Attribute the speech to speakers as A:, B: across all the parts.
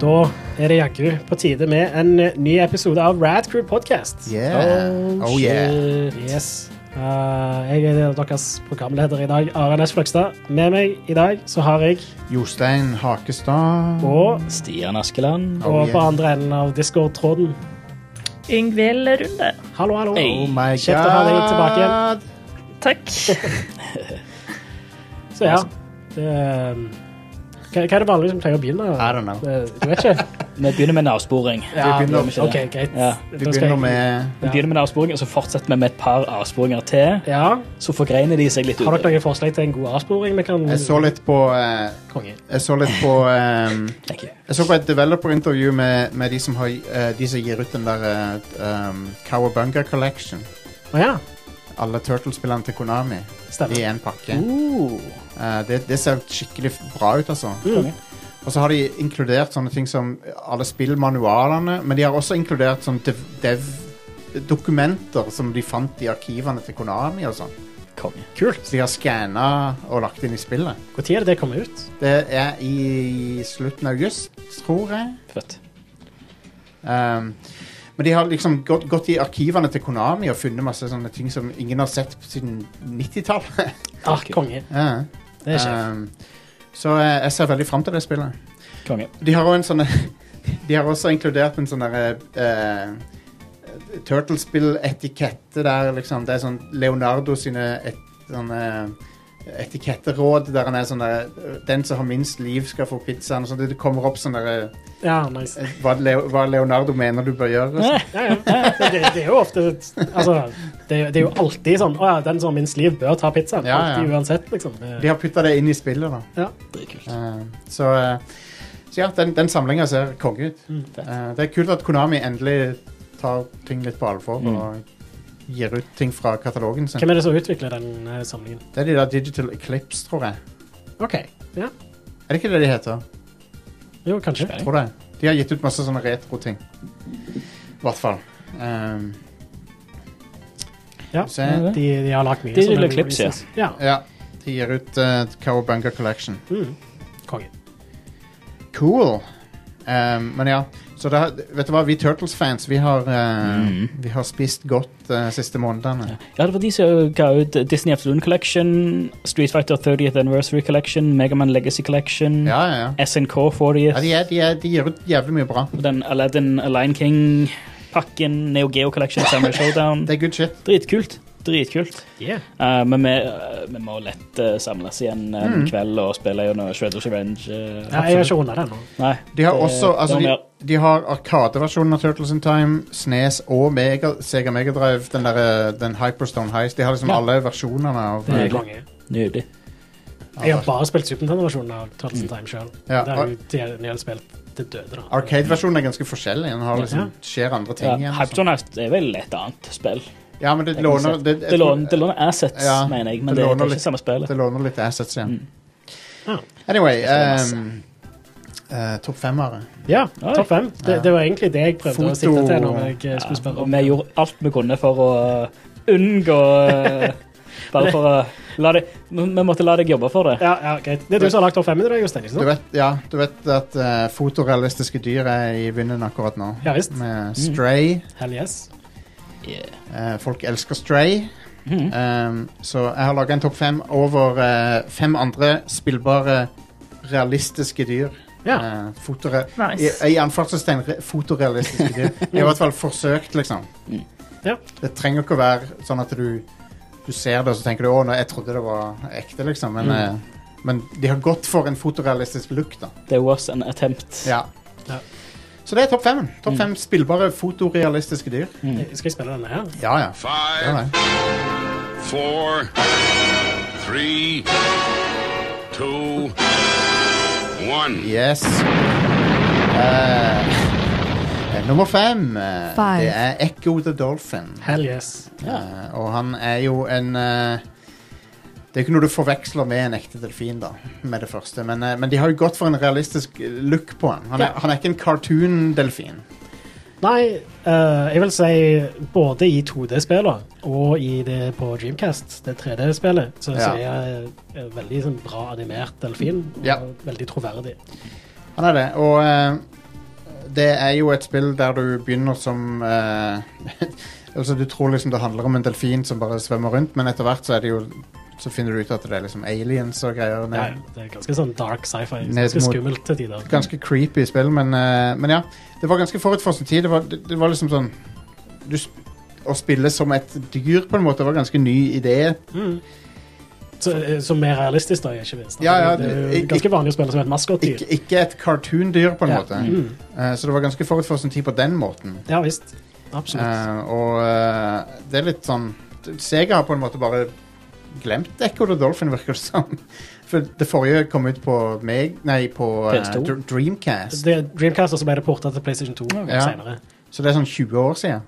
A: Da er det jaggu på tide med en eh, ny episode av Rad Crew Podcast.
B: Yeah. Oh, yeah.
A: Yes. Uh, jeg er deres programleder i dag, Are Næss Fløgstad. Med meg i dag så har jeg
B: Jostein Hakestad.
A: og,
C: Stian Askeland.
B: Oh,
A: og på
B: yeah.
A: andre enden av Discord-tråden
D: Yngvild Runde.
A: Hallo, hallo.
C: Hey.
B: Oh my
A: Kjekt å ha deg tilbake igjen.
B: god.
D: Takk.
A: Så ja, det, um, hva, hva er det vanlige som pleier å begynne?
B: I don't know.
A: Eh, Du vet ikke?
C: Vi begynner med en avsporing.
A: Ja, gjør
B: begynner-
A: vi ikke det? Ok, greit.
C: Ja.
A: Da
B: Vi
A: skal
B: begynner
A: jeg-
B: med
C: Vi begynner med en avsporing, og så fortsetter vi med et par avsporinger til.
A: Ja,
C: Så forgreiner de seg litt
A: har dere
C: utover.
A: noen forslag til en god avsporing? Vi kan...
B: Jeg så litt på eh,
A: Konge.
B: Jeg så litt på eh,
C: Thank you.
B: Jeg så på et developer-intervju med, med de, som har, eh, de som gir ut den der eh, um, Cowabunga Collection.
A: Å ja,
B: Alle Turtles-spillene til Konami i
A: stemmer.
B: én pakke.
C: Uh,
B: Eh, det, det ser skikkelig bra ut, altså.
A: Mm.
B: Og så har de inkludert sånne ting som alle spillmanualene, men de har også inkludert sånn dev, dev dokumenter som de fant i arkivene til Konami og sånn.
C: konge.
A: Kult.
B: Så de har skanna og lagt inn i spillet.
A: Når er det det kommer ut?
B: Det er i slutten av august, tror jeg.
C: Fett.
B: Um, men de har liksom gått, gått i arkivene til Konami og funnet masse sånne ting som ingen har sett siden 90-tallet.
A: Ah, konge.
B: Ja.
A: Det er sjef.
B: Um, så eh, jeg ser veldig fram til det spillet.
C: Konge.
B: De har også en sånn De har også inkludert en sånn derre uh, Turtlespill-etikette der, liksom. Det er sånn Leonardo sine et, sånne etiketteråd der han er sånn der Den som har minst liv, skal få pizzaen. og sånn. Det kommer opp sånn derre
A: Ja, nice.
B: hva, Leo- hva Leonardo mener du bør gjøre. og sånn.
A: Ja, ja. Det, det er jo ofte Altså, det, er- det er jo alltid sånn Å ja, den som har minst liv, bør ta pizzaen.
B: Ja, ja.
A: Alltid uansett, liksom.
B: De har putta det inn i spillet, da.
C: Dritkult.
B: Eh, så, eh, så ja, den, den samlinga ser konge ut.
A: Mm.
C: Fett.
B: Eh, det er kult at Konami endelig tar ting litt på alvor
C: Mm.
B: og gir ut ting fra katalogen sin.
A: Hvem er det som utvikler den eh, samlingen?
B: Det er de der Digital Eclipse, tror jeg.
A: OK. Ja.
B: Er det ikke det de heter?
A: Jo, kanskje.
C: Spennende.
B: Tror det. De har gitt ut masse sånne retro-ting. I hvert fall. Ehm,
A: Ja.
B: se.
C: Ja, det.
A: De, de har lagt mye
C: Digital
A: sånne
C: Eclipse, ja.
A: releases. ja.
B: Ja, de gir ut uh, Cowabunga Collection.
A: Mm. Konge.
B: Cool. Ehm, men ja, så da, vet du hva, vi Turtles-fans, vi, har, eh,
C: Mm.
B: vi har spist godt de siste månedene.
C: Ja, det var de som ga ut Disney Afternoon Collection, Street Fighter 30th Anniversary Collection, Megaman Legacy Collection,
B: Ja, ja, ja.
C: SNK
B: ja
C: 40th,
B: de, er, de, er, de gir ut jævlig mye bra.
C: den Aladdin Align King-pakken, Neo Geo Collection, Samurai Showdown.
B: Det er good shit.
C: Dritkult. Dritkult.
A: Yeah.
C: Eh, men vi, eh, vi må lett eh, samles igjen eh,
B: Mm.
C: en kveld og spille gjennom Shredders Revenge. eh,
A: Ja, jeg har ikke runda den nå.
C: Nei.
B: De har
C: Det-
B: også altså,
C: det må
B: de,
C: vi
B: de har Arkadeversjonen av Turtles in Time, Snes og Mega, Sega Megadrive, den, der, eh, den Hyperstone Heist. De har liksom
C: Ja.
B: alle versjonene av eh,
A: Det er
C: Nydelig.
A: konge.
C: Nydelig.
A: Jeg har bare spilt Super Nintendo-versjonen av Turtles in Time sjøl.
B: Mm. Ja,
A: Der
B: og-
A: er jo de de har spilt til døde, da.
B: Arcade-versjonen er ganske forskjellig. Den har
A: Ja.
B: liksom, skjer andre ting
C: Ja,
B: igjen. og sånn.
C: Hypezone Heist er vel et annet spill.
B: Ja, men det
C: teknisk
B: låner
C: sett.
B: det, jeg
C: Det
B: tror-
C: låner, det låner assets,
B: Ja,
C: mener jeg, men
B: det
C: det, det,
B: låner
C: er
B: litt-
C: ikke samme spillet.
B: det låner litt assets igjen.
A: Ja.
B: Anyway
C: Mm. er masse.
B: um, eh, Topp femmere.
A: Ja,
C: Oi.
A: topp fem. Det,
B: Ja.
A: det var egentlig det jeg prøvde
B: Foto.
A: å sikte til når jeg eh, skulle
C: Ja,
A: spørre
C: og
A: om
C: vi gjorde alt vi kunne for å unngå eh, Bare for å la det Vi måtte la deg jobbe for det.
A: Ja, ja, greit. Det er du som har lagt opp fem i dag, Jostein. ikke
B: Du
A: sant?
B: vet, ja, du vet at eh, fotorealistiske dyr er i vinden akkurat nå.
A: Ja visst.
C: Mm.
B: Med Stray.
A: Hell yes.
B: Eh, folk elsker Stray.
C: Mhm.
B: Um, så jeg har laga en topp fem over eh, fem andre spillbare realistiske dyr.
A: Ja.
B: Eh, fotore
D: Nice.
B: I, i anførselstegn re- fotorealistiske dyr. Det er I hvert fall forsøkt, liksom.
C: Mm.
A: Ja.
B: Det trenger ikke å være sånn at du, du ser det og så tenker du 'Å, nei, jeg trodde det var ekte', liksom. Men,
C: Mm.
B: eh, men de har gått for en fotorealistisk look, da.
C: There was an attempt.
B: Ja.
A: Ja.
B: Så det er topp fem. Topp
C: Mm.
B: fem spillbare fotorealistiske dyr.
C: Mm.
A: Skal jeg spille denne her?
B: Ja, ja. ja,
E: Five,
B: ja.
E: four, three, two, one.
B: Yes. Eh, nummer fem, eh,
D: Five.
B: det er Echo the Dolphin.
A: Hell yes.
B: Eh, og han er jo en eh, Det er ikke noe du forveksler med en ekte delfin, da, med det første. Men, eh, men de har jo gått for en realistisk look på han. Han er,
A: Ja.
B: han er ikke en cartoon-delfin.
A: Nei, eh, jeg vil si både i 2D-spillene og i det på Dreamcast, det 3D-spillet, så, så
B: Ja.
A: er jeg eh, veldig sånn, bra animert delfin. Og
B: Ja.
A: Veldig troverdig.
B: Han er det. Og eh, det er jo et spill der du begynner som eh, Altså Du tror liksom det handler om en delfin som bare svømmer rundt, men etter hvert så er det jo Så finner du ut at det er liksom aliens og greier.
A: Ja,
B: Ned,
A: det er ganske sånn dark sci-fi.
B: Ned
A: Ganske
B: mot-
A: skummelt til tider.
B: Ganske creepy spill, men, eh, men ja. Det var ganske forut for sin tid. Det var, det, det var liksom sånn du, sp- Å spille som et dyr, på en måte, var ganske ny idé.
A: Mm. Så, eh, så mer realistisk, da, ikke minst.
B: Ja, ja,
A: det er
B: ik-
A: jo ganske vanlig å spille som et maskotdyr.
B: Ikke, ikke et cartoon-dyr, på en
C: Ja.
B: måte.
A: Mm.
B: Eh, så det var ganske forut for sin tid på den måten.
A: Ja visst. Absolutt.
B: Eh, og eh, det er litt sånn Sega har på en måte bare glemt Echo the Dolphin, virker det som. For det forrige kom ut på meg Nei, på eh,
C: PS2.
B: Dr- Dreamcast.
A: det er Dreamcast og så ble det porta til PlayStation 2
B: Ja.
A: senere.
B: Så det er sånn 20 år siden.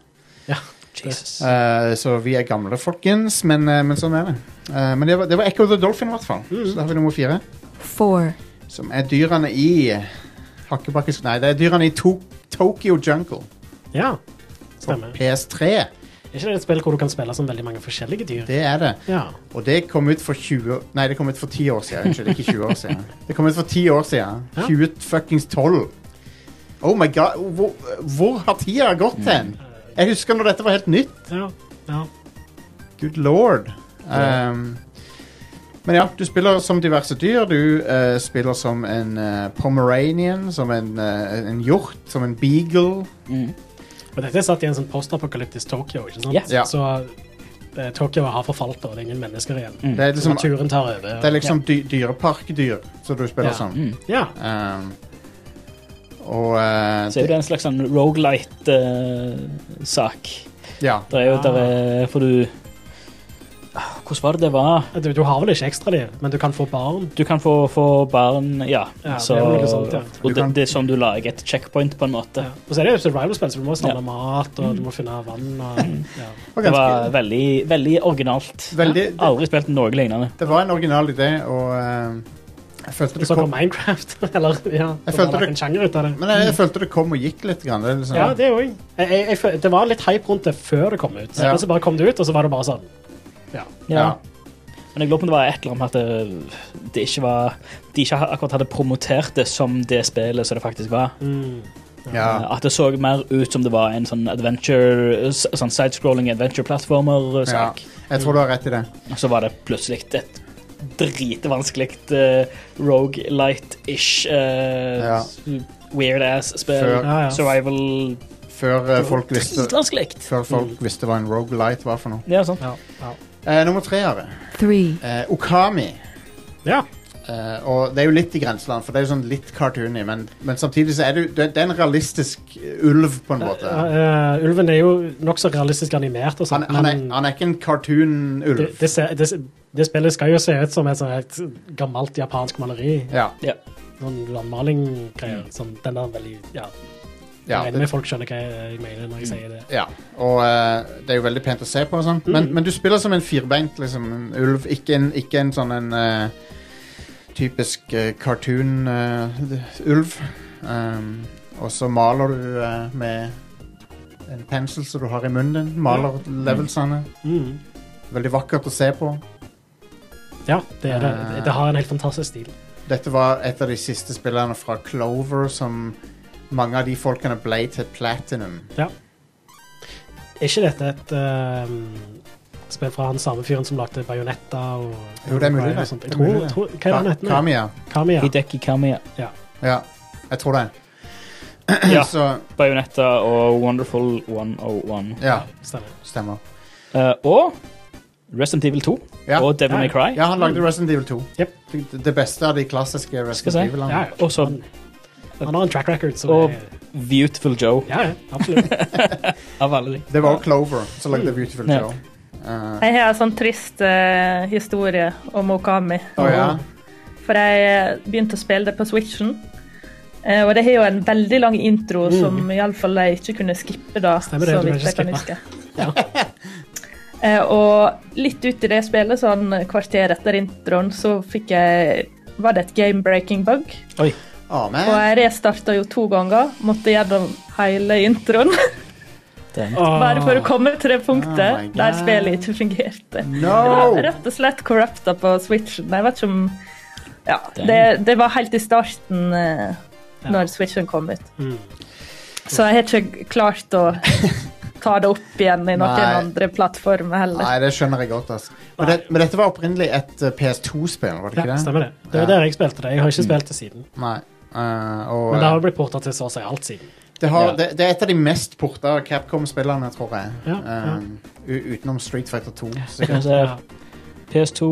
C: Jesus.
B: Eh, så vi er gamle, folkens, men, eh, men sånn er det. Eh, men det var, det var Echo the Dolphin, i hvert fall. Så da har vi nummer fire.
F: four,
B: Som er dyrene i Hakkebakkesk... Nei, det er dyrene i to Tokyo Jungle.
A: Ja,
B: På
A: stemmer.
B: PS3.
A: Er ikke det et spill hvor du kan spille som veldig mange forskjellige dyr?
B: Det er det.
A: Ja.
B: Og det kom ut for 20 år- Nei, det kom ut for 10 år siden. Unnskyld, ikke 20 år siden. Det kom ut for 10 år siden.
A: Ja.
B: 20 fuckings 12. Oh my god, hvor, hvor har tida gått
A: Mm.
B: hen? Jeg husker når dette var helt nytt.
A: ja. ja.
B: Good lord. Um, men ja, du spiller som diverse dyr. Du eh, spiller som en eh, pomeranian, som en, eh, en hjort, som en beagle.
C: Mm.
A: Og dette er satt i en sånn postapokalyptisk Tokyo, ikke sant?
C: Ja.
B: Ja.
A: Så eh, Tokyo har forfalt, og det er ingen mennesker igjen.
C: Mm.
B: Det er
A: Så
B: liksom,
A: naturen tar over.
B: det er liksom dy dyreparkdyr som du spiller
A: Ja.
B: som.
C: Mm.
A: Ja.
B: Um, og eh,
C: Så er jo det en slags sånn eh, rogelite-sak.
B: Ja.
C: det er jo
A: Ah.
C: der er For du Ah, Hvordan var det det var?
A: Du, du har vel ikke ekstraliv, men du kan få barn.
C: Du kan få, få barn Ja.
A: Ja,
C: så,
A: det er vel noe sånt, ja.
B: Du
C: Og det,
B: kan-
C: det er sånn du lager et checkpoint, på en måte.
A: Og så er det jo et survival-spill, så du må
C: Ja.
A: samle mat, og du må finne vann og ja.
B: var
C: Det
B: ganske,
C: var veldig, veldig originalt.
B: Veldig, det,
C: Aldri spilt noe lignende.
B: det var en original idé, og eh, jeg,
A: Og
B: følte det
A: så kom
B: kom,
A: Minecraft, eller ja.
B: Jeg
A: Jeg
B: følte
A: følte
B: det-
A: en sjanger ut av det.
B: men jeg, jeg følte det kom og gikk litt. Grann. Det er liksom,
A: Ja, det òg. Jeg, jeg, jeg, føl- det var litt hype rundt det før det kom ut.
B: Ja.
A: Men så bare kom det ut, og så var det bare sånn. Ja.
B: ja.
C: Men jeg lurer på om det var et eller annet at det, det ikke var De ikke akkurat hadde promotert det som det spillet som det faktisk var. Eh,
A: Mm.
B: Ja.
C: At det så mer ut som det var en sånn adventure s- Sånn sidescrolling eh, adventure-plattformer-sak.
B: Jeg tror du har rett i det.
C: Og så var det plutselig et dritvanskelig uh, rogelight-ish
B: Ja.
C: weird-ass-spill.
B: Før-
A: Ja, ja.
C: eh, Survival
B: Før eh, folk visste
C: Dritvanskelig!
B: Før folk visste hva en roguelite var for noe.
C: Ja, sant.
A: Ja. Ja.
B: Eh, nummer tre har jeg.
F: three,
B: Eh, Okami.
A: ja.
B: Eh, og det er jo litt i grenseland, for det er jo sånn litt cartoony, men, men samtidig så er det jo det, det er en realistisk eh, ulv, på en måte.
A: Eh, eh, ulven er jo nokså realistisk animert og
B: Han,
A: sånn,
B: han, er,
A: men
B: han er ikke en cartoon-ulv.
A: det, det, ser, det, det spillet skal jo se ut som et sånt helt gammelt japansk maleri.
B: Ja, Mm.
A: Noen landmalinggreier. Sånn, den der veldig Ja. Jeg
B: ja, Mm.
A: regner
B: det,
A: med folk skjønner hva jeg mener når jeg sier det.
B: ja. Og eh, det er jo veldig pent å se på og sånn.
A: Mm.
B: Men, men du spiller som en firbeint liksom, en ulv, ikke en, ikke en sånn en eh, typisk eh, cartoon-ulv. Um, og så maler du eh, med en pensel som du har i munnen din. Maler levelsene.
A: Mm.
B: Veldig vakkert å se på.
A: Ja, det, er det.
B: Eh.
A: det har en helt fantastisk stil.
B: Dette var et av de siste spillene fra Clover som mange av de folkene ble til platinum.
A: Er ikke dette et eh, spill fra han samme fyren som lagde Bajonetta og
B: Jo, det er mulig,
A: og
B: det.
A: sånt?
B: Det
A: Jeg
B: er
A: tror,
B: mulig, det.
A: tror, hva er det han heter? nå?
B: Kamia.
A: Kamiya.
C: Hideki Kamiya.
B: Ja, jeg tror det.
C: Ja.
B: Så,
C: Bayonetta og Wonderful 101.
B: ja,
A: Stemmer.
B: stemmer.
C: Eh, og Resident Evil 2
B: Ja.
C: og Devil May Cry.
B: Ja, han lagde Resident Evil 2.
A: Jep.
B: Det- Det beste av de klassiske
C: Skal
B: Resident
C: jeg si?
B: Evil-ene.
A: Ja, ja.
C: Og så
A: han, han har en track record som
C: Og-
A: er
C: Beautiful Joe.
A: Ja, ja, absolutt.
C: Av alle de.
B: Det var Clover som lagde
A: Mm.
B: Beautiful
C: Ja.
B: Joe. Uh,
D: Jeg har en sånn trist eh, historie om Okami.
B: å ja.
D: For jeg eh, begynte å spille det på Switchen. Eh, og det har jo en veldig lang intro som iallfall jeg ikke kunne skippe da.
A: Mm. Stemmer det,
D: så
A: du kan
D: vidt jeg
A: ikke
D: kan
A: skippe.
D: huske. Eh, og litt ut i det spillet, sånn kvarter etter introen, så fikk jeg Var det et game-breaking bug?
C: Oi.
B: Å,
D: Og
B: man.
D: jeg restarta jo to ganger. Måtte gjennom hele introen
C: Den.
D: bare for å komme til det punktet
B: Ah. Oh my God.
D: der spillet ikke fungerte.
B: No!
D: Det var rett og slett corrupta på Switchen. Jeg vet ikke om Ja,
C: Damn.
D: det, det var helt i starten eh,
A: Ja.
D: når Switchen kom ut.
A: Mm.
D: Så jeg har ikke klart å ta det opp igjen i noen
B: Nei.
D: andre plattformer heller.
B: Nei, det skjønner jeg godt, altså. Men, det, men dette var opprinnelig et eh, PS2-spill, var det
A: Ja,
B: ikke det?
A: stemmer det. Det var
B: Ja.
A: der jeg spilte det. Jeg
C: Mm.
A: har ikke spilt det siden.
B: Nei. Eh, og,
A: Men det har jo blitt porta til så å si alt siden.
B: Det, har,
C: Ja.
B: det, det er et av de mest porta Capcom-spillene, tror jeg.
A: Ja, ja.
B: Um, u- utenom Street Fighter 2.
C: Skal vi
B: sikkert.
C: se. PS2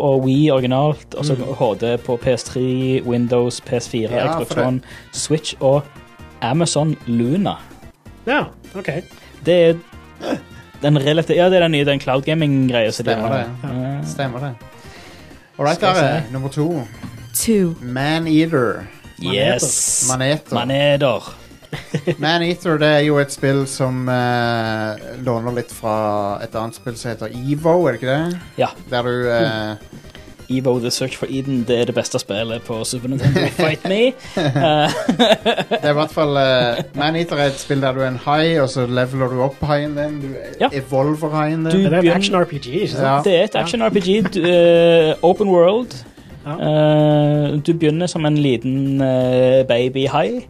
C: og Wii originalt, og så HD på PS3, Windows, PS4,
B: Mm. Ja, for
C: Xbox
B: det-
C: One, Switch og Amazon Luna.
A: Ja, OK.
C: Det er den relativ... Ja, det er den nye den cloud gaming-greia. som de
B: Stemmer
C: har.
B: det.
C: Ja.
B: Stemmer det. All right,
C: Skal vi
B: Are. Nummer to.
F: two,
B: Maneater.
C: Yes.
B: Maneter.
C: Maneter.
B: Maneater det er jo et spill som eh, låner litt fra et annet spill som heter EVO, er det ikke det?
C: Ja.
B: Der du eh,
C: Evo The Search for Eden det er det beste spillet på Super Nintendo. Fight me. Eh,
B: Det er i hvert fall eh, Maneater er et spill der du er en hai, og så leveler du opp haien din. Du
C: Ja.
B: evolver haien din.
C: Du-
A: Det er en
C: begynner-
A: action RPG, ikke sant?
B: Ja.
C: det er et action-RPG. du- eh, open world.
A: Ja.
C: Eh, du begynner som en liten eh, babyhai,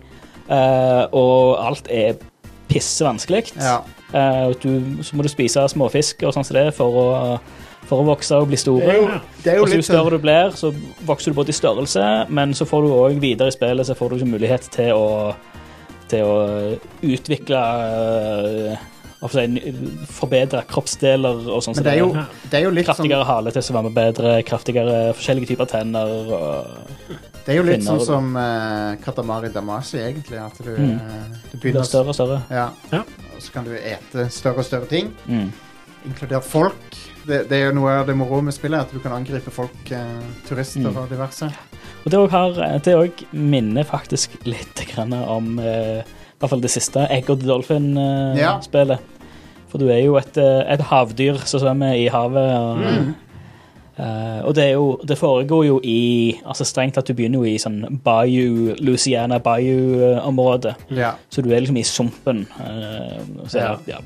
C: eh, og alt er pissevanskelig.
B: Ja.
C: Eh, og du, så må du spise småfisk og sånn som det er for å, for å vokse og bli store.
B: Det er jo
C: Og så jo
B: litt sånn
C: større du blir, så vokser du både i størrelse, men så får du òg videre i spillet så får du ikke mulighet til å, til å utvikle øh, hva skal jeg si, n- Forbedre kroppsdeler og sånn. som
B: Men det er jo,
C: det er.
B: det er jo litt sånn
C: Kraftigere hale til å svømme bedre, kraftigere forskjellige typer tenner. Og
B: Det er jo litt sånn
C: Finner det.
B: som eh, Katamari Damasi, egentlig. At du,
C: Mm.
B: eh, du
C: blir
B: begynner
C: større og større.
B: Ja.
A: Ja.
B: Og så kan du ete større og større ting,
C: Mm.
B: inkludert folk. Det, det er jo noe av det moro med spillet, at du kan angripe folk, eh, turister
C: Mm.
B: og diverse.
C: Og det òg har- det òg minner faktisk litt grann om eh, i hvert fall det siste Egg og the
B: Ja.
C: Dolphin-spelet. For du er jo et, eh, et havdyr som svømmer i havet. Og, eh, og det, er jo, det foregår jo i altså Strengt tatt du begynner jo i sånn Bayou, Louisiana Bayou-området.
B: Ja.
C: Så du er liksom i sumpen. eh, så
B: Ja.
C: ja. ja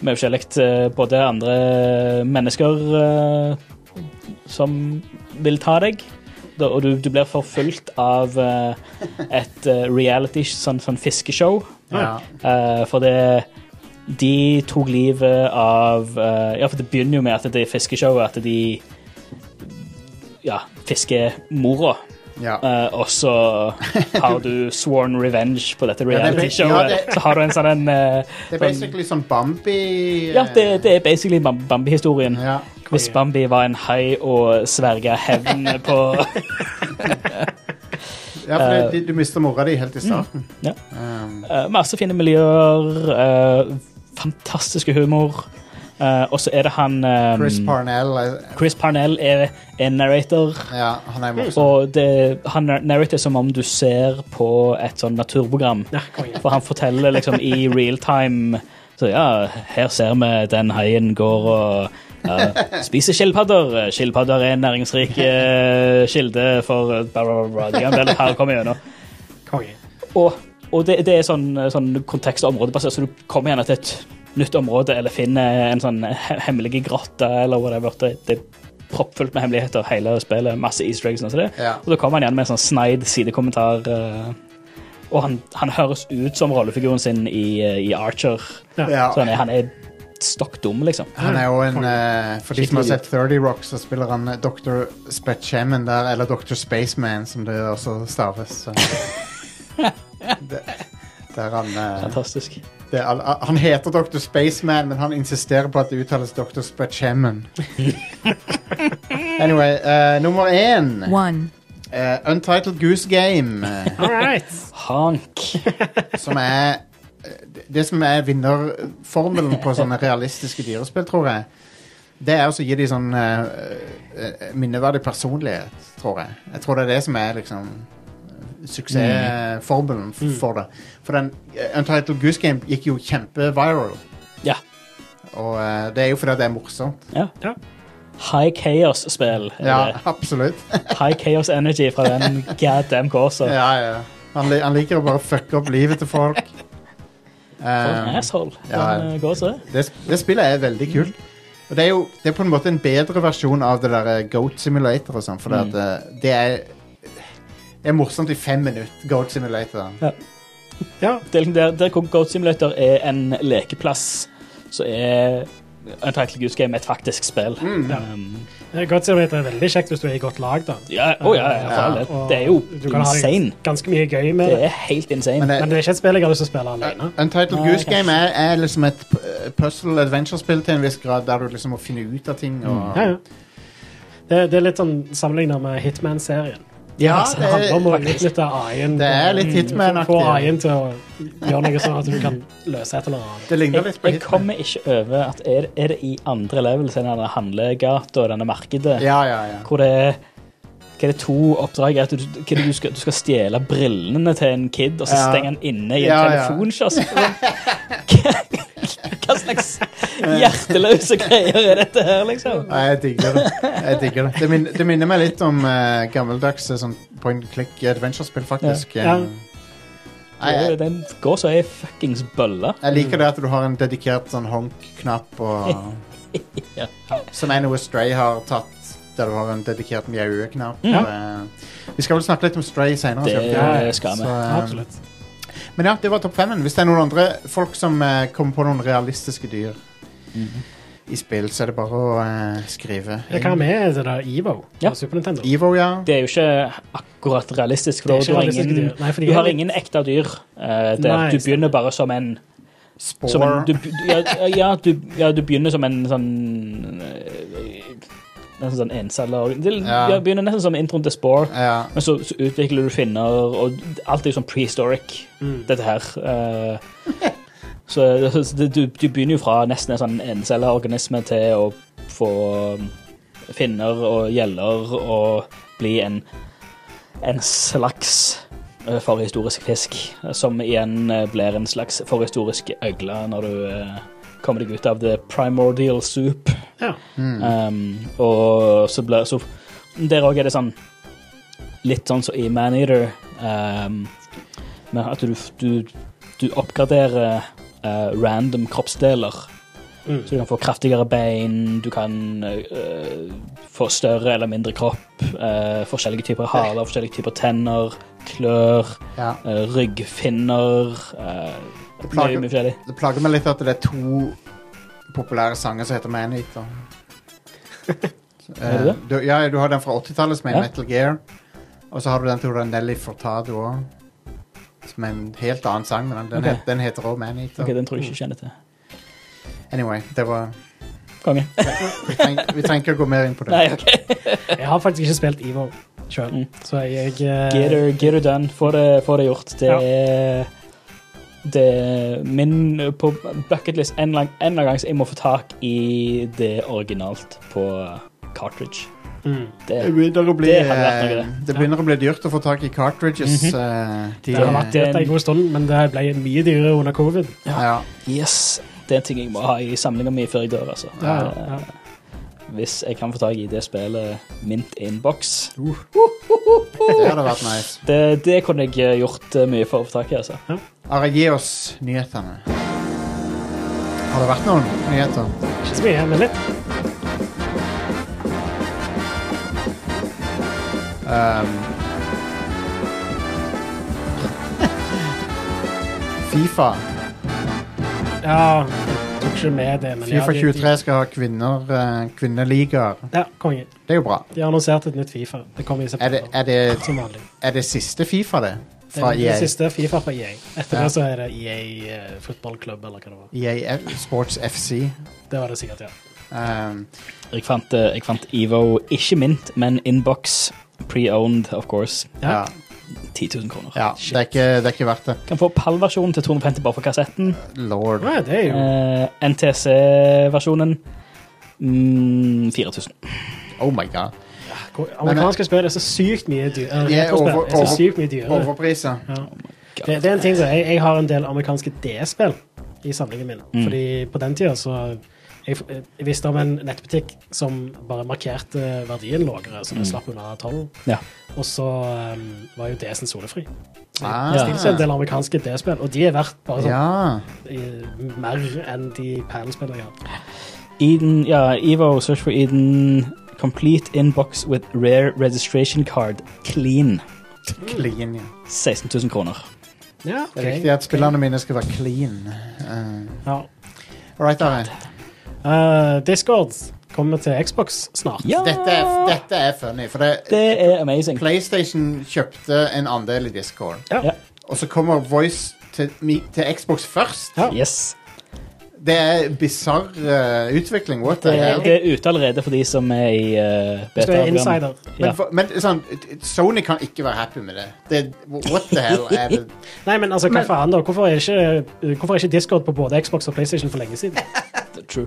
C: med forskjellig eh, både andre mennesker eh, som vil ta deg, da, og du, du blir forfulgt av eh, et eh, reality sånn, sånn fiskeshow.
B: ja.
C: eh, for det De tok livet av eh, Ja, for det begynner jo med at det er fiskeshowet, at de ja, fisker mora.
B: ja.
C: Eh, og så har du sworn revenge på dette
B: Ja, det er-
C: reality-showet.
B: ja, det-
C: så har du en sånn en eh,
B: Det er
C: sånn-
B: basically sånn Bambi eh,
C: Ja, det, det er basically Bam- Bambi-historien.
B: ja.
C: Hvis Bambi var en hai og sverga hevn på
B: ja, for det, du, du mister mora di helt i starten.
C: Eh, mm, ja.
B: Um,
C: eh, Masse fine miljøer, eh, fantastiske humor. eh, og så er det han eh,
B: Chris Parnell eh,
C: Chris Parnell er en narrator.
B: Ja, han er morsom.
C: Og det, han narrater som om du ser på et sånn naturprogram.
A: Ja, konge.
C: For han forteller liksom i real time Så ja, her ser vi den haien går og ja, spiser skilpadder. Skilpadder er en næringsrik eh, kilde for bla, bla, bla. Det kan vel her komme gjennom.
A: konge.
C: Og, og det, det er sånn, sånn kontekst- og områdebasert, så du kommer gjerne til et nytt område eller finner en sånn he- hemmelig grotte eller whatever. Det, det er proppfullt med hemmeligheter, hele spillet, masse easter eggs og sånn. som det.
B: Ja.
C: Og da kommer han igjen med en sånn sneid sidekommentar. eh, Og han, han høres ut som rollefiguren sin i, eh, i Archer.
B: Ja.
C: Så han er, han er stokk dum, liksom.
B: Han er jo en eh, For de som har sett 30 Rock, så spiller han eh, Dr. Spetchemen der, eller Dr. Spaceman, som det også staves. Så. det, der han, eh,
C: Fantastisk.
B: det, er all- han heter Dr. Spaceman, men han insisterer på at det uttales Dr. Spetchemen. anyway, eh, nummer én.
F: one,
B: eh, Untitled Goose Game. eh,
A: All right.
C: Hank.
B: som er eh, Det som er vinnerformelen på sånne realistiske dyrespill, tror jeg, det er også å gi dem sånn eh, eh, minneverdig personlighet, tror jeg. Jeg tror det er det som er liksom suksessformelen f- for det. For den eh, Untitled Goose Game gikk jo kjempeviral.
C: Ja.
B: Og eh, det er jo fordi det er morsomt.
C: ja.
A: Ja.
C: High Chaos-spill. er
B: Ja,
C: det.
B: absolutt.
C: High Chaos Energy fra den goddamn gåsa.
B: Ja, ja. Han, li han liker å bare fucke opp livet til folk.
C: For
B: Um,
C: en asshole.
B: ja.
C: Den, eh, gåsa.
B: det, det spillet er veldig kult. Og det er jo det er på en måte en bedre versjon av det der eh, Goat Simulator og sånn, for det, at, eh, det er det er morsomt i fem minutter, Goat Simulator.
C: Ja.
A: Ja,
C: delen liksom der, der hvor Goat Simulator er en lekeplass, så er Untitled Goose Game et faktisk spill.
B: Mm.
A: ja.
C: Um,
A: Godt simulator er veldig kjekt hvis du er i godt lag, da.
C: ja, å ja, ja, for all del.
A: Og
C: Det er jo
A: du kan ha det
C: insane.
A: Ganske mye gøy med
C: Det
A: det.
C: er helt insane.
B: Men eh, det,
A: Men det er ikke et spill jeg har lyst til å spille alene.
B: Untitled
C: Nei,
B: Goose
C: kanskje.
B: Game er, er liksom et p- puzzle adventure-spill til en viss grad, der du liksom må finne ut av ting. Og...
A: Mm. Ja, ja. Det, det er litt sånn sammenligna med Hitman-serien.
B: Ja,
A: Altså, det handler om å
B: det,
A: utnytte AI-en.
B: det er litt
A: Få
B: Hitman-aktig.
A: AI-en til å gjøre noe sånn at du kan løse et eller annet.
B: Det ligner
C: Jeg,
B: litt på
C: jeg
B: Hitman.
C: kommer ikke over at er, er det i andre level enn denne handlegata og denne markedet,
B: Ja, ja, ja.
C: hvor det er hva er det to oppdrag er? At du, hva er det du, skal, du skal stjele brillene til en kid, og så
B: Ja.
C: stenge han inne i en
B: Ja, ja.
C: telefonkiosk? Hva- Hva slags hjerteløse greier er dette her, liksom?
B: Nei, jeg digger det. Jeg digger det. Det, min, det minner meg litt om eh, gammeldagse sånn point click adventure-spill, faktisk. Um,
A: Ja. Ja.
B: Nei, jeg,
C: Den går så ei fuckings bølle.
B: jeg liker det at du har en dedikert sånn honk-knapp, og,
C: Ja.
B: som Anywhere Stray har tatt, der du har en dedikert mjaue-knapp. Eh, vi skal vel snakke litt om Stray senere.
C: Mm. Det
B: vi ikke?
C: skal vi.
B: eh,
A: Absolutt.
B: Men ja, det var topp femmen. Hvis det er noen andre folk som eh, kommer på noen realistiske dyr
C: Mhm.
B: i spill, så er det bare å eh, skrive.
A: Ja, Hva med det der Evo
C: Ja.
A: på Super Nintendo?
B: Evo, ja.
C: Det er jo ikke akkurat realistisk,
A: Det
C: for
A: er
C: du
A: ikke
C: har
A: realistiske
C: ingen,
A: dyr. Nei, for de
C: du
A: er
C: har
A: litt-
C: ingen ekte dyr. eh, der.
A: Nei,
C: du
A: stemmer.
C: begynner bare som en Som
B: Spore.
C: en, du, du- ja, ja, du, ja, du begynner som en sånn eh, Nesten sånn enceller Du
B: Ja.
C: ja, begynner nesten som introen til Spore,
B: Ja.
C: men så, så utvikler du finner, og alt er jo sånn prehistoric,
A: Mm.
C: dette her. eh. så så det, du, du begynner jo fra nesten en sånn encelleorganisme til å få um, finner og gjeller og bli en, en slags eh, forhistorisk fisk, eh, som igjen eh, blir en slags forhistorisk øgle når du eh, kommer deg ut av the primordial soup.
A: Ja.
C: Um, og så blir så Der òg er det sånn litt sånn som i Maneater, um, men at du, du, du oppgraderer eh, random kroppsdeler.
A: Mm.
C: Så du kan få kraftigere bein, du kan eh, få større eller mindre kropp, eh, forskjellige typer haler, forskjellige typer tenner, klør,
B: ja.
C: eh, ryggfinner eh,
B: Det
C: Mye,
B: plager-
C: mye forskjellig.
B: Det plager meg litt at det er to populære sanger som heter Maneater.
C: Er det det?
B: Eh, Du, ja, du har den fra 80-tallet som er
C: Ja.
B: Metal Gear. Og så har du den til Nelly Furtado òg. Som er en helt annen sang, men den, den
C: Ok.
B: het- den heter òg Maneater.
C: Ok, Den tror jeg ikke jeg kjenner til.
B: Anyway, det var
C: Konge.
B: Vi treng- vi trenger ikke å gå mer inn på det.
C: Nei, ok.
A: Jeg har faktisk ikke spilt Evo sjøl,
C: Mm.
A: så jeg eh,
C: Get her, get her done. Få det, få det gjort. Det
A: Ja.
C: er det er min eh, på bucketlist en, lang, en eller annen gang så jeg må få tak i det originalt på cartridge.
A: mm.
C: Det,
B: Det begynner å bli,
C: Det hadde vært noe, Mhm. det.
B: eh, det begynner å bli dyrt å få tak i cartridges. eh, de,
A: Det har vært dyrt en god stund, men det ble mye dyrere under covid.
B: ja.
C: yes, det er en ting jeg må ha i samlinga mi før jeg dør, altså.
A: Ja,
C: Det-
A: ja.
C: Hvis jeg kan få tak i det spillet Mint Inbox.
B: Det hadde vært nice.
C: Det, det kunne jeg gjort eh, mye for å få tak i, altså.
B: Are, gi oss nyhetene. Har det vært noen nyheter?
A: Ikke så mye, men litt. Ehm.
B: Um, Fifa
A: Ja, tok ikke med det, men ja,
B: Fifa
A: de-
B: 23 skal ha kvinner, eh, kvinneligaer.
A: De, ja, konge.
B: Det er jo bra.
A: De har annonsert et nytt Fifa. Det kommer i
B: Er
A: september.
B: det, er det,
A: Som vanlig.
B: er det siste Fifa, det?
A: Det
B: Fra E
A: er det
B: EA?
A: siste Fifa fra EA. Etter
B: Ja.
A: det så er det EA eh, fotballklubb, eller hva det var.
B: EA F- E Sports FC.
A: Det var det sikkert, ja.
B: Um,
C: Jeg fant, eh, jeg fant Evo, ikke Mint, men Inbox. Pre-owned, of course.
B: ja.
C: 10 000 kroner.
B: Ja,
A: Ah,
B: det er, ikke, det er ikke verdt det.
C: Kan få PAL-versjonen til 250 bare for kassetten.
B: Lord.
A: Nei, det er jo
C: Eh, NTC-versjonen mm, 4000.
B: Oh my god.
A: Hvor- Amerikanske spill er så sykt mye eh, dyrere.
B: De er over-
A: er så
B: over-
A: sykt mye dyrere.
B: Overpriser.
A: Det, det er en ting som jeg, jeg har en del amerikanske DS-spill i samlingen min. Fordi på den tida så jeg, f- jeg visste om en nettbutikk som bare markerte verdien lavere, så det slapp unna tollen.
C: Ja.
A: Og så um, var jo DS-en solefri. Så
B: Ah.
A: jeg bestilte en del amerikanske DS-spill, og de er verdt bare sånn
B: Ja.
A: eh, mer enn de perlespillene jeg har.
C: Eden, ja, Evo, Search for Eden. Complete inbox with rare registration card. Clean.
B: Clean. ja.
C: 16 000 kroner.
A: Ja,
B: Det er viktig at spillerne mine skal være clean. Uh,
A: Ja.
B: alright, Are.
A: Eh, Discord kommer til Xbox snart.
C: Ja,
B: Dette, er- dette er funny, for det,
C: det er amazing.
B: PlayStation kjøpte en andel i Discord.
A: Ja.
C: Ja.
B: Og så kommer Voice til, mi- til Xbox først.
A: Ja.
C: Yes.
B: Det er bizarr eh, utvikling. What the
C: Det, er-
B: hell?
C: det er ute allerede for de som er i uh,
A: Hvis du er insider.
C: Ja.
B: Men, for- men sånn, Sony kan ikke være happy med det. det what the hell er det?
A: Nei, men altså, hva
D: Men-
A: faen, da? Hvorfor er, ikke, hvorfor er ikke Discord på både Xbox og PlayStation for lenge siden?
C: True.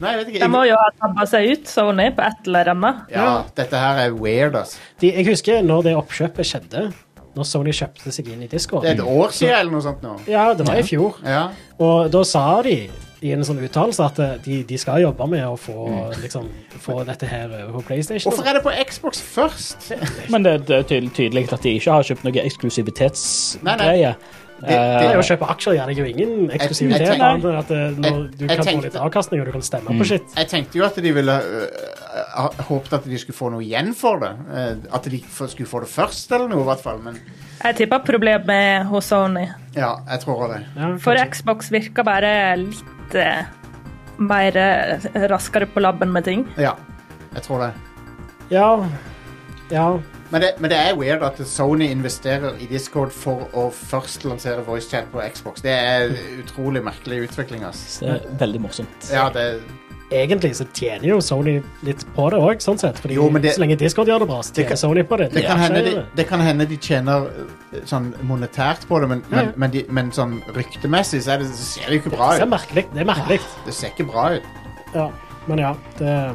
B: Nei, jeg vet
D: De må
B: ikke.
D: jo ha tabba seg ut, Sony, på et eller annet.
B: Ja, dette her er weird, altså.
A: De, jeg husker når det oppkjøpet skjedde, når Sony kjøpte seg inn i Discord.
B: Det er et år siden eller noe sånt nå.
A: Ja, det var i fjor.
B: Ja.
A: Og da sa de i en sånn uttalelse at eh, de, de skal jobbe med å få,
B: Mm.
A: liksom, få dette her over på PlayStation.
B: Hvorfor er det på Xbox først?
C: Men det, det er tydelig, tydelig at de ikke har kjøpt noe
B: Nei, nei.
C: eksklusivitetsgreie.
B: det
A: Det er jo
B: jo
A: å kjøpe aksjer gjør deg jo ingen eksklusivitet.
B: Jeg- jeg
A: annet
B: tenkte-
A: enn at eh, når
B: jeg-
A: du
B: jeg
A: kan få
B: tenkte- Mm.
A: litt avkastning, og du kan stemme på shit.
B: Jeg tenkte jo at de ville øh, ha- håpet at de skulle få noe igjen for det. Eh, at de f- skulle få det først, eller noe, i hvert fall. Men
D: Jeg tipper problemet hos Sony.
B: ja, jeg tror det.
A: Ja,
D: For
A: kanskje.
D: Xbox virker bare litt eh, mer eh, raskere på labben med ting.
B: Ja, jeg tror det.
A: ja. ja.
B: Men det, men det er weird at Sony investerer i Discord for å først lansere VoiceChat på Xbox. Det er utrolig merkelig utvikling, ass.
C: Eh, Det er veldig morsomt.
B: Ja, det,
A: Egentlig så tjener jo Sony litt på det òg, sånn sett. Fordi
B: Jo, men det-
A: så lenge Discord gjør det bra, så
B: Det
A: tjener
B: kan-
A: Sony på det.
B: det, kan
A: Ja,
B: hende
A: sier
B: de,
A: det.
B: det kan hende de tjener øh, sånn monetært på det, men,
A: Ja, ja.
B: men, men, de, men sånn ryktemessig så er det, så ser det jo ikke bra
A: Det er
B: ut.
A: merkelig. Det er merkelig.
B: Det ser ikke bra ut.
A: Ja. Men ja, det er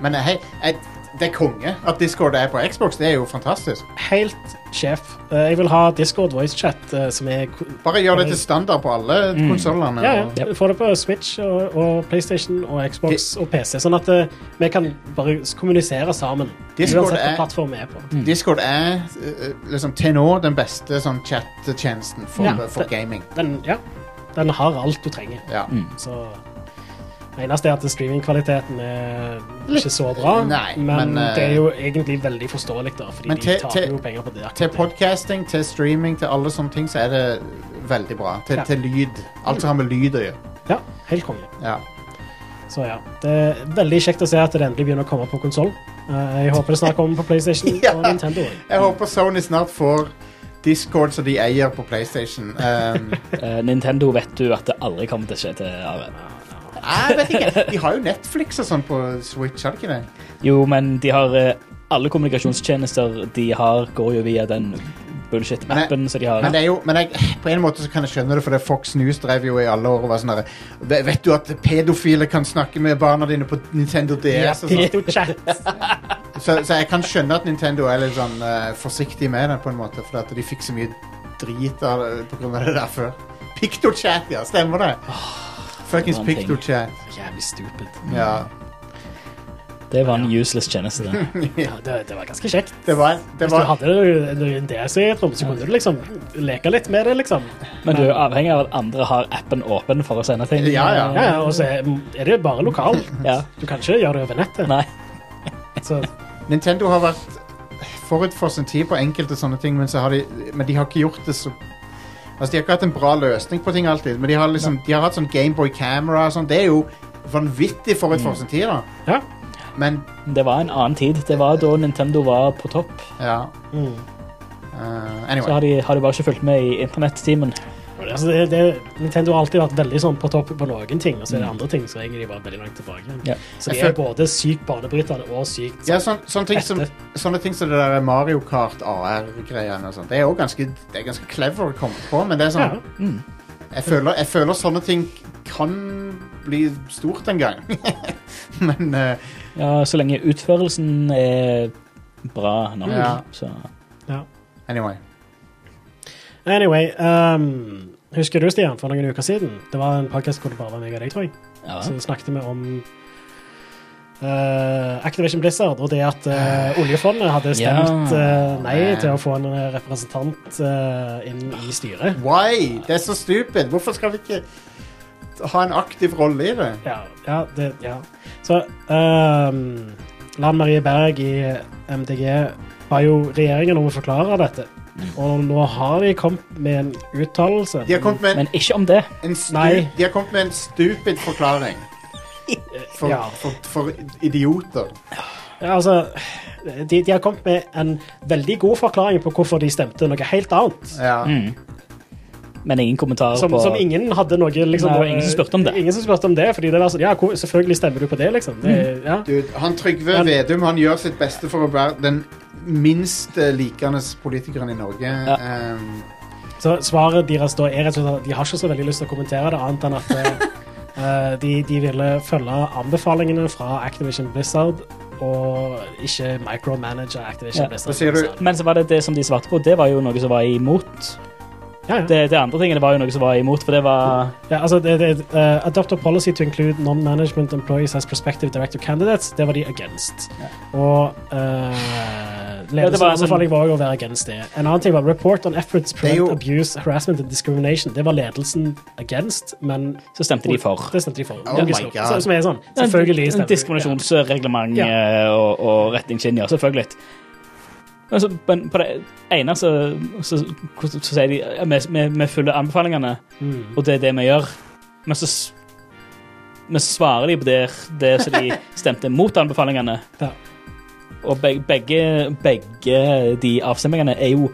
B: Men eh, hei, jeg, det er konge at Discord er på Xbox. Det er jo fantastisk.
A: helt sjef. Eh, Jeg vil ha Discord voice chat, eh, som er ko-
B: Bare gjør det til standard på alle mm. konsollene.
A: Ja,
B: og-
A: ja. Få det på Switch og, og PlayStation og Xbox og PC, sånn at eh, vi kan bare s- kommunisere sammen.
B: Discord
A: uansett
B: er-
A: hvilken plattform vi er på.
B: Mm. Discord er øh, liksom til nå den beste sånn chat-tjenesten for,
A: Ja.
B: for gaming.
A: Den, ja, den har alt du trenger.
B: Ja.
A: Så det eneste er at streamingkvaliteten er ikke så bra,
B: Nei,
A: men,
B: men, eh,
A: det er jo egentlig veldig forståelig, da, fordi
B: men
A: de
B: til-
A: taper
B: til-
A: jo penger på det.
B: Til podcasting, til streaming, til alle sånne ting, så er det veldig bra. Til,
A: Ja.
B: til lyd. Alt som har med lyd å gjøre.
A: Ja, helt konge.
B: Ja.
A: Så ja, det er veldig kjekt å se at det endelig begynner å komme på konsoll. Eh, Jeg håper det snart kommer på PlayStation
B: Ja.
A: og Nintendo. også.
B: Jeg håper Sony snart får Discord som de eier på PlayStation. Um,
C: Eh, Nintendo vet du at det aldri kommer til å skje til Arena.
B: jeg vet ikke. De har jo Netflix og sånn på Switch, har de ikke det?
C: Jo, men de har eh, alle kommunikasjonstjenester de har, går jo via den bullshit-appen som de har.
B: Men, det er jo, men jeg, på en måte så kan jeg skjønne det, for det er Fox News drev jo i alle år og var sånn derre "Ve- Vet du at pedofile kan snakke med barna dine på Nintendo DS? Og sånn?
A: Pisto-chat.
B: så, så jeg kan skjønne at Nintendo er litt sånn eh, forsiktig med det, på en måte, for at de fikk så mye drit av det på grunn av det der før. Pictochat, ja, stemmer det? Fuckings
C: det var en ting.
B: Pictochat.
A: Jævlig stupid.
B: Ja.
C: Det var en useless tjeneste. det.
A: Ja, det, det var ganske kjekt.
B: Det var, det
A: Hvis du
B: var
A: hadde en- en DS i et rom, så kunne du liksom leke litt med det, liksom.
C: Men du er jo avhengig av at andre har appen åpen for å sende ting. eh,
B: Ja, ja.
A: Ja, ja, og så er er det bare lokal.
C: Ja.
A: Du kan ikke gjøre det over nettet.
C: Nei.
A: Så
B: Nintendo har vært forut for sin tid på enkelte sånne ting, men, så har de, men de har ikke gjort det så Altså, de har ikke hatt en bra løsning på ting alltid, men de har liksom De har hatt sånn Gameboy Camera og sånn. Det er jo vanvittig forut for sin tid, da.
A: ja.
B: Men
C: Det var en annen tid. Det var da Nintendo var på topp.
B: ja.
A: Mm.
B: Eh,
C: Så
B: anyway.
C: har de, har de bare ikke fulgt med i internettimen.
A: Men Altså, det, det, Nintendo har alltid vært veldig sånn på topp på noen ting, og så er det andre ting som egentlig bare er veldig langt tilbake. igjen.
C: Mm. Ja.
A: Så de
B: Jeg
A: er
B: føl-
A: både sykt banebrytende og sykt
B: Ja, sånn, sånne, ting som,
A: Etter.
B: sånne ting som det der Mario Kart AR-greiene og sånt. Det er jo ganske, det er ganske clever å komme på, men det er sånn
A: Ja.
B: jeg, føler, jeg føler sånne ting kan bli stort en gang. men eh,
C: Ja, så lenge utførelsen er bra nok,
B: Ja.
C: så
A: ja.
B: anyway.
A: Anyway, ehm, husker du, Stian, for noen uker siden? Det var en podcast hvor det bare var meg og deg, tror jeg.
C: ja.
A: Så snakket vi om eh, Activision Blizzard og det at eh, oljefondet hadde stemt
C: Ja.
A: eh, nei til å få en eh, representant eh, inn i styret.
B: Why? Det er så stupid. Hvorfor skal vi ikke ha en aktiv rolle i det?
A: Ja, ja, det, ja. Så ehm, Lan Marie Berg i MDG ba jo regjeringen om å forklare dette. Og nå har de kommet med en uttalelse.
B: Mm. De har kommet med en,
C: Men ikke om det.
B: en, stu,
A: Nei.
B: de har kommet med en stupid forklaring. For,
A: Ja.
B: for, for idioter.
A: Ja, altså, de, de har kommet med en veldig god forklaring på hvorfor de stemte noe helt annet.
B: Ja.
C: Mm. Men ingen kommentarer
A: Som,
C: på
A: som ingen hadde noe liksom,
C: Nei, det var ingen som spurte om det.
A: Ingen som spurte om det, fordi det var sånn, ja, hvor- selvfølgelig stemmer du på det, liksom. Det,
C: Mm.
A: ja.
B: Dude, han Trygve
A: Men-
B: Vedum han gjør sitt beste for å være den minst eh, likende politikeren i Norge. Ehm,
A: Så svaret deres da er rett og slett at de har ikke så veldig lyst til å kommentere det, annet enn at eh, eh, de, de ville følge anbefalingene fra Activision Blizzard og ikke micromanage Activision
C: Ja.
A: Blizzard.
B: Hva sier du?
C: Men så var det det som de svarte på, det var jo noe som var imot.
A: Ja, ja.
C: Det, det andre tingene var jo noe som var imot, for det var
A: Ja, altså det, det, eh, Adopt a policy to include non-management employees as prospective director candidates. Det var de against. Og uh,
C: Ja, det
A: ledelsens
C: var en-
A: anbefaling var jo å være against det. En annen ting var report on efforts to prevent
B: Det er jo-
A: abuse, harassment and discrimination. Det var ledelsen against, men
C: Så stemte de for.
A: Det stemte de for.
B: Oh my
A: logisk nok.
B: God.
A: Så, som er sånn, selvfølgelig
C: En
A: stemmer de.
C: Diskriminasjonsreglement
A: Ja.
C: eh, og, og retningslinjer, selvfølgelig. Men så- men på det ene så, så, så, så sier de ja, vi, vi, vi følger anbefalingene,
A: Mm.
C: og det er det vi gjør. Men så, s- men så svarer de på det, det som de stemte mot anbefalingene.
A: Ja.
C: Og beg- begge, begge de avstemmingene er jo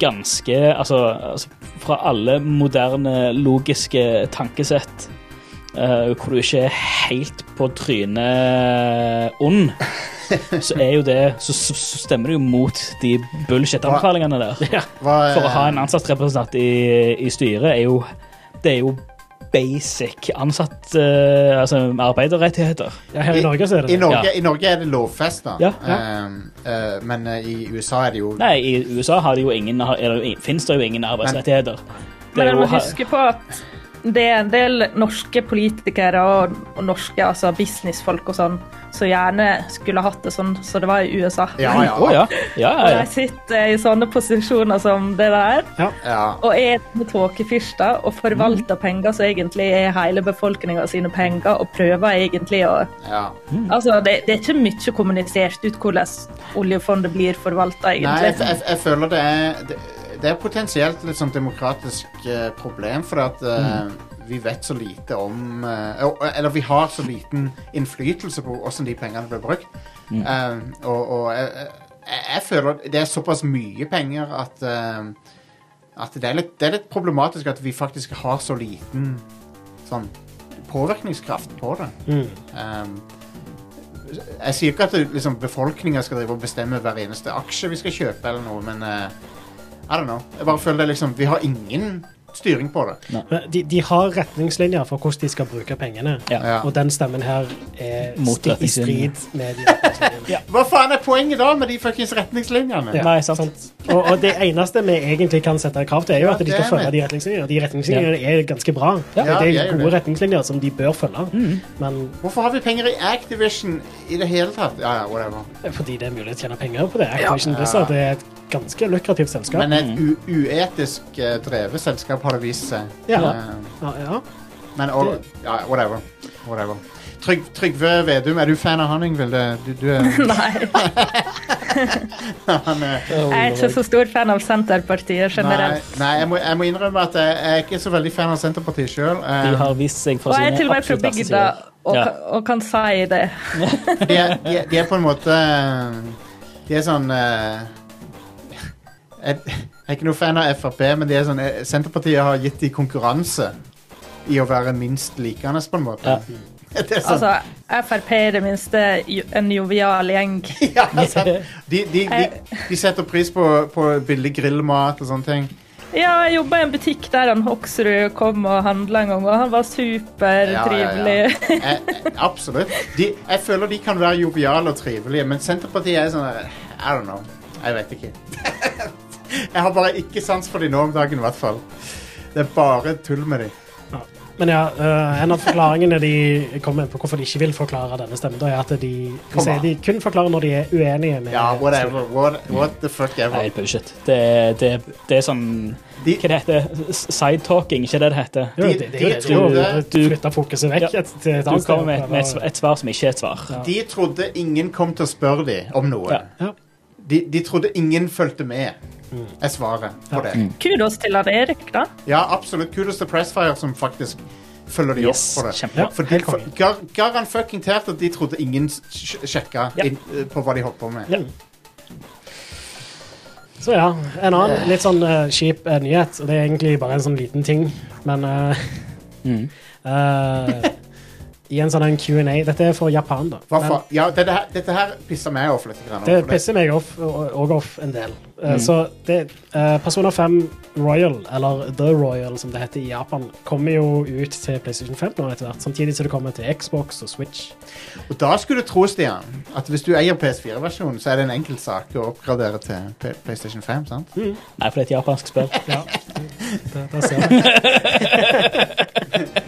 C: ganske Altså, altså fra alle moderne logiske tankesett eh, hvor du ikke er helt på trynet ond, så er jo det Så, så så stemmer du jo mot de bullshit-anbefalingene der.
B: hva,
C: For å ha en ansatt representant i, i styret er jo Det er jo basic ansatt eh, Altså arbeiderrettigheter.
A: Ja, her i Norge så er det
B: I
A: det.
B: Norge,
C: Ja.
B: i Norge er det lovfesta,
C: Ja,
B: Ehm, eh, men eh, i USA er det jo
C: Nei, i USA har de jo ingen, har, er det, jo ingen- finnes det jo ingen arbeidsrettigheter. Det
D: Men
C: er
D: jeg
C: jo,
D: må
C: ha-
D: huske på at det er en del norske politikere og, og norske altså businessfolk og sånn som gjerne skulle hatt det sånn som det var i USA.
B: Ja, ja.
C: Å ja. Ja,
D: Og
C: ja,
D: de
C: ja.
D: sitter i sånne posisjoner som det der,
B: ja.
D: og er tåkefyrster og forvalter
B: Mm.
D: penger som egentlig er hele befolkninga sine penger, og prøver egentlig å
B: ja.
D: Altså, det, det er ikke mye kommunisert ut hvordan oljefondet blir forvalta,
B: Nei, jeg,
D: egentlig.
B: jeg, jeg føler det er det, det er potensielt litt sånn demokratisk eh, problem, for at eh, vi vet så lite om eh, og- Eller vi har så liten innflytelse på hvordan de pengene blir brukt. Eh, og og jeg, jeg, jeg føler det er såpass mye penger at eh, at det er, litt, det er litt problematisk at vi faktisk har så liten sånn påvirkningskraft på det. Um, jeg sier ikke at det- liksom, befolkninga skal drive og bestemme hver eneste aksje vi skal kjøpe, eller noe, men eh, I don't know. Jeg bare føler det liksom Vi har ingen styring på det.
A: Men De, de har retningslinjer for hvordan de skal bruke pengene,
C: Ja.
B: Ja.
A: og den stemmen her er
C: Mot
A: stikk i
C: retningslinjene.
A: strid med de retningslinjene.
B: Hva faen er poenget da med de fuckings retningslinjene?
A: Ja,
C: Nei, sant.
A: Og, og det eneste vi egentlig kan sette krav til, er jo at de
B: det er
A: skal følge
B: med.
A: de retningslinjene. og De retningslinjene er ganske bra. Det
B: de er
A: er
B: jo
A: gode
B: det.
A: retningslinjer som de bør følge,
C: Mm.
A: men
B: Hvorfor har vi penger i Activision i det hele tatt? Ja, ja, whatever.
A: fordi det er mulig å tjene penger på det. Activision Blizzard er et ganske lukrativt selskap.
B: Men et u uetisk eh, drevet selskap har det vist seg.
A: Ja.
B: Eh,
A: ja, ja.
B: men og, ja, whatever. whatever. Tryg, Trygve Vedum, er du fan av han, Ingvild? Du, du er
D: Nei.
B: han er
D: Jeg er ikke så stor fan av Senterpartiet generelt.
B: Nei, nei jeg, må, jeg må innrømme at jeg, jeg er ikke så veldig fan av Senterpartiet sjøl.
C: De har vist seg for
D: Og jeg er
C: sine
D: til og med fra
C: absolutt beste
D: bygda
C: sider.
D: og,
C: Ja.
D: ka- og kan si det.
B: De, er- de, er- de er på en måte eh, De er sånn eh, Jeg jeg er ikke noe fan av Frp, men de er sånn, eh, Senterpartiet har gitt de konkurranse i å være minst likende, på en måte.
C: Ja.
B: Det er sånn,
D: Altså, Frp er i det minste jo- en jovial gjeng.
B: ja, sant. de, de, de, de setter pris på, på billig grillmat og sånne ting.
D: Ja, jeg jobba i en butikk der han Hoksrud kom og handla en gang, og han var supertrivelig.
B: Ja, ja, ja. Eh, Absolutt. De, jeg føler de kan være joviale og trivelige, men Senterpartiet er sånn eh, I don't know. Jeg vet ikke. jeg har bare ikke sans for de nå om dagen, i hvert fall. Det er bare tull med de.
A: Ja. Men ja, eh, en av forklaringene de kommer på hvorfor de ikke vil forklare denne stemmen, da, er at de, de
B: Kom
A: sier
B: an.
A: de kun forklarer når de er uenige med
B: Ja, whatever. What, what the fuck
C: Eh, Nei,
B: ever.
C: bullshit. Det, er- det, er- det er sånn
B: De-
C: Hva det heter Sidetalking, ikke det det heter?
A: Jo, det, det, er jo det, det, er jo
B: De-
A: å flytte fokuset vekk
C: Ja.
A: et, til et
C: Du
A: annet
C: kommer
A: sted og
C: med, med et,
A: prøve-
C: svar- et svar som ikke er et svar.
B: De trodde ingen kom til å spørre dem om noe.
C: Ja.
A: Ja.
B: De, de trodde ingen fulgte med,
C: Mm.
B: er svaret på det.
D: Kudos til han Erik, da.
B: Ja, absolutt. Kudos til Pressfire som faktisk følger de
C: Yes,
B: opp på det.
C: kjempebra.
B: For de,
A: Helt konge.
B: gar, garan fucking tert at de trodde ingen s- sj- sjekka
C: Ja.
B: inn, eh, på hva de holdt på med.
A: Ja. Så ja, en annen litt sånn eh, kjip eh, nyhet, og det er egentlig bare en sånn liten ting, men eh, eh, I en sånn en Q&A Dette er for Japan, da.
B: Hva
A: men
B: faen? Ja, dette her, dette her pisser meg off litt. Grann,
A: det
B: for
A: pisser meg off, og og off en del. Eh, Så det, eh, Persona 5 Royal, eller The Royal som det heter i Japan, kommer jo ut til PlayStation 5 nå etter hvert, samtidig som det kommer til Xbox og Switch.
B: Og da skulle du tro, Stian, at hvis du eier PS4-versjonen, så er det en enkel sak å oppgradere til P PlayStation 5, sant?
A: Mm.
C: Nei, for det er et japansk spill.
A: Ja, det, det ser jeg.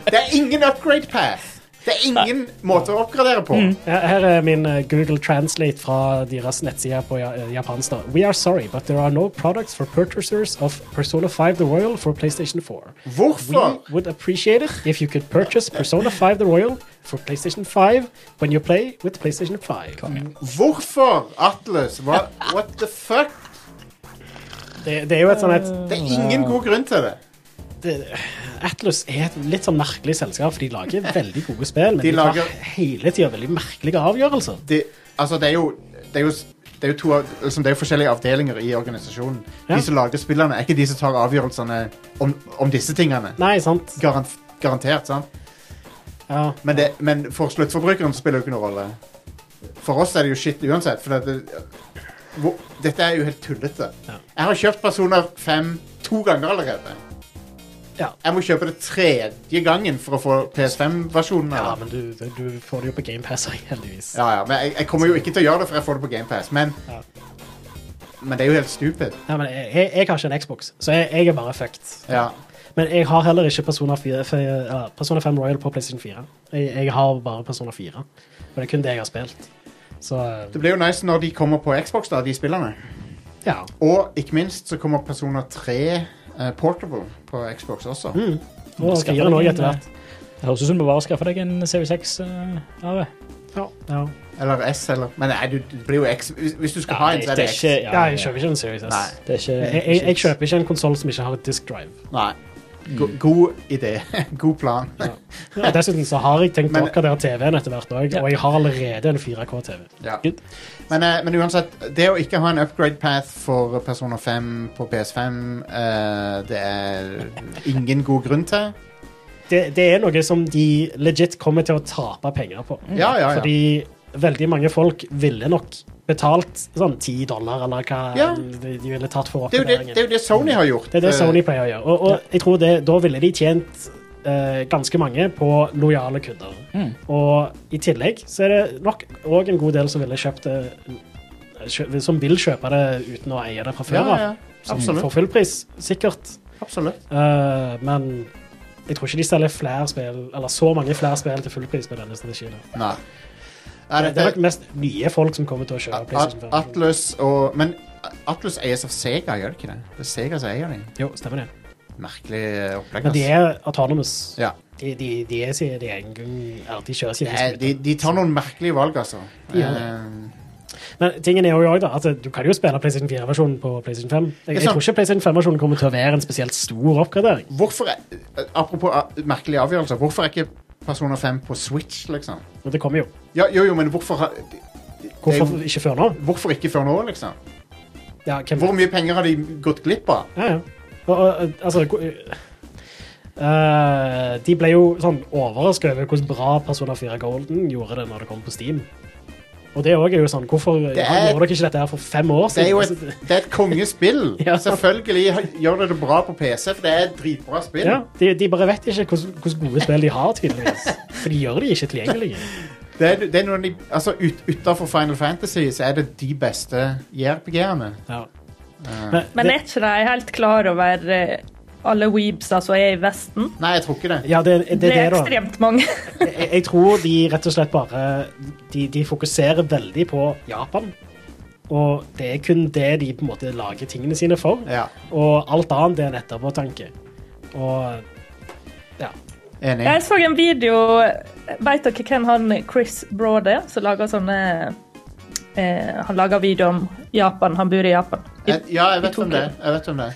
B: Det er ingen upgrade path! Det er ingen måte å oppgradere på.
A: Ja, Her er min eh, Google Translate fra deres nettside på ja- eh, japansk. da. We are sorry, but there are no products for purchasers of Persona 5 The Royal for PlayStation 4.
B: Hvorfor?
A: We would appreciate it if you could purchase Persona 5 The Royal for PlayStation 5 when you play with PlayStation 5.
B: Hvorfor, Atlas? Hva, what the fuck?
A: Det, det er jo et sånn et
B: Det er ingen god grunn til det.
A: det- Atlus er et litt sånn merkelig selskap, for de lager veldig gode spill, men
B: De
A: de, tar
B: lager-
A: hele tida veldig merkelige avgjørelser.
B: det, altså det er jo det er jo, det er jo, to, av- liksom det er jo forskjellige avdelinger i organisasjonen.
A: Ja.
B: De som lager spillene, er ikke de som tar avgjørelsene om, om disse tingene.
A: Nei, sant?
B: Garan- garantert, sant?
A: Ja.
B: Men, det, men for sluttforbrukeren spiller det jo ikke noen rolle. For oss er det jo shit uansett. For det, hvor, dette er jo helt tullete.
A: Ja.
B: Jeg har kjøpt Personer 5 to ganger allerede.
A: Ja.
B: Jeg må kjøpe det tredje gangen for å få PS5-versjonen.
A: ja, men du, du får det jo på GamePass, heldigvis.
B: Ja, ja, men jeg, jeg kommer jo ikke til å gjøre det, for jeg får det på GamePass. Men,
A: Ja.
B: men det er jo helt stupid.
A: Nei, men jeg, jeg, jeg har ikke en Xbox, så jeg, jeg er bare fucked.
B: Ja.
A: Men jeg har heller ikke Persona 4, f- ja, Persona 5 Royal på PlayStation 4. Jeg, jeg har bare Persona 4, og det er kun det jeg har spilt. Så
B: Det blir jo nice når de kommer på Xbox, da, de spillerne.
A: ja.
B: Og ikke minst så kommer Persona 3 eh, Portable på Xbox også.
A: Mm. Og
C: Skaffer
A: fireren
C: deg
A: òg,
C: en,
A: etter hvert.
C: Det høres ut som du bare skaffer deg en CV6. Uh, Are.
A: Ja, ja.
B: Eller S, eller Men nei, du, det blir jo X. Hvis, hvis du skal ha en, så
C: det,
B: er det
C: er
B: X.
C: ikke, ja,
A: ja, jeg kjøper ikke en Series S.
B: Nei.
C: det er ikke
A: Eh, Jeg, jeg, jeg kjøper ikke en konsoll som ikke har et disk drive.
B: Nei.
A: Mm.
B: Go, god idé. god plan.
A: Og dessuten så har jeg tenkt å
B: Men-
A: oppgradere TV-en etter hvert òg,
C: Ja.
A: og jeg har allerede en 4K-TV.
B: Ja.
C: Good.
B: Men, eh, men uansett, det å ikke ha en upgrade path for Persona 5 på PS5, eh, det er ingen god grunn til.
A: Det, det er noe som de legit kommer til å tape penger på.
B: Ja, ja, ja.
A: Fordi veldig mange folk ville nok betalt sånn 10 dollar, eller hva
B: Ja.
A: de, de ville tatt for
B: Det er, jo det,
A: oppgraderingen.
B: det er jo det Sony har gjort.
A: Det er det
B: eh,
A: Sony pleier å gjøre. Og, og jeg tror det, da ville de tjent eh, ganske mange på lojale kunder.
B: Mm.
A: Og i tillegg så er det nok òg en god del som ville kjøpt det kjø- som vil kjøpe det uten å eie det fra
B: Ja,
A: før av.
B: ja, ja.
A: For
B: Absolutt.
A: full pris, sikkert.
B: Absolutt.
A: Eh, men jeg tror ikke de selger flere spill, eller så mange flere spill til full pris med denne strategien.
B: Nei. Nei,
A: Det er nok
B: dette-
A: mest nye folk som kommer til å kjøpe PlayStation 5.
B: Atlus og Men Atlus eies av Sega, gjør det ikke det? Det er Sega som eier dem.
A: Jo, stemmer det.
B: Merkelig eh, opplegg.
A: Men de
B: ass.
A: er autonomous.
B: Ja.
A: De, de, de er sin de er en gang, eller de kjører sin
B: Det er- de, de tar noen merkelige valg, altså.
A: De gjør
B: Eh,
A: Men tingen er jo også da, at du kan jo spille PlayStation 4-versjonen på PlayStation 5. Jeg, jeg
B: sant.
A: tror ikke PlayStation 5-versjonen kommer til å være en spesielt stor oppgradering.
B: hvorfor er, Apropos ah, merkelige avgjørelser, hvorfor er ikke Personer 5 på Switch, liksom?
A: Men det kommer jo.
B: Ja, jo, jo, men hvorfor har de-
A: Hvorfor
B: det er
A: ikke før nå?
B: jo- Hvorfor ikke før nå, liksom?
A: Ja, hvem
B: Hvor
A: vet?
B: mye penger har de gått glipp av?
A: Ja, ja. Og, og, altså, ko- eh, de ble jo sånn overrasket over hvordan bra Persona 4 Golden gjorde det når det kom på Steam. Og det også er jo sånn, hvorfor
B: Det
A: ja,
B: er-
A: gjorde dere ikke dette her for fem år
B: Det er
A: siden?
B: jo et,
A: Altså,
B: det er et kongespill!
A: Ja.
B: Selvfølgelig har- gjør det det bra på PC, for det er et dritbra spill.
A: ja, de, de bare vet ikke hvordan hvordan gode spill de har, tydeligvis. For de gjør de ikke tilgjengelige.
B: Det er, det er noen, av de- altså ut, Utenfor Final Fantasy så er det de beste JRPG-ene.
A: Ja.
D: Men er ikke de helt klar over eh, alle weebsa som er i Vesten?
B: Nei, jeg tror ikke det.
A: ja, det, det,
D: Det
A: det
D: er
A: er det, da.
D: ekstremt mange.
A: jeg, jeg tror de rett og slett bare de, de fokuserer veldig på Japan. Og det er kun det de på en måte lager tingene sine for.
B: Ja,
A: Og alt annet er en etterpåtanke. Og ja.
B: Enig.
D: Jeg så en video Vet dere hvem han Chris Broad er, som lager sånne eh, han lager video om Japan. Han bor i Japan. I,
B: Jeg, ja, jeg
D: i
B: vet om
D: Tokyo.
B: det. Jeg vet om det.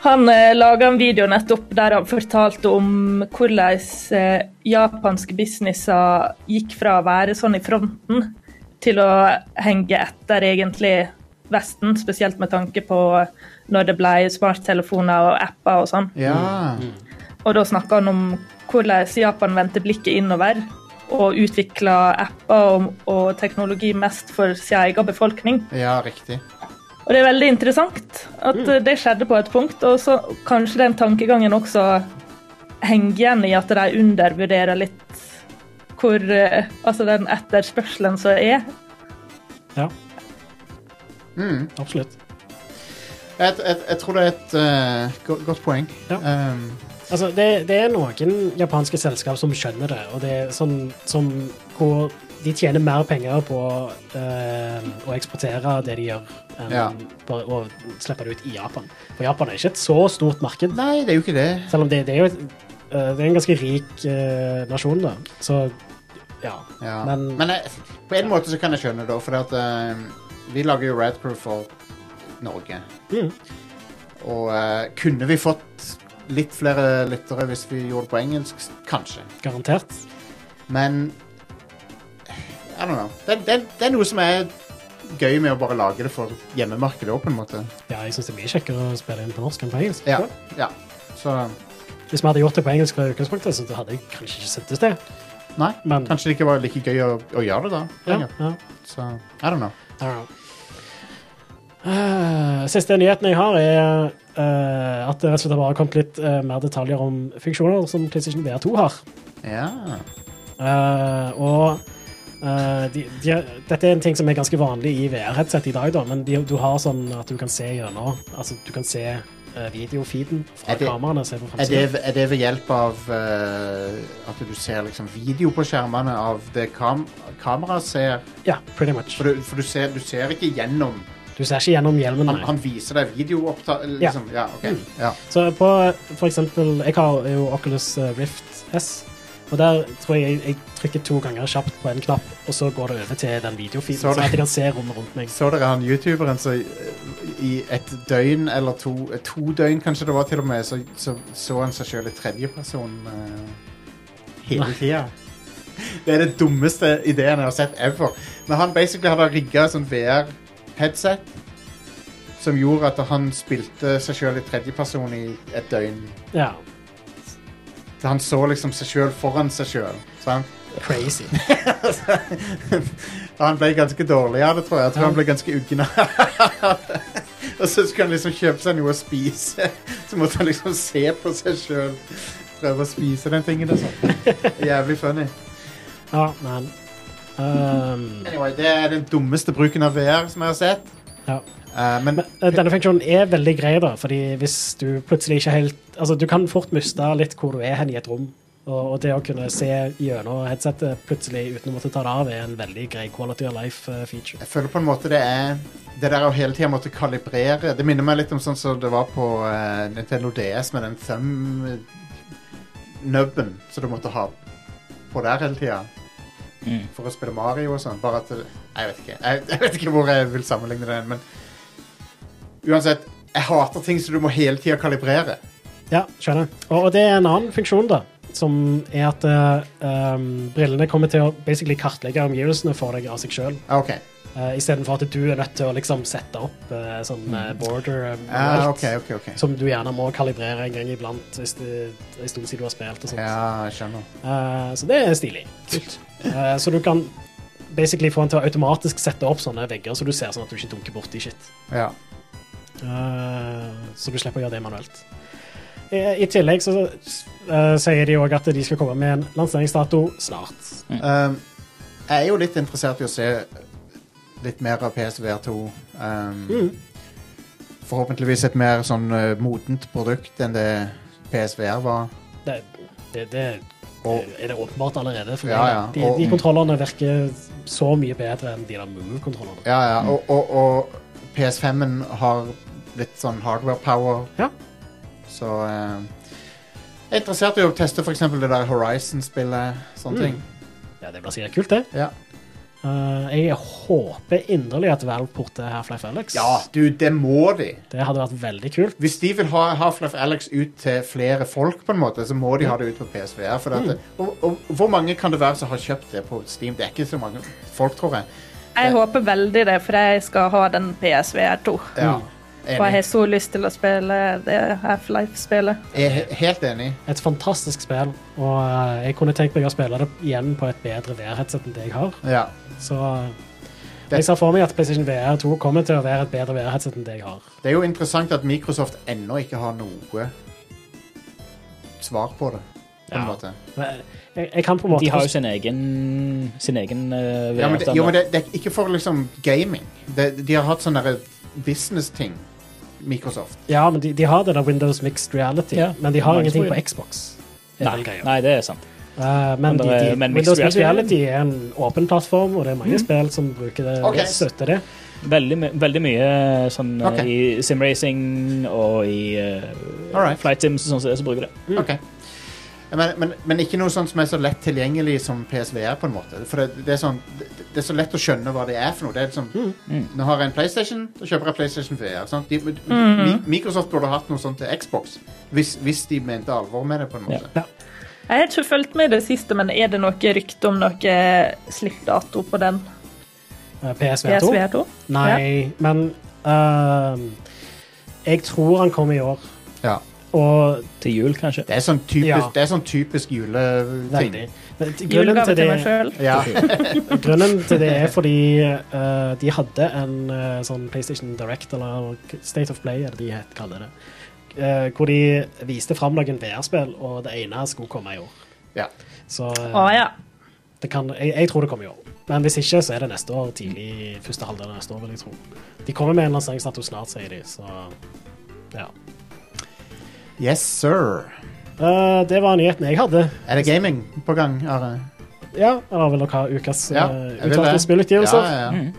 D: Han eh, laga en video nettopp der han fortalte om hvordan eh, japanske businesser gikk fra å være sånn i fronten til å henge etter egentlig Vesten, spesielt med tanke på når det ble smarttelefoner og apper og sånn.
B: Ja.
D: Og da snakka han om hvordan Japan vendte blikket innover og utvikla apper og, og teknologi mest for sin egen befolkning.
B: ja, riktig.
D: Og det er veldig interessant at eh, det skjedde på et punkt, og så kanskje den tankegangen også henger igjen i at de undervurderer litt hvor eh, Altså den etterspørselen som er.
A: Ja,
B: Mm.
A: absolutt.
B: Jeg, jeg, jeg tror det er et eh, go- godt poeng.
A: Ja.
B: Um,
A: Altså, det, det er noen japanske selskap som skjønner det, og det er sånn som hvor de tjener mer penger på eh, å eksportere det de gjør, enn
B: Ja.
A: bare å slippe det ut i Japan. For Japan er ikke et så stort marked,
B: nei, det er jo ikke det.
A: selv om det, det er jo et, eh, det er en ganske rik eh, nasjon, da. Så ja.
B: Ja. Men,
A: Men-
B: jeg, på en måte så kan jeg skjønne det, for at, um, vi lager jo Radcrew for Norge.
A: Mm.
B: Og eh, kunne vi fått litt flere lyttere hvis vi gjorde det på engelsk? S- Kanskje.
A: Garantert.
B: Men I don't know. Det, det, det er noe som er gøy med å bare lage det for hjemmemarkedet òg, på en måte.
A: Ja, jeg syns det er mye kjekkere å spille inn på norsk enn på engelsk.
B: Ja. ja. Så
A: Hvis vi hadde gjort det på engelsk fra utgangspunktet, så hadde jeg kanskje ikke syntes det.
B: nei.
A: Men
B: Kanskje det ikke var like gøy å, å gjøre det da.
A: ja,
B: lenger.
A: ja.
B: Så I don't know.
A: I don't know. Eh, Siste nyheten jeg har, er eh, at det rett og slett har bare kommet litt eh, mer detaljer om funksjoner som PlayStation VR2 har.
B: Ja.
A: Eh, og eh, de, de, dette er en ting som er ganske vanlig i VR-headset i dag, da, men de, du har sånn at du kan se gjennom Altså, du kan se eh, videofeeden fra
B: Er det-
A: kameraene. Se på
B: Er det,
A: fremsiden.
B: er det ved hjelp av eh, at du ser liksom video på skjermene av det kam kameraet ser?
A: Ja, pretty much.
B: For, du, for du, ser, du ser ikke gjennom.
A: Du ser ikke gjennom hjelmen.
B: Han,
A: nei.
B: han viser deg videoopptak...
A: Ja. Mm.
B: Liksom. Ja. ok. Ja.
A: Så på for eksempel Jeg har jo Oculus eh, Rift S. Og der tror jeg jeg trykker to ganger kjapt på en knapp, og så går det over til den videofeeden.
B: Sorry.
A: Så at jeg kan se rommet rundt meg.
B: Så dere han youtuberen som i- i et døgn, eller to, eh, to døgn kanskje det var til og med, så så, så han seg sjøl i tredjeperson hele tida? Det er den dummeste ideen jeg har sett ever. Men han basically hadde rigga sånn VR-headset som gjorde at han spilte seg sjøl i tredjeperson i et døgn.
A: Ja,
B: Så han så liksom seg sjøl foran seg sjøl.
A: crazy.
B: Og han ble ganske dårlig av det, tror jeg. Jeg tror han ble ganske uggen av det. Og så skulle han liksom kjøpe seg noe å spise. Så måtte han liksom se på seg sjøl. Prøve å spise den tingen. og sånn. Jævlig funny.
A: Ja, men ehm,
B: Anyway, det er den dummeste bruken av VR som jeg har sett.
A: ja.
B: Eh, men
A: Men eh, denne funksjonen er veldig grei, da, fordi hvis du plutselig ikke helt Altså, du kan fort miste litt hvor du er hen i et rom. Og, og det å kunne se gjennom headsetet plutselig uten å måtte ta det av, er en veldig grei quality of eh, life-feature.
B: jeg føler på en måte det er det der å hele tida måtte kalibrere Det minner meg litt om sånn som det var på uh, Nintendo DS med den thumb-nubben som du måtte ha på der hele tida.
C: Mm.
B: for å spille Mario og sånn. Bare at det, Jeg vet ikke. Jeg, jeg vet ikke hvor jeg vil sammenligne det, men Uansett, jeg hater ting som du må hele tida kalibrere.
A: Ja, skjønner. Og, og det er en annen funksjon, da. Som er at eh, um, brillene kommer til å basically kartlegge omgivelsene for deg av seg sjøl.
B: Ah, OK.
A: Uh, Istedenfor at du er nødt til å liksom sette opp eh, sånn eh, border eh,
B: Ah,
A: manuelt,
B: ok, ok, ok.
A: Som du gjerne må kalibrere en gang iblant hvis det er en stund siden du har spilt. og sånt.
B: Ja, jeg skjønner.
A: Eh, så det er stilig. Eh, så du kan basically få den til å automatisk sette opp sånne vegger, så du ser sånn at du ikke dunker borti shit.
B: Ja.
A: Eh, så du slipper å gjøre det manuelt. I, i tillegg så eh, sier de òg at de skal komme med en lanseringsdato snart.
B: Um, jeg er jo litt interessert i å se litt mer av PSVR2. Um,
A: Mm.
B: Forhåpentligvis et mer sånn eh, modent produkt enn det PSVR var.
A: Det, det, det
B: Og-
A: er det åpenbart allerede. For
B: Ja,
A: meg.
B: ja,
A: De,
B: og-
A: de kontrollene virker så mye bedre enn de der Move-kontrollene.
B: Ja, ja, og, og, og PS5-en har litt sånn hardware power.
A: Ja.
B: Så eh, Jeg er interessert i å teste f.eks. det der Horizon-spillet. Sånne
A: Mm.
B: ting.
A: Ja, det blir sikkert kult, det.
B: Ja.
A: Eh, jeg håper inderlig at Valve porter Half-Life Alex.
B: Ja, du, det må de.
A: Det hadde vært veldig kult.
B: Hvis de vil ha Half-Life Alex ut til flere folk, på en måte, så må de ha det ut på PSVR. For at, og, og hvor mange kan det være som har kjøpt det på Steam? Det er ikke så mange folk, tror jeg.
D: Jeg håper veldig det, for jeg skal ha den PSVR 2.
B: Ja,
D: Og jeg
B: enig.
D: har så lyst til å spille det Half-Life-spillet.
B: Jeg er he- helt enig.
A: Et fantastisk spill, og eh, jeg kunne tenkt meg å spille det igjen på et bedre VR-headset enn det jeg har.
B: Ja.
A: Så jeg ser for meg at PlayStation VR 2 kommer til å være et bedre VR-headset enn det jeg har.
B: Det er jo interessant at Microsoft ennå ikke har noe svar på det. På en
A: Ja.
B: måte.
A: Men Jeg, jeg kan på en måte
C: De har jo sin egen, sin egen eh,
B: Ja, men det,
C: VR-standard.
B: jo, men det, det er ikke for liksom gaming. Det, de har hatt sånne der business-ting, Microsoft.
A: Ja, men de, de har det der Windows Mixed Reality,
C: Ja.
A: men de har
C: Mange
A: ingenting
C: tror
A: på
C: jeg.
A: Xbox. er vel
C: nei,
A: greia.
C: nei, det er sant.
A: Eh, men
C: Men
A: de,
C: det
A: de,
C: er- men
A: Windows
C: Mixed
A: Mixed
C: Reality- Mm.
A: Reality er en åpen plattform, og det er mange spill som bruker det,
B: Ok.
A: støtter det.
C: Veldig, my- veldig mye sånn eh,
B: Ok.
C: i simracing og i eh,
B: All right.
C: flight sims og sånn som det, så bruker det.
B: Ok. Mm. Men, men, men ikke noe sånt som er så lett tilgjengelig som PSVR, på en måte. For det, det, er sånn, det, det er så lett å skjønne hva det er for noe. Det er liksom, Nå har jeg en PlayStation, så kjøper jeg PlayStation VR. Sant? De, Mi- Microsoft burde hatt noe sånt til Xbox, hvis, hvis de mente alvor med det, på en måte.
A: Ja.
D: Jeg har ikke fulgt med i det siste, men er det noe rykte om noe slippdato på den
A: Eh, PSVR 2?
D: PSVR 2?
A: Nei, men eh, jeg tror han kommer i år.
B: Ja.
A: Og
C: Til jul, kanskje.
B: Det er sånn typisk,
A: Ja.
B: det er sånn typisk juleting.
A: veldig. Men Grunnen
D: Julegave
A: til
D: til
A: det
D: meg sjøl.
B: Ja.
A: Grunnen til det er fordi eh, de hadde en eh, sånn PlayStation Direct, eller State of Play, er det de het, kaller det. Eh, hvor de viste fram noen VR-spill, og det ene skulle komme i år.
B: Ja.
A: Så eh,
D: Å Ah, ja.
A: det kan, jeg, jeg tror det kommer i år. Men hvis ikke, så er det neste år. Tidlig første halvdel av neste år, vil jeg tro. De kommer med en lanseringsdato snart, sier de, så ja.
B: Yes, sir.
A: Eh, det var nyheten jeg hadde.
B: Er det gaming på gang, Are?
A: Ja, eller vil dere ha ukas eh,
B: Ja,
A: ja,
B: jeg vil
A: uttalte
B: det.
A: spillutgivelser?
B: Ja, ja, ja.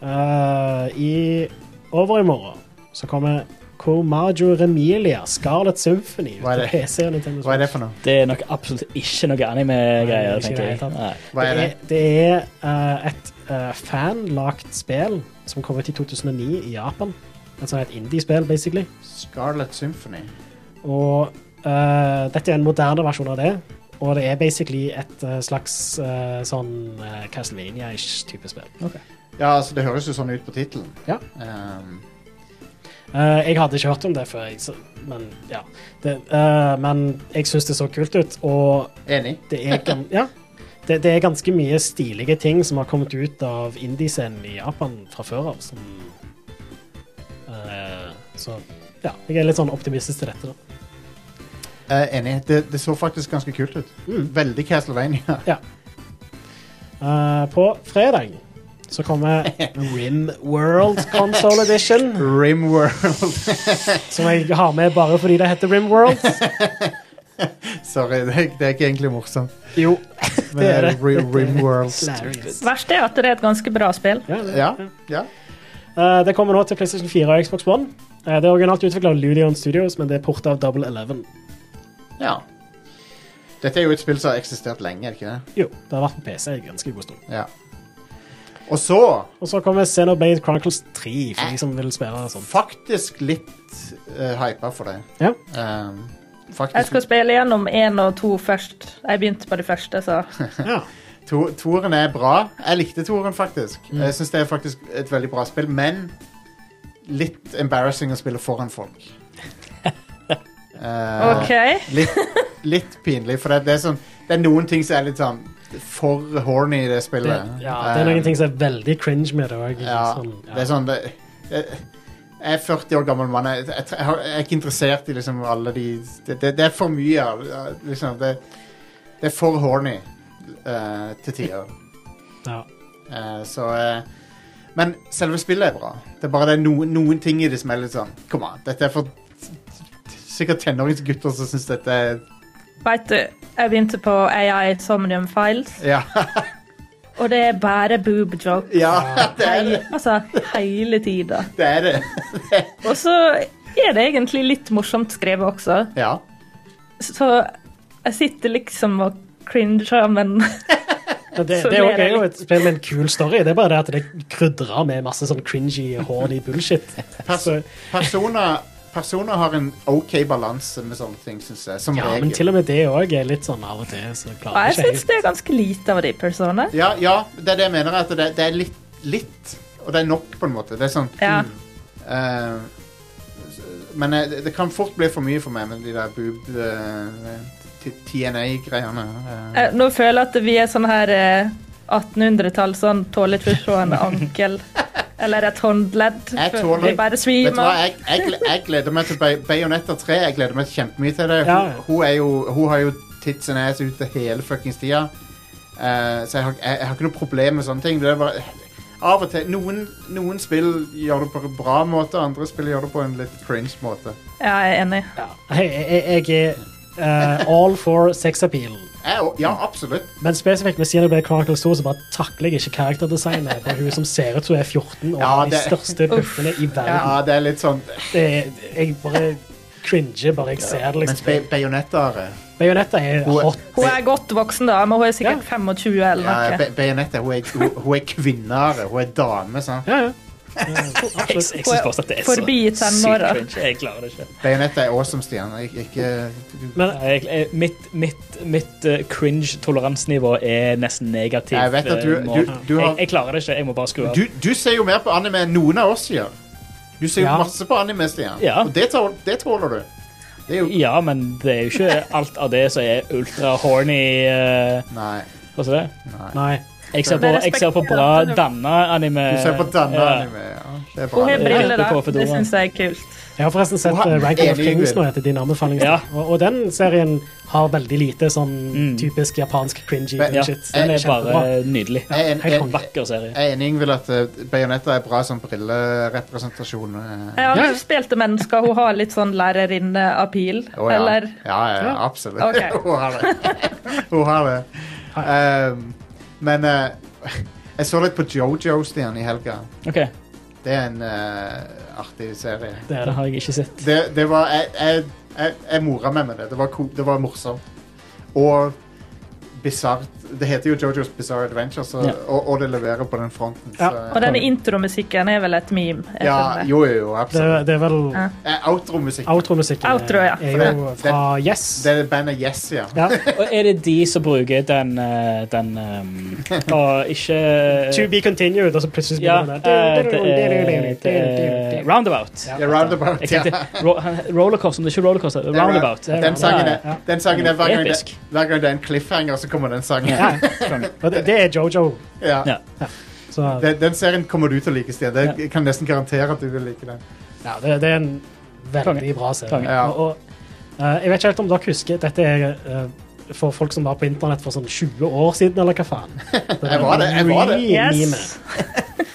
A: Eh, I over i morgen så kommer Comaggio Remilia, Scarlet Symphony, ut
B: Hva er
A: på
B: det?
A: PC og Nintendo
B: Hva er det
A: Switch.
B: for noe?
C: Det er nok absolutt ikke noe anime-greier,
A: Nei, ikke i
C: tenker
A: det hele
C: jeg.
A: tatt.
C: Nei.
B: Hva er det?
A: Det er, det er, eh, et eh, fanlagt spill som kom ut i 2009 i Japan. Et sånt et indie-spill, basically.
B: Scarlet Symphony.
A: Og eh, dette er en moderne versjon av det. Og det er basically et eh, slags eh, sånn eh, Castlevania-ish type spill.
B: Ja, altså, det høres jo sånn ut på tittelen.
A: Ja.
B: Um,
A: Eh, jeg hadde ikke hørt om det før, jeg, så, men ja. Det, eh, men jeg syns det så kult ut, og
B: Enig.
A: det er, gan ja, det, det er ganske mye stilige ting som har kommet ut av indie-scenen i Japan fra før av. Som, eh, så ja, jeg er litt sånn optimistisk til dette. da.
B: Eh, enig. Det, det så faktisk ganske kult ut.
A: Mm.
B: Veldig Castlevania.
A: Ja. Eh, på fredag så kommer Rim World Console Edition.
B: Rimworld.
A: Som jeg har med bare fordi det heter Rim World.
B: Sorry, det, er- det er ikke egentlig morsomt.
A: Jo,
B: Men eh,
A: det er det.
B: Ri- Rimworld.
A: Hilarious.
D: Verst er at det er et ganske bra spill.
A: Ja, det-
B: Ja, ja.
A: Eh, det kommer nå til PlayStation 4 og Xbox One. Eh, det er originalt utvikla av Ludion Studios, men det er porta av Double Eleven.
B: ja. Dette er jo et spill som har eksistert lenge, er det ikke det?
A: Jo, det har vært på PC i ganske god stund.
B: Ja. Og så,
A: Og så kommer Xenoblade Chronicles 3, for de som vil spille sånn.
B: faktisk litt uh, hypa for det.
A: Ja.
B: Um,
D: Jeg skal
B: faktisk.
D: spille gjennom én og to først. Jeg begynte på det første, så
A: ja.
B: To, toren er bra. Jeg likte toren, faktisk.
A: Mm.
B: Jeg syns det er faktisk et veldig bra spill, men litt embarrassing å spille foran folk. Eh,
D: OK.
B: litt, litt pinlig, for det, det, er sånn, det er noen ting som er litt sånn for horny i det
A: Det,
B: spillet.
A: ja, det er
B: Eh,
A: noen ting som er veldig cringe med det òg.
B: ja,
A: Sånn,
B: Det er
A: ja.
B: sånn det, jeg, jeg er 40 år gammel mann. Jeg, jeg, jeg, har- jeg er ikke interessert i liksom alle de Det, det, det er for mye av liksom, det. Det er for horny eh, til tider.
A: Ja.
B: Eh, så eh, Men selve spillet er bra. Det er bare det er noen, noen ting i det som er litt sånn Kom an. Dette er for sikkert tenåringsgutter som syns dette er
D: Veit du, jeg begynte på AI Somnium Files,
B: Ja.
D: og det er bare boob joke.
B: ja det er det.
D: Altså hele tida.
B: Det er det.
D: Og så er det egentlig litt morsomt skrevet også,
B: Ja.
D: så jeg sitter liksom og cringer, men
A: Men Det,
B: Sånn
D: Så
A: det er jo-
D: ler jeg
A: er jo
D: litt.
A: et spill med en kul story. Det er bare det at det krydrer med masse sånn cringy, horny bullshit.
B: Pers
A: Så,
B: personer, personer har en OK balanse med sånne ting, syns jeg. Som
A: ja,
B: regel.
A: men til og med det òg er litt sånn av og til. Så
D: Og
A: klarer ikke
D: jeg syns
A: jeg
D: det er ganske lite av de personene.
B: Ja, ja, det er det jeg mener. At det, det er litt, litt, og det er nok, på en måte. Det er sånn
D: Ja.
B: eh, s- Men eh, det, det kan fort bli for mye for meg med de der boob eh, t- TNA-greiene. eh.
D: Eh, Nå føler jeg at vi er sånn her eh, 1800-tall, sånn tåler ikke forstående ankel eller et håndledd.
B: Jeg tåler-
D: Vi bare
B: Vet du hva,
D: svimer.
B: jeg, jeg, gle- jeg gleder meg til Bay- Bayonetta 3. Jeg gleder meg kjempemye til det. Hun,
A: Ja.
B: hun, er jo, hun har jo tits and ass ute hele fuckings tida. Eh, så jeg har, jeg, jeg har ikke noe problem med sånne ting. Det er bare, av og til, noen, noen spill gjør det på en bra måte, andre spill gjør det på en litt cringe måte.
D: Ja, jeg er enig.
A: Hei, jeg, jeg er eh, all for sex-appeal.
B: Jeg, ja, absolutt.
A: Men spesifikt med Xenoblade Chronicles 2 så bare takler jeg ikke karakterdesignet på hun som ser ut som hun er 14 og
B: Ja,
A: har de
B: det-
A: største puppene i verden.
B: Ja, det er litt sånn
A: Det er, jeg bare cringer bare jeg ser det.
B: Mens
A: liksom.
B: Bayonetta er
A: Bayonetta er
B: Hun-
A: hot.
D: Hun er godt voksen dame, hun er sikkert 25
B: ja,
D: eller noe.
B: Bay- Bayonetta, hun er, hun, hun er kvinnere. Hun er dame, sant?
A: Ja, ja.
C: Jeg, jeg synes fortsatt det er så
D: Forbi tenåra.
C: sykt cringe. Jeg klarer det ikke.
B: Bayonetta er awesome, Stian. Ik- Ikke
A: Men
C: Nei, Jeg, jeg, mitt mitt, mitt eh, cringe-toleransenivå er nesten negativt.
B: Jeg vet at du-
C: eh, nå.
B: du- du har-
C: jeg, jeg klarer det ikke. Jeg må bare skru av.
B: du, du ser jo mer på anime enn noen av oss gjør. Du ser jo
A: Ja.
B: masse på anime, Stian.
C: Ja.
B: Og det, tål, det tåler du. Det er jo
C: Ja, men det er jo ikke alt av det som er ultra-horny. eh,
B: Nei.
C: Hva så det?
A: nei.
C: Jeg ser på,
D: Men
C: jeg ser på
D: respekterer
C: bra
D: at du-
C: danna anime.
B: Du ser på denne
A: Eh,
C: Ja.
B: anime. Ja. Det er
D: Hun
B: bra.
D: har
B: det.
D: briller,
C: Ja,
D: da.
C: på Fedora.
D: Det syns jeg er kult.
A: Jeg har forresten sett
B: Wow.
A: eh, Ranking of
B: Enig,
A: Kings
B: Ingrid.
A: nå etter din anbefaling.
C: Ja.
A: Og, og den serien har veldig lite sånn
C: Mm.
A: typisk japansk cringy
B: Ja.
C: Ja,
A: bullshit.
C: den
A: Den
C: er
A: er Eh, kjempebra.
C: bare nydelig.
B: Jeg er en-
A: helt konge.
C: Vakker serie.
B: Jeg er enig med at eh, Bayonetta er bra som brillerepresentasjon. eh.
D: Jeg har
A: Ja, ja.
D: ikke spilt til mennesker. Hun har litt sånn lærerinne-appeal.
B: Å, ja.
D: Eller
B: Ja, ja, ja, absolutt.
D: Ok.
B: Hun har det. Hun har det. Ehm, men eh, jeg så litt på Jojo, Stian, i helga.
C: Ok,
B: Det er en eh, artig serie.
A: Det er
C: Det
A: det.
C: har jeg ikke sett.
B: det, det var jeg, jeg, jeg, jeg mora meg med det. Det var, ko- det var morsomt. Og bisart. Det heter jo Jojos Bizarre Adventure, så,
C: Ja.
B: og, og det leverer på den fronten.
A: Ja.
D: Og
B: Så,
D: denne intromusikken er vel et meme? jeg
B: ja,
D: skjønner.
B: jo, jo, jo,
A: Det, er-
B: absolutt.
A: det er vel
D: Ja.
B: Eh, Outromusikk.
A: Outromusikken er-
D: Outro, ja.
A: er jo
B: Det-
A: fra Yes.
B: Det er bandet Yes, ja.
A: Ja.
C: Og er det de som bruker den, eh, den um, Og ikke eh,
A: To be continued, og så plutselig
C: Ja,
A: spiller
C: eh,
A: den
C: det
A: der.
C: er- det er Roundabout.
A: Ja.
B: ja roundabout.
C: Jeg
B: Ja.
C: tenkte ro rollercoaster, men det er ikke rollercoaster. det er
B: Det er
C: Roundabout.
A: round-
B: Den sangen
C: Ja,
B: er, den sangen er hver, gang det,
C: Episk.
B: hver gang det er en cliffhanger, så kommer den sangen.
A: Ja. Og det, det er Jojo.
B: Ja.
C: Ja.
A: Så
B: Den, den serien kommer du til å like, Stian. Det- Jeg kan nesten garantere at du vil like den.
A: ja, det, det er en veldig
C: Konge.
A: bra serie.
C: Konge.
B: Ja.
A: Og, og, eh, jeg vet ikke helt om dere husker Dette er eh, for folk som var på internett for sånn 20 år siden, eller hva faen.
B: Jeg var det, jeg var det.
A: Re-meme.
D: Yes.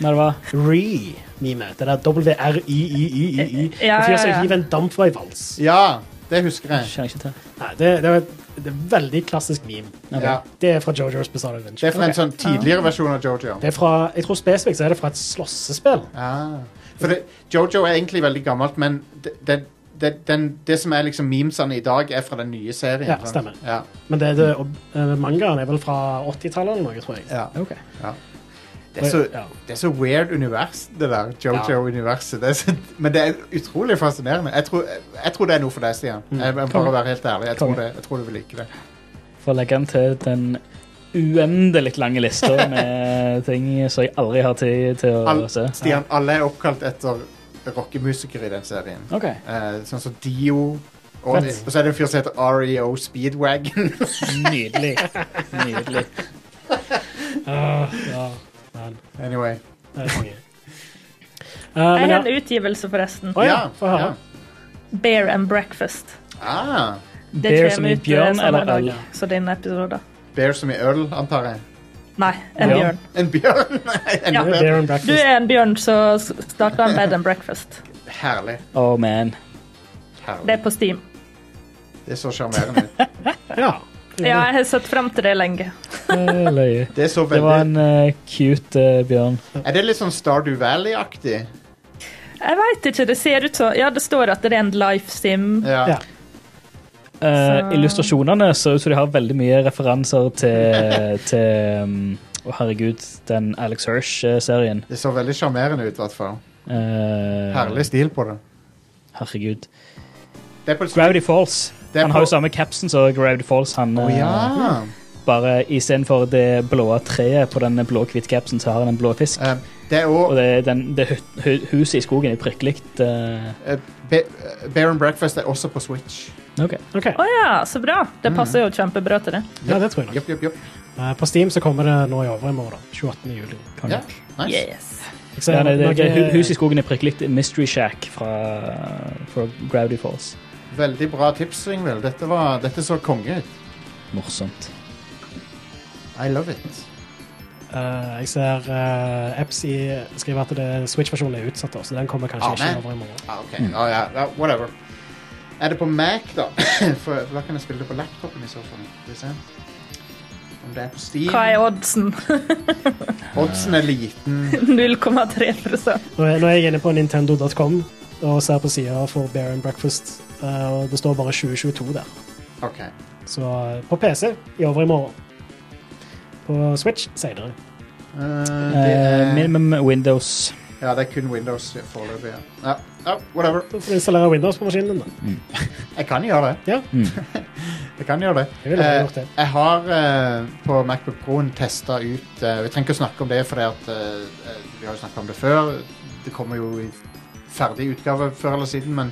C: Når det var
A: Re-meme. Det der W-R-Y-Y-Y-Y-Y.
D: Eh, Ja, ja,
A: En fyr som
D: ja.
A: hiver altså en dampveivals.
B: Ja, det husker jeg.
C: Kjenner ikke til.
A: Nei, Det, det er et det er et veldig klassisk meme.
B: Ja.
A: Det er fra JoJo's Bizarre
B: Det
A: Adventure.
B: er fra en sånn tidligere versjon av Jojo.
A: Det er fra, jeg tror spesifikt så er det fra et slåssespill.
B: Ah. For det, Jojo er egentlig veldig gammelt, men det, det, det, den, det som er liksom memesene i dag, er fra den nye serien.
A: Ja,
B: sant?
A: stemmer.
B: Ja,
A: Men det, det, og, eh, mangaen er vel fra 80-tallet eller noe, tror jeg.
B: ja.
C: Ok.
B: Det, er så,
A: Ja.
B: det er så weird univers, det der Jojo-universet. Det er så- Men det er utrolig fascinerende. Jeg tror, jeg tror det er noe for deg, Stian.
A: Mm.
B: Jeg, jeg, for å være helt ærlig. Jeg tror,
C: Konge.
B: det, jeg tror du vil like det.
C: For å legge den til den uendelig lange lista med ting som jeg aldri har tid til å
B: All,
C: se.
B: Stian, alle er oppkalt etter rockemusikere i den serien.
C: OK.
B: Eh, sånn som Dio. Og,
C: Fett.
B: og så er det en fyr som heter REO Speedwagon.
C: Nydelig. Nydelig.
A: Eh, Ja, men,
B: anyway.
A: det er konge. Eh,
D: Jeg
A: men
D: har
A: ja.
D: en utgivelse, forresten.
A: Å ja, få høre.
B: ja.
D: Bear and Breakfast.
B: Ah.
D: Det
C: Bear som i
D: eh,
C: bjørn
D: samme
C: eller
D: dag
C: øl?
D: Så din episode.
B: Bear som i øl, antar jeg.
D: Nei, en
C: Ja.
D: bjørn.
B: En bjørn? Nei, en
D: Ja.
B: bjørn.
A: Bear and
D: Du
A: breakfast.
D: er en bjørn som starter en bed and breakfast.
B: Herlig.
C: Oh man.
B: Herlig.
D: Det er
B: Det,
D: på Steam.
B: så sjarmerende ut.
A: Ja.
D: Ja, jeg har sett frem til det lenge.
C: Eh, Løye.
B: Det er så
C: Det var
B: veldig
C: en eh, cute eh, bjørn.
B: Er det litt sånn Stardew Valley-aktig?
D: Jeg veit ikke, det ser ut som Ja, det står at det er en life sim.
B: Ja.
A: Ja.
C: Eh,
D: Så-
C: illustrasjonene ser ut som de har veldig mye referanser til, til um, Å, herregud, den Alex Hirsch-serien.
B: Det så veldig sjarmerende ut, i hvert fall.
C: Eh,
B: Herlig stil på det.
C: Herregud.
B: Det er på
C: Gravity Falls.
B: Det er
C: Han har jo
B: på-
C: samme capsen som Gravity Falls. Han
B: Å
C: eh,
B: ja.
C: bare istedenfor det blå treet på den blå-hvitt capsen, så har han en blå fisk.
B: Eh, det er
C: Og
B: òg
C: det, den, det hu- hu- huset i skogen er prikkelig. eh,
B: eh, Bear and Breakfast er også på Switch.
A: OK.
D: Å ja, så bra. Det passer jo kjempebra til det.
A: Ja, det tror jeg nok.
B: Jopp, jopp, jopp.
A: Eh, På Steam så kommer det nå i overmorgen. 28. juli.
C: konge.
B: Ja, nice.
D: Yes.
A: Jeg ser
C: Ja, nei, det, det,
A: noe-
C: hu- huset i skogen er prikkelig. Mystery Shack fra, fra Gravity Falls.
B: Veldig bra tips, Ingvild. Dette, var- dette så konge ut.
C: Morsomt.
B: I love it.
A: Eh, jeg ser uh, Epsi skriver at det- Switch-versjonen er utsatt, da, så den kommer kanskje
B: Amen.
A: ikke over i morgen.
B: Ah, ok. Ah, ja. ja, whatever. Er det på Mac, da? For, for da kan jeg spille det på laptopen i så fall. Skal vi se. Om det er på Steam.
D: Hva er oddsen?
B: Oddsen er liten.
D: 0,3 prosent.
A: Når jeg, når jeg er inne på nintendo.com og ser på sida for Bear and Breakfast, eh, og det står bare 2022 der.
B: OK.
A: Så eh, på PC i over i morgen. På Switch senere.
B: Eh, det
C: Eh,
B: er,
C: minimum Windows.
B: ja, det er kun Windows foreløpig. Ja. Ja, ja, whatever.
A: Så får du installere Windows på maskinen din, da.
B: Jeg kan gjøre det.
A: Ja.
C: Mm.
B: Jeg kan gjøre det.
A: Jeg ville ha
B: Eh,
A: gjort det.
B: Jeg har eh, på Macbook Pro-en testa ut eh, Vi trenger ikke å snakke om det, for eh, vi har jo snakka om det før. Det kommer jo i ferdig utgave før eller siden, men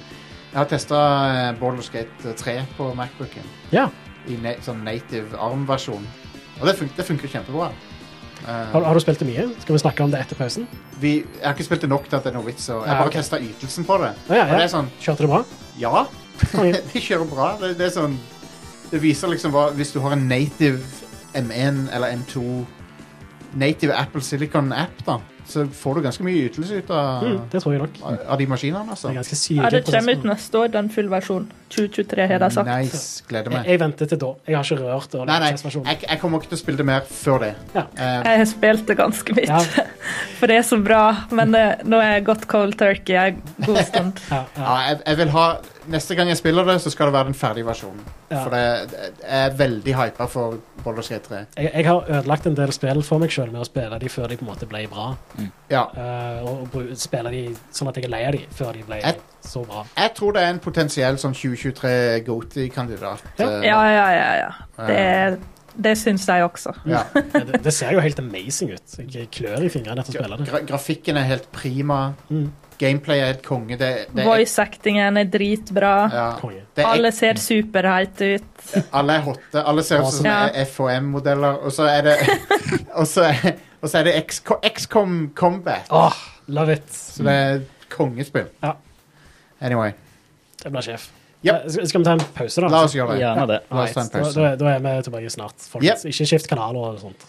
B: jeg har testa uh, Borderless Gate 3 på Macbooken
A: Ja.
B: i na sånn native ARM-versjon. Og det, fun det funker kjempebra. Eh,
A: Har, har du spilt det mye? Skal vi snakke om det etter pausen?
B: vi, jeg har ikke spilt det nok til at det er noe vits. Og jeg
A: Ja,
B: har bare
A: ok.
B: testet testa ytelsen på det.
A: Ja, ja,
B: Og
A: ja.
B: det er sånn
A: Kjørte det bra?
B: Ja,
A: Konge.
B: de kjører bra. Det, det er sånn Det viser liksom hva Hvis du har en native M1 eller M2 Native Apple Silicon-app, da, så får du ganske mye ytelse ut av,
A: Mm, det tror jeg nok.
B: av, av de maskinene,
A: Det
B: altså.
A: er ganske syke
D: Ja, det kommer
A: prosesser.
D: ut neste år, den full versjon. 2023 har de sagt.
B: Nice. Gleder
A: Jeg,
B: meg.
A: jeg venter til da. Jeg har ikke rørt
B: Nei, nei,
A: Orlantis-versjonen.
B: jeg, jeg kommer ikke til å spille det mer før det.
A: Ja.
B: Eh,
D: Jeg har spilt det ganske mye,
A: Ja.
D: for det er så bra. Men eh, nå er jeg gått cold turkey en god stund.
A: Ja, ja.
B: ja, jeg, jeg vil ha Neste gang jeg spiller det, så skal det være den ferdige versjonen.
A: Ja.
B: For det, jeg er veldig hypa for Baldur's Gate 3.
A: Jeg, jeg har ødelagt en del spill for meg sjøl med å spille de før de på en måte ble bra.
B: Ja.
A: Eh, og og bru- spille de sånn at jeg er lei av de før de ble
B: Et-
A: så bra.
B: Jeg tror det er en potensiell sånn 2023 Goaty-kandidat.
A: Ja.
B: eh,
D: Ja, ja, ja. ja. Det, det syns jeg også.
B: ja.
A: Ja, Det, det ser jo helt amazing ut. Jeg klør i fingrene etter å spille det.
B: Gra grafikken er helt prima.
A: Mm.
B: Gameplay er helt konge. Det, det er,
D: Voice actingen er dritbra.
B: ja.
A: Konge.
B: det er,
D: Alle ser superheite ut.
B: alle er hotte. Alle ser ut som
D: Ja.
B: sånne FHM-modeller. Og så er det Og så er, og så er det XCO- XCOM Combat.
A: Åh, love it!
B: Så det er et kongespill.
A: Ja.
B: Anyway,
A: Det blir sjef.
B: Yep.
A: Eh, Skal skal vi ta en pause, da?
B: la oss gjøre det.
C: Gjerne det.
B: La oss ta en
A: da,
B: pause.
A: da, da er vi tilbake snart. Folkens. Ikke skift kanaler og sånt.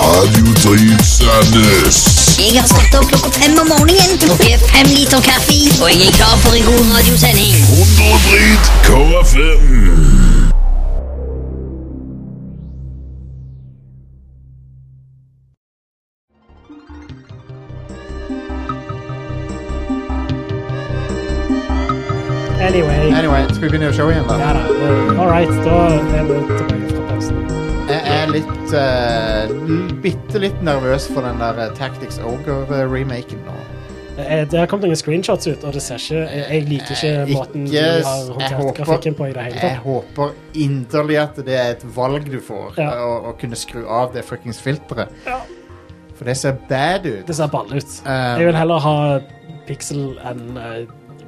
E: Radiotryn Sandnes.
F: Jeg har stått opp klokka fem om morgenen, drukket fem liter kaffe, og jeg er klar for en god radiosending.
E: Underdryd KFM.
A: Anyway.
B: Anyway, skal vi begynne å show igjen, da?
A: Ja da. eh, All right, da er vi tilbake fra pausen.
B: Jeg er litt eh, l- Bitte litt nervøs for den der eh, Tactics Ogre-remaken nå.
A: Eh, Det har kommet noen screenshots ut, og det ser ikke Jeg jeg liker ikke
B: Eh,
A: måten
B: ikke-
A: de har
B: jeg
A: håndtert
B: håper-
A: grafikken på i det hele
B: Jeg
A: tatt.
B: håper inderlig at det er et valg du får,
A: Ja.
B: å, å kunne skru av det fuckings filteret.
A: Ja.
B: For det ser bad ut.
A: Det ser balle ut.
B: Eh,
A: Jeg vil heller ha pixel enn eh,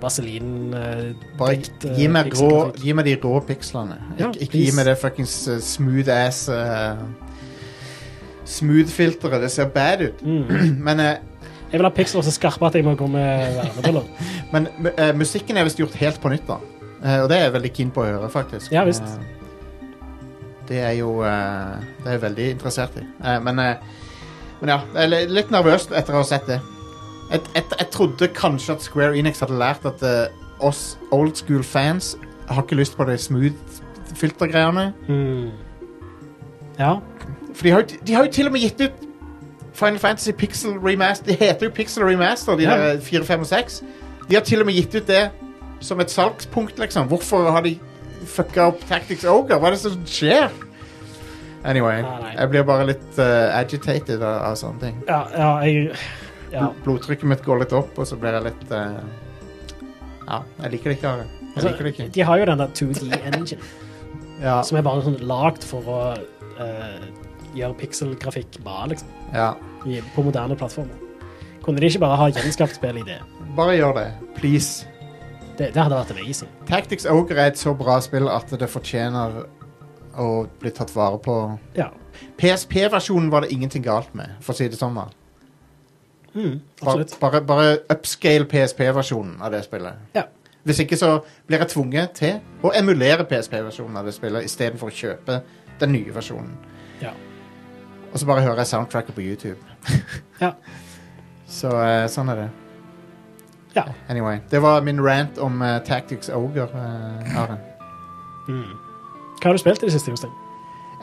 A: vaselin eh,
B: Bare
A: dikt, eh,
B: gi meg, grå,
A: pixelgrafikk.
B: gi meg de rå pikslene.
A: Ja,
B: ikke ikke gi
A: please.
B: meg det fuckings eh, smooth ass eh, Smooth-filteret. Det ser bad ut. Men, eh,
A: Mm. Jeg vil ha pixler så skarpe at jeg må gå med vernebriller.
B: men eh, musikken er visst gjort helt på nytt, da. Eh, og det er jeg veldig keen på å høre, faktisk.
A: Ja, visst.
B: Eh, det er jo eh, Det er jeg veldig interessert i. Eh, men, eh, men ja, jeg er li- litt nervøs etter å ha sett det. Jeg, jeg, jeg trodde kanskje at Square Enix hadde lært at eh, oss old school fans har ikke lyst på de smooth filtergreiene.
A: Mm. Ja.
B: For de har, jo- de har jo til og med gitt ut Final Fantasy Pixel Remaster. Det heter jo Pixel Remaster, de
A: Ja.
B: der 4, 5 og 6. De har til og med gitt ut det som et salgspunkt, liksom. Hvorfor har de fucka opp Tactics Ogre? Hva er det som skjer? Anyway,
A: Ah, nei.
B: jeg blir bare litt eh, agitated av, av sånne ting.
A: Ja, ja, jeg, ja.
B: Bl- Blodtrykket mitt går litt opp, og så blir jeg litt eh, Ja, jeg liker det ikke. Are. Jeg liker det
A: Altså,
B: ikke.
A: de har jo den der 2D-engine,
B: Ja,
A: som er bare sånn lagd for å eh, gjøre pikselgrafikk bra, liksom.
B: ja.
A: i- På moderne plattformer. Kunne de ikke bare ha gjenskapt spillet i det?
B: Bare gjør det. Please.
A: Det, det hadde vært amazing.
B: Tactics Ogre er et så bra spill at det fortjener å bli tatt vare på.
A: Ja.
B: PSP-versjonen var det ingenting galt med, for å si det sånn. da.
A: Mm,
B: Bare,
A: absolutt.
B: bare, bare upscale PSP-versjonen av det spillet.
A: Ja.
B: Hvis ikke så blir jeg tvunget til å emulere PSP-versjonen av det spillet istedenfor å kjøpe den nye versjonen.
A: Ja.
B: Og så bare hører jeg soundtracket på YouTube.
A: Ja.
B: Så eh, sånn er det.
A: Ja.
B: Anyway. Det var min rant om eh, Tactics Ogre. eh, Are.
A: Mm. Hva har du spilt i det siste, Jostein?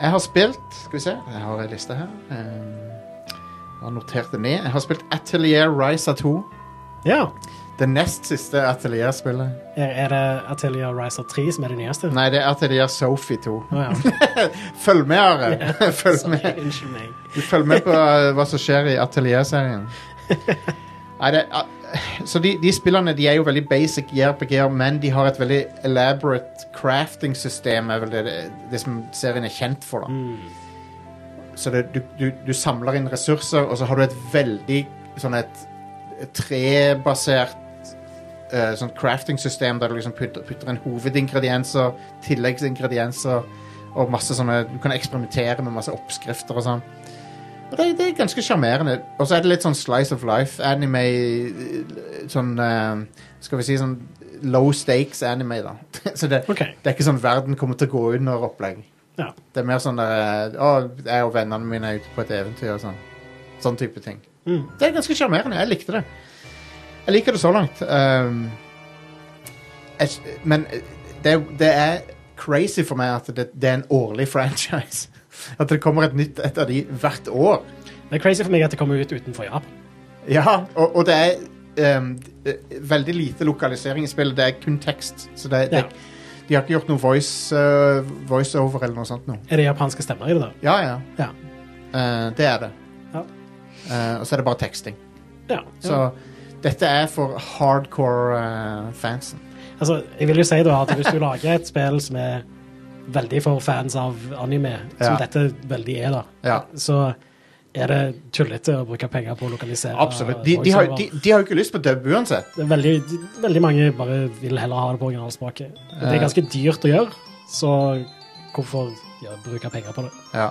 B: Jeg har spilt Skal vi se, jeg har en liste her. Eh, Jeg har notert det ned. Jeg har spilt Atelier Risa 2.
A: Ja.
B: Det nest siste Atelier-spillet.
A: Er, er det Atelier Riser 3 som er det nyeste?
B: Nei, det er Atelier Sophie 2.
A: Å, ja.
B: Følg med, Are! Følg
A: Sorry,
B: med.
A: unnskyld meg.
B: Du følger med på eh, hva som skjer i Atelier-serien. Nei, det, ah, så de, de spillerne de er jo veldig basic JRPG-er, men de har et veldig elaborate crafting-system, er vel det, det, det som serien er kjent for.
A: Mm.
B: da. Så det, du, du, du samler inn ressurser, og så har du et veldig sånn et et trebasert eh, sånn crafting-system der du liksom putter, putter inn hovedingredienser, tilleggsingredienser og masse sånne Du kan eksperimentere med masse oppskrifter og sånn. Og det, det er ganske sjarmerende. Og så er det litt sånn Slice of Life-anime Sånn eh, Skal vi si sånn low stakes-anime, da. så det,
A: OK.
B: det er ikke sånn verden kommer til å gå under-opplegg.
A: Ja.
B: Det er mer sånn der Å, jeg og vennene mine er ute på et eventyr og sånn. Sånn type ting.
A: Mm.
B: Det er ganske sjarmerende. Jeg likte det. Jeg liker det så langt. Ehm, jeg, men det, det er crazy for meg at det, det er en årlig franchise. At det kommer et nytt et av de hvert år.
A: Det er crazy for meg at det kommer ut utenfor Japan.
B: Ja, og, og det er ehm, eh, veldig lite lokalisering i spillet. Det er kun tekst. Så det, det,
A: Ja.
B: de har ikke gjort noe voice, eh, voiceover eller noe sånt nå.
A: Er det japanske stemmer i det, da?
B: Ja, ja.
A: Ja.
B: Eh, det er det.
A: Ja.
B: Eh, og så er det bare teksting.
A: ja.
B: Så dette er for hardcore eh, fansen.
A: Altså, jeg vil jo si da at hvis du lager et spill som er veldig for fans av anime, som
B: Ja.
A: dette veldig er, da,
B: Ja.
A: så er det tullete å bruke penger på å lokalisere.
B: Absolutt. De, de, har,
A: voiceover.
B: de, de har jo ikke lyst på dub uansett.
A: Det er veldig, de- veldig mange bare vil heller ha det på originalspråket. Og Det
B: Eh.
A: er ganske dyrt å gjøre, så hvorfor ja, bruke penger på det?
B: Ja.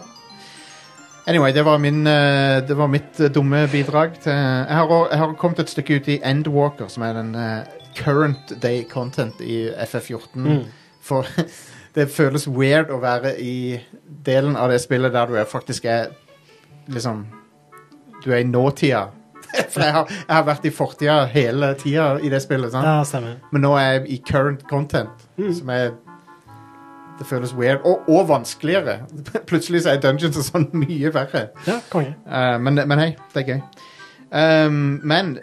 B: Anyway, det var, min, eh, det var mitt eh, dumme bidrag. Til, jeg, har, også- jeg har kommet et stykke ut i Endwalker, som er den eh, current day content i FF14.
A: Mm.
B: For det føles weird å være i delen av det spillet der du er, faktisk er liksom Du er i nåtida. For jeg har, jeg har vært i fortida hele tida i det spillet. sant?
A: Ja, stemmer.
B: Men nå er jeg i current content, som er Det føles weird. Og, og vanskeligere. Plutselig så er dungeons og sånn mye verre.
A: Ja, konge.
B: Eh, men, men hei, det er gøy. Ehm, men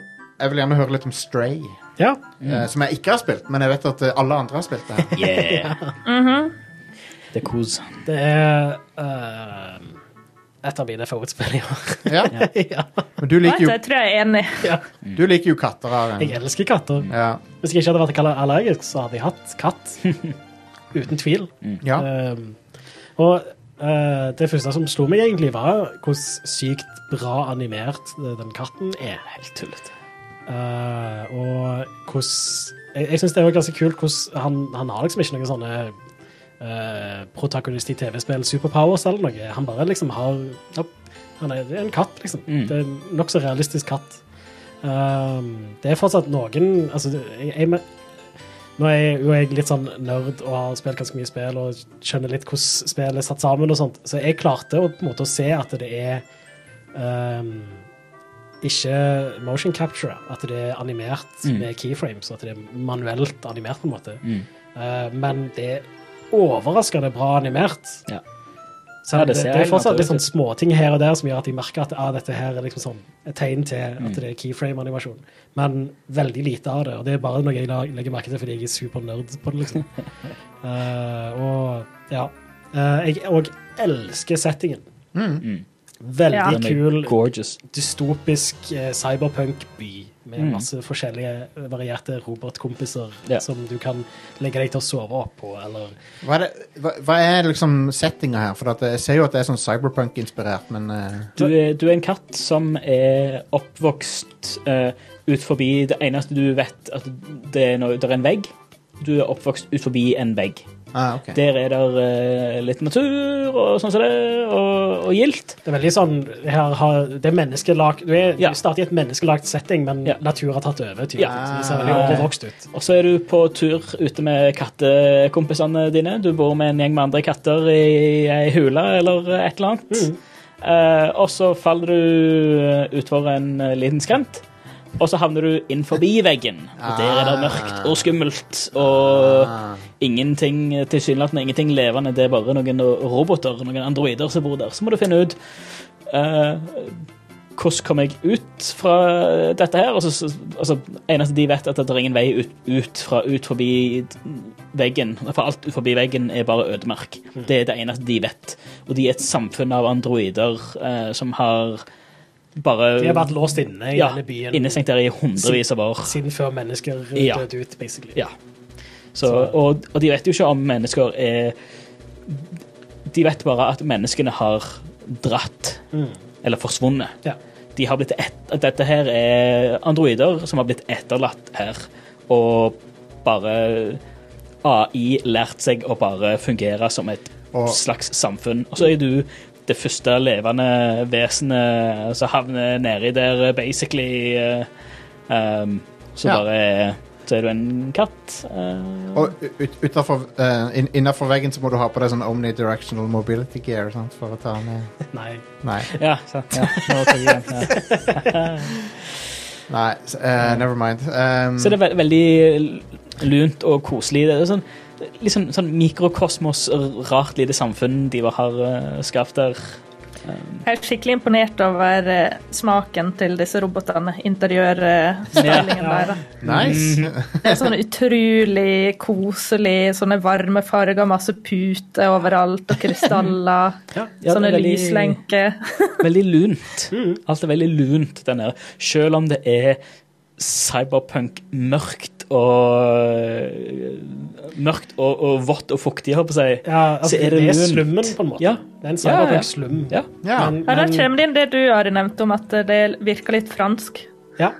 B: jeg vil gjerne høre litt om Stray,
A: Ja,
B: eh, som jeg ikke har spilt, men jeg vet at eh, alle andre har spilt det. her.
C: Yeah. Det er kos.
A: det er eh, et av mine favorittspill i år.
B: Ja,
A: ja.
B: men du liker,
D: Vet,
B: jo,
D: jeg tror jeg er enig.
B: du liker jo katter, Are.
A: Jeg elsker katter.
B: Ja.
A: Hvis jeg ikke hadde vært kalt allergisk, så hadde jeg hatt katt. Uten tvil.
B: ja.
A: Um, og uh, det første som slo meg, egentlig, var hvordan sykt bra animert uh, den katten er.
C: Helt tullete.
A: Uh, og hvordan Jeg, jeg syns det er jo ganske kult hvordan han, han har liksom ikke noen sånne uh, protagonist i TV-spill, superpowers eller noe. Han bare liksom har ja, Han er en katt, liksom.
C: Mm.
A: Det er en nokså realistisk katt. Um, det er fortsatt noen Altså, jeg, jeg men- nå er jeg jo jeg litt sånn nerd og har spilt ganske mye spill og skjønner litt hvordan spill er satt sammen, og sånt, så jeg klarte å, på en måte å se at det er ehm, ikke motion capture, at det er animert med keyframes, at det er manuelt animert, Ehm, på en måte. Eh, men det er overraskende bra animert.
C: Ja.
A: Så
C: Ja,
A: det,
C: det ser
A: det,
C: helt
A: er fortsatt litt
C: naturlig
A: sånn småting her og der som gjør at jeg merker at ah, dette her er liksom sånn et tegn til
C: Mm.
A: at det er keyframe-animasjon. Men veldig lite av det, og det er bare noe jeg la- legger merke til fordi jeg er supernerd på det. liksom. Eh, og ja. Eh, jeg òg elsker settingen.
C: Mm.
D: Ja.
A: Veldig
C: Den er
A: kul
C: gorgeous.
A: dystopisk eh, cyberpunk-by med
C: Mm.
A: masse forskjellige eh, varierte robotkompiser
C: Ja.
A: som du kan legge deg til å sove opp på, eller
B: Hva er, det, hva, hva er liksom settinga her? For at jeg ser jo at det er sånn cyberpunk-inspirert, men eh,
C: Du er, du er en katt som er oppvokst eh, ut forbi Det eneste du vet, at det er, noe, der er en vegg. Du er oppvokst ut forbi en vegg.
B: ah, ok.
C: Der er det litt natur og sånn som det, og, og gilt.
A: Det er veldig sånn her har, Det er menneskelag Du er
C: Ja.
A: du starter i et menneskelagt setting, men
C: Ja.
A: natur har tatt over. Tydelig.
C: Ja.
A: Så det ser veldig overvokst ut.
C: Og så er du på tur ute med kattekompisene dine. Du bor med en gjeng med andre katter i ei hule eller et eller annet. Eh, og så faller du utfor en eh, liten skrent, og så havner du inn forbi veggen. Og der
A: Ah.
C: er det mørkt og skummelt, og ingenting, tilsynelatende ingenting levende. Det er bare noen roboter, noen androider som bor der. Så må du finne ut eh, hvordan kom jeg ut fra dette her? Og så, så- altså, eneste de vet, er at det er ingen vei ut, ut fra ut forbi veggen. For alt ut forbi veggen er bare ødemark.
A: Mm.
C: Det er det eneste de vet. Og de er et samfunn av androider eh, som har bare
A: De har vært låst inne i
C: ja,
A: denne byen
C: innestengt der i hundrevis av år.
A: siden før mennesker eh,
C: Ja.
A: døde ut, basically.
C: Ja. Så, og, og de vet jo ikke om mennesker er De vet bare at menneskene har dratt.
A: Mm.
C: Eller forsvunnet.
A: Ja.
C: De har blitt et, at dette her er androider som har blitt etterlatt her. Og bare AI lært seg å bare fungere som et
B: Og-
C: slags samfunn. Og så er du det første levende vesenet som havner nedi der, basically. eh, Um, så
B: Ja.
C: bare så er du en katt. eh,
B: Og ut, utenfor, eh, inn- innenfor veggen så må du ha på deg sånn omnidirectional mobility gear sant, for å ta ned
A: Nei.
B: Nei.
C: ja, sant. Ja, nå tar jeg den, ja.
B: Nei s- eh, never mind. Um,
C: Så det er ve veldig lunt og koselig. Det er sånn, litt sånn- sånn mikrokosmos, rart lite samfunn de har uh, skapt der.
D: Jeg er skikkelig imponert over eh, smaken til disse robotene. Interiørstylingen der. da.
B: nice.
A: Mm.
D: Det er sånn utrolig koselig, sånne varme farger, masse puter overalt, og krystaller.
C: Ja,
D: sånne
C: det er veldig-
D: lyslenker.
C: Veldig lunt. Alt er veldig lunt den der. Selv om det er cyberpunk mørkt og mørkt og, og vått og fuktig, holdt på å si.
A: Ja, altså,
C: Så
A: det,
C: er det
A: er
C: lunt.
A: slummen, på en måte.
C: Ja.
A: Det er en
C: Ja, ja, ja.
A: cyberpunk-slum.
C: Ja.
B: Ja.
A: Men,
D: Ja, der
A: men,
D: kommer det inn det du Ari, nevnte om at det virker litt fransk.
A: ja.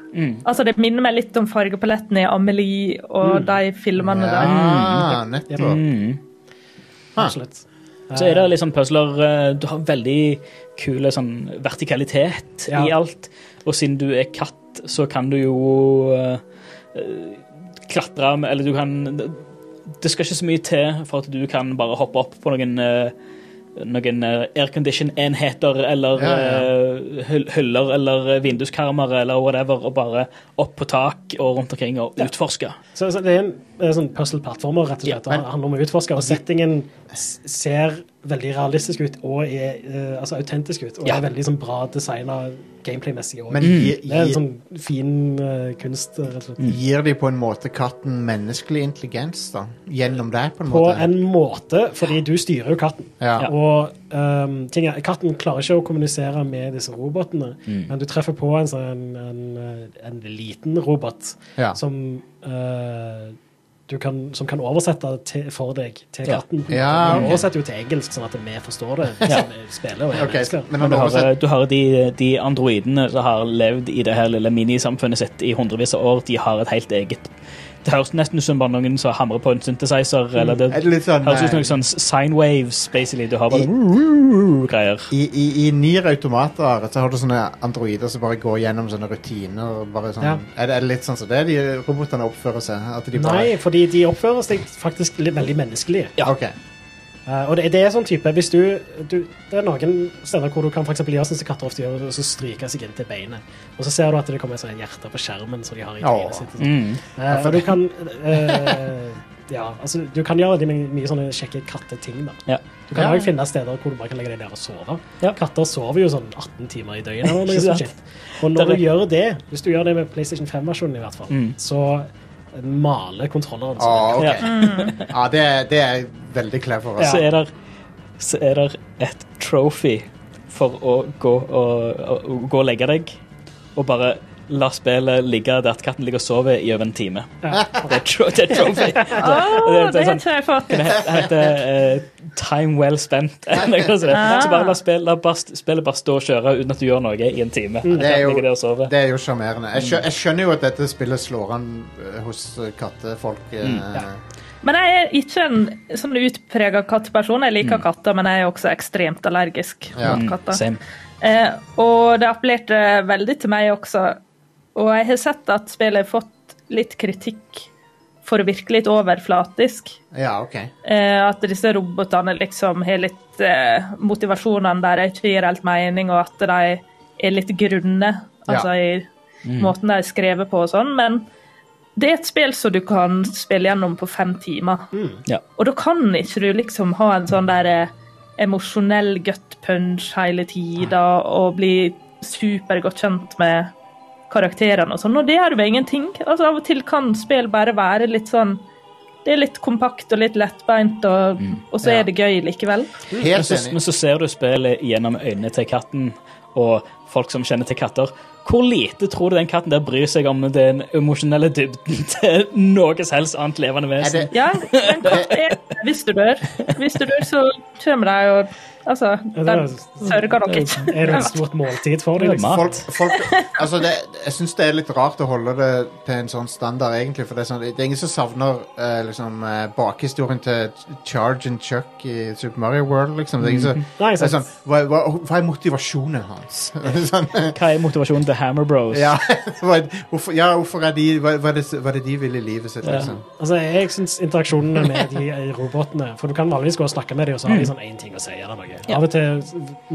D: Altså, Det minner meg litt om fargepaletten i Amelie og de filmene der.
B: ja,
A: Mm.
B: nettopp.
C: Mm.
A: Absolutt.
C: Ah. Så er det liksom puzzler eh, Du har veldig kule sånn vertikalitet
A: Ja.
C: i alt. Og siden du er katt, så kan du jo eh, eh, klatre med Eller du kan Det skal ikke så mye til for at du kan bare hoppe opp på noen eh, noen eh, aircondition-enheter eller
B: Ja, ja.
C: eh, hyll- hyller eller eh, vinduskarmer eller whatever, og bare opp på tak og rundt omkring og utforske.
A: Så, så det er en, eh, sånn puzzle-plattformer, rett og slett.
B: men- altså-
A: det handler om å utforske, og settingen s- ser veldig realistisk ut og er eh, altså, autentisk ut. Og
C: Ja.
A: er veldig sånn, bra designa gameplay-messig òg.
B: Men Mm.
A: Det
B: gi,
A: er en
B: gi,
A: sånn fin eh, kunst, rett og slett.
B: gir de på en måte katten menneskelig intelligens, da? Gjennom deg, på en
A: På
B: måte?
A: en måte, fordi du styrer jo katten.
B: Ja.
C: Ja.
A: Og ehm, ting er, katten klarer ikke å kommunisere med disse robotene,
B: Mm.
A: men du treffer på en sånn en, eh, en liten robot
B: Ja.
A: som eh, du kan, som kan oversette til, for deg til
C: Ja.
A: katten.
B: Ja,
A: Den
B: ok.
A: oversetter jo til engelsk, sånn at vi forstår det. Vi som spiller og er
B: Ok,
A: mennesker.
B: men
C: Men
B: han
C: du
B: oversetter
C: har, eh, du har de, de androidene som har levd i det her lille minisamfunnet sitt i hundrevis av år, de har et helt eget Det høres nesten ut som bare noen som hamrer på en synthesizer. Eller det,
B: Er det litt sånn,
C: høres ut som
B: eh,
C: noen sånn sine waves, basically. Du har
B: I-
C: bare greier.
B: I, i, i Nier Automater så har du sånne androider som bare går gjennom sånne rutiner. og Bare sånn,
A: Ja.
B: er, det, er det litt sånn som det de robotene oppfører seg? At de bare,
A: Nei, fordi de oppfører seg faktisk litt, veldig menneskelige.
B: Ja. ok.
A: Eh, og det, det er sånn type Hvis du, du Det er noen steder hvor du kan for eksempel gjøre sånn som katter ofte gjør, og så stryke seg inn til beinet. Og så ser du at sånn
C: Mm.
A: det kommer et sånt hjerte på skjermen som de har i
B: Åh.
A: trynet sitt. og sånn. Eh, og du kan eh, Ja, altså, du kan gjøre de mye, mye sånne kjekke katteting. da.
C: Ja.
A: Du kan
B: Ja.
A: også finne steder hvor du bare kan legge deg ned og sove.
C: Ja.
A: Katter sover jo sånn 18 timer i døgnet. eller noe
C: Ikke
A: sånt
C: sant?
A: shit. Og når
C: Det er
A: du gjør det, hvis du gjør det med PlayStation 5-versjonen i hvert fall,
C: Mm. Ah.
A: så maler kontrolleren
B: Å,
A: sånn.
B: Ah, ok.
C: Ja.
B: Ja, det, er- det er veldig clever.
C: Så
B: Altså.
C: er der, så er der et trophy for å gå og, og, og gå og legge deg og bare la spillet ligge der at katten ligger og sover i over en time. Det er, tro, det er trophy.
D: Å, det
C: sånn-
D: tror jeg jeg har fått.
C: Det het- heter eh, Time Well Spent. eller noe sånt. Så bare la spillet bare, spillet bare stå og kjøre uten at du gjør noe i en time.
B: Mm. Det er jo-
C: Ligger der og sover.
B: Det er jo sjarmerende. Jeg, skjø- jeg skjønner jo at dette spillet slår an eh, hos eh, kattefolk. eh,
D: Men jeg er ikke en sånn utprega katteperson. Jeg liker katter, men jeg er også ekstremt allergisk
B: Ja.
D: mot katter.
C: Mm, Same.
D: Eh, og det appellerte veldig til meg også. Og jeg har sett at spillet har fått litt kritikk for å virke litt overflatisk.
B: ja, ok.
D: Eh, at disse robotene liksom har litt eh, motivasjonene der jeg ikke gir helt mening, og at de er litt grunne, altså i måten de er skrevet på og sånn. Men det er et spill som du kan spille gjennom på fem timer.
C: Ja.
D: Og da kan ikke du liksom ha en sånn der eh, emosjonell gut punch hele tida og bli supergodt kjent med karakterene og sånn, og det gjør jo ingenting. Altså Av og til kan spill bare være litt sånn Det er litt kompakt og litt lettbeint, og, og så
B: Ja.
D: er det gøy likevel.
C: Men
B: Helt
C: så, men
B: enig.
C: så ser du spillet gjennom øynene til katten og folk som kjenner til katter. Hvor lite tror du den katten der bryr seg om den emosjonelle dybden til noe som helst annet levende
B: Er
C: vesen?
B: det,
D: Ja, men katt er Hvis du dør, hvis du dør så kommer de og Altså, de sørger nok ikke.
A: Er det et stort måltid for deg? Liksom?
C: Mat.
B: folk, folk, altså det, jeg syns det er litt rart å holde det til en sånn standard, egentlig. For det er, sånn, det er ingen som savner eh, liksom, eh, bakhistorien til Charge and Chuck i Super Mario World, liksom. Det er ingen som,
A: Nei,
B: det er
A: sant.
B: sånn, hva, hva, hva er motivasjonen hans? sånn,
C: Hva er motivasjonen til Hammer Bros?
B: ja, hva- hvorfor, ja, hvorfor er de hva, hva, er det, hva er det de vil i livet sitt, liksom?
A: Altså, jeg syns interaksjonene med de robotene For du kan vanligvis gå og snakke med dem, og så har de sånn én ting å si. eller noe. Av og til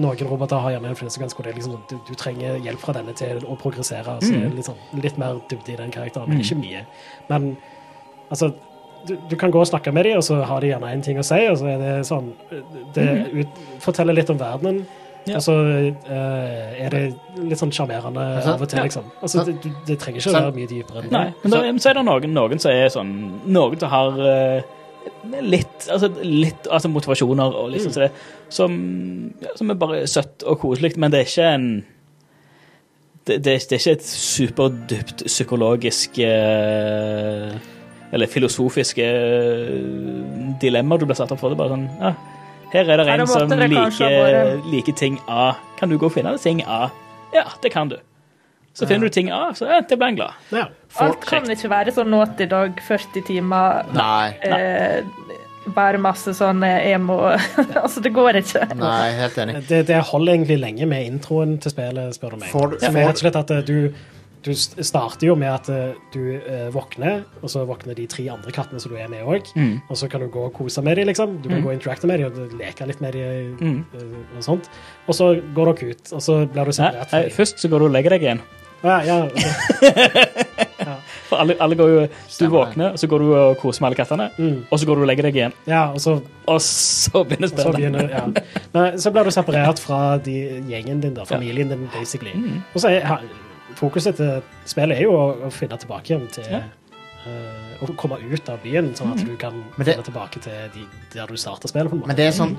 A: noen roboter har gjerne en flinsekvens hvor det er liksom, sånn, du, du trenger hjelp fra denne til å progressere. Så det er litt, sånn, litt mer dybde i den karakteren, men ikke mye. Men altså du, du kan gå og snakke med dem, og så har de gjerne én ting å si, og så er det sånn Det ut, forteller litt om verdenen.
C: Ja.
A: Og så eh, er det litt sånn sjarmerende
B: sant?
A: av og til,
C: Ja.
A: liksom. Altså, det, du- det trenger ikke å
B: Sant.
A: være mye dypere. enn det.
C: Nei, men der, så er det noen, noen som er sånn Noen som har eh, litt, altså, litt altså motivasjoner og liksom så det, som, ja, som er bare søtt og koselig, men det er ikke en det, det, er- det er ikke et superdypt psykologisk eh, eller filosofiske eh, dilemmaer du blir satt opp for. Det er bare sånn ja, Her er det
D: Her er
C: en som
D: måter det kanskje har
C: liker, liker ting A. Kan du gå og finne ting A? Ja, det kan du. Så finner du ting A, så ja, det blir en glad.
A: Ja.
D: Alt kan ikke være sånn nåt i dag, 40 timer,
B: Nei.
D: eh, bare masse sånn eh, emo Altså, det går ikke.
B: Nei, helt enig.
A: Det, det holder egentlig lenge med introen til spillet, spør du meg.
B: Får du-
A: Som
B: får-
A: er rett og slett at eh, du, du s- starter jo med at eh, du eh, våkner, og så våkner de tre andre kattene som du er med òg.
B: Mm.
A: Og så kan du gå og kose med dem, liksom. Du kan gå og interacte med dem og leke litt med dem. eh,
B: Mm.
A: Og sånt. Og så går dere ut, og så blir du
C: Nei,
A: separert.
C: nei, først så går du og legger deg igjen.
A: Ja, ja, ja.
C: For alle, alle går jo, Du
B: Stemmer det.
C: våkner, så går du og koser med alle kattene, og så går du og legger deg igjen.
A: Mm. ja, og så
C: Og så
A: Og
C: begynner
A: Så,
C: spillet.
A: begynner, ja. Nei, så blir du separert fra de, gjengen din, da, familien din, basically. Og så er ha- fokuset til spillet er jo å, å finne tilbake igjen til
C: Ja.
A: eh, Å komme ut av byen, sånn at du kan
B: Men det-
A: finne tilbake til de, der du starta spillet. på en måte.
B: Men det er sånn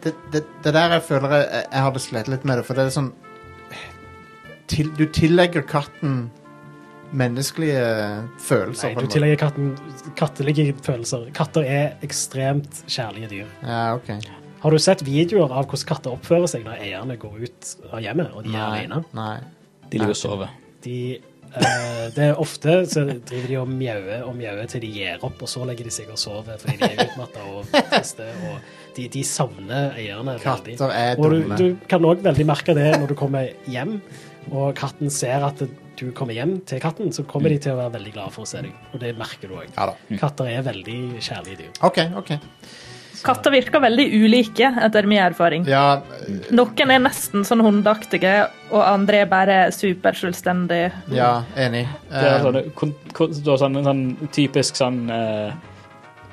B: Det, det, det der jeg føler jeg, jeg hadde slitt litt med det, for det er sånn til, Du tillegger katten menneskelige
A: Nei,
B: følelser. på en
A: du
B: måte.
A: tillegger katten kattelige følelser. Katter er ekstremt kjærlige dyr.
B: Ja, ok.
A: Har du sett videoer av hvordan katter oppfører seg når eierne går ut av hjemmet og de er
B: Nei.
A: alene?
B: nei.
C: De ligger og sover.
A: de eh, Det er ofte så driver de og mjauer og mjauer til de gir opp, og så legger de seg og sover fordi de er utmatta og triste. Og de, de savner eierne. veldig.
B: Katter er
A: Og du,
B: dumme.
A: du kan òg veldig merke det når du kommer hjem, og katten ser at du kommer hjem til katten, så kommer de til å være veldig glade for å se deg. Og det merker du òg.
B: Ja da. Mm.
A: Katter er veldig kjærlige dyr.
B: OK. ok.
D: Katter virker veldig ulike, etter min erfaring.
B: Ja,
D: Noen er nesten sånn hundeaktige, og andre er bare superselvstendige.
B: ja enig.
C: Det er
B: Um,
C: sånn, kon, kon, det er sånn, en sånn typisk sånn eh,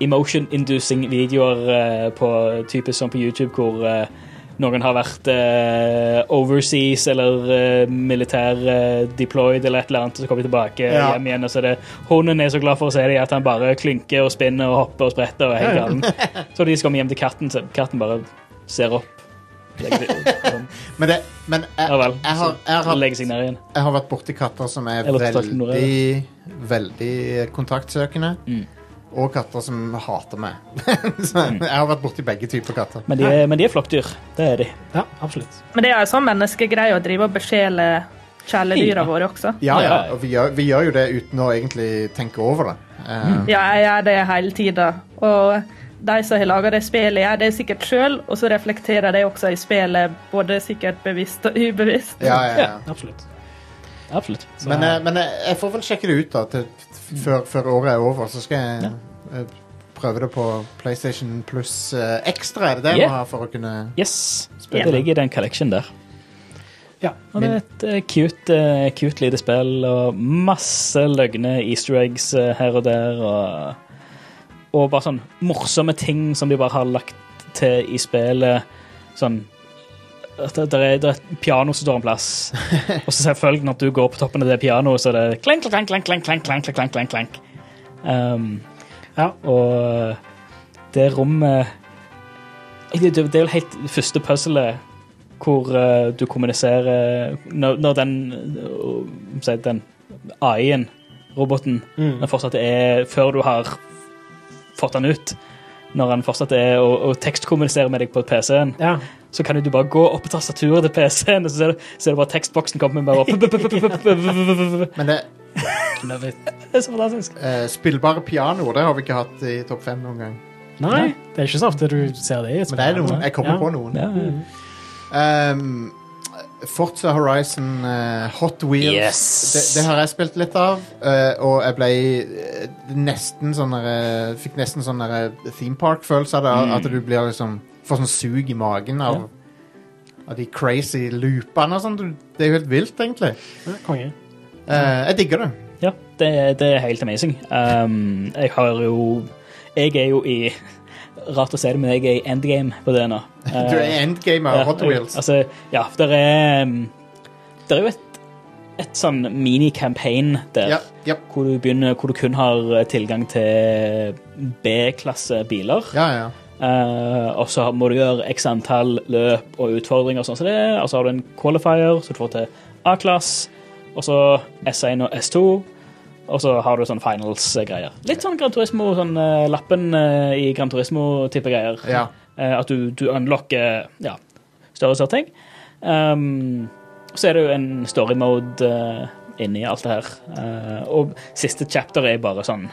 C: emotion-inducing videoer eh, på typisk sånn på YouTube hvor eh, noen har vært eh, overseas eller eh, militær eh, deployed eller et eller annet, og så kommer de tilbake
B: Ja.
C: hjem igjen. Og så er det, hunden er så glad for å se dem at han bare klynker og spinner og hopper og spretter. og er helt galen. Så de skal hjem til katten, så katten bare ser opp. Legger, seg- sånn.
B: Eh, Men, det, men jeg,
C: Ja vel.
B: jeg, har, jeg,
C: Så
B: har,
C: legger seg ned igjen.
B: jeg har vært borti katter som er
C: Eller kontakt med
B: veldig, veldig kontaktsøkende.
C: Mm.
B: Og katter som hater meg. så jeg har vært borti begge typer katter.
C: Men de er, men de er flokkdyr. Det er de.
A: Ja, absolutt.
D: Men det er jo sånn menneskegreie å drive og besjele kjæledyra
C: Ja.
D: våre også.
B: Ja, ja,
C: ja.
B: og vi gjør, vi gjør jo det uten å egentlig tenke over det. Eh,
D: Ja, jeg gjør det hele tida. Og de som har laga det spillet, gjør det sikkert sjøl, og så reflekterer det også i spillet, både sikkert bevisst og ubevisst.
B: ja, ja, ja.
A: Absolutt.
C: Absolutt.
A: Så,
B: Men, eh, men jeg, jeg får vel sjekke det ut da til, f- før, før året er over, så skal jeg eh, prøve det på PlayStation Pluss eh, Ekstra. Er det det
C: Yeah.
B: man har for å kunne
C: Yes.
B: Spennende.
C: Det ligger i den collection der.
A: ja.
C: Og det er et eh, cute, eh, cute lite spill og masse løgne easter eggs eh, her og der. Og, og bare sånn morsomme ting som de bare har lagt til i spillet. Sånn at det, der er, der er et piano som står en plass. Og så selvfølgelig, når du går på toppen av det pianoet, så er det klank, klank, klank, klank, klank, klank, klank, klank, klank. Um,
A: Ja.
C: Og eh, det rommet Det, det er jo helt det første puzzlet hvor eh, du kommuniserer Når, når den eh, si, den AI-en, roboten,
A: Mm.
C: den fortsatt er Før du har fått den ut, når den fortsatt er og, og tekstkommuniserer med deg på PC-en,
A: ja.
C: så kan jo du bare gå opp på tastaturet til PC-en, og så ser du, ser du bare tekstboksen komme med bare opp. Det
B: Men det
A: Love it.
C: er så fantastisk.
B: eh, spillbare pianoer, det har vi ikke hatt i topp fem noen gang.
A: Nei, det er ikke så ofte du ser det i et
B: Men det er noen. Jeg kommer
A: Ja.
B: på noen.
C: Ja, ja.
B: Um, Forza Horizon eh, Hot Wheels.
C: Yes.
B: Det, det har jeg spilt litt av, eh, og jeg ble eh, nesten sånn der, eh, Fikk nesten sånn der, eh, theme park-følelse av det.
C: Mm.
B: At du blir liksom får sånn sug i magen av, av de crazy loopene og sånn. Du- Det er jo helt vilt, egentlig.
A: Ja, Konge.
B: Eh, jeg digger det.
C: Ja, det, det er helt amazing. Um, jeg har jo Jeg er jo i Rart å si det, men jeg er i endgame på det nå.
B: Du er endgamer av Hot Wheels.
C: Altså, ja, for det er um, Det er jo et, et sånn mini-campaign der.
B: Ja, ja,
C: Hvor du begynner, hvor du kun har tilgang til B-klasse biler.
B: ja, ja.
C: Eh, og så må du gjøre x antall løp og utfordringer, og sånn som det er. Og så har du en qualifier, så du får til A-klass, og så S1 og S2. Og så har du sånn finals-greier. Litt sånn Gran Turismo, sånn eh, lappen eh, i Gran Turismo-type greier.
B: Ja.
C: Eh, at du, du unlocker ja, større og større ting. Um, så er det jo en story mode eh, inni alt det her. Eh, og siste chapter er bare sånn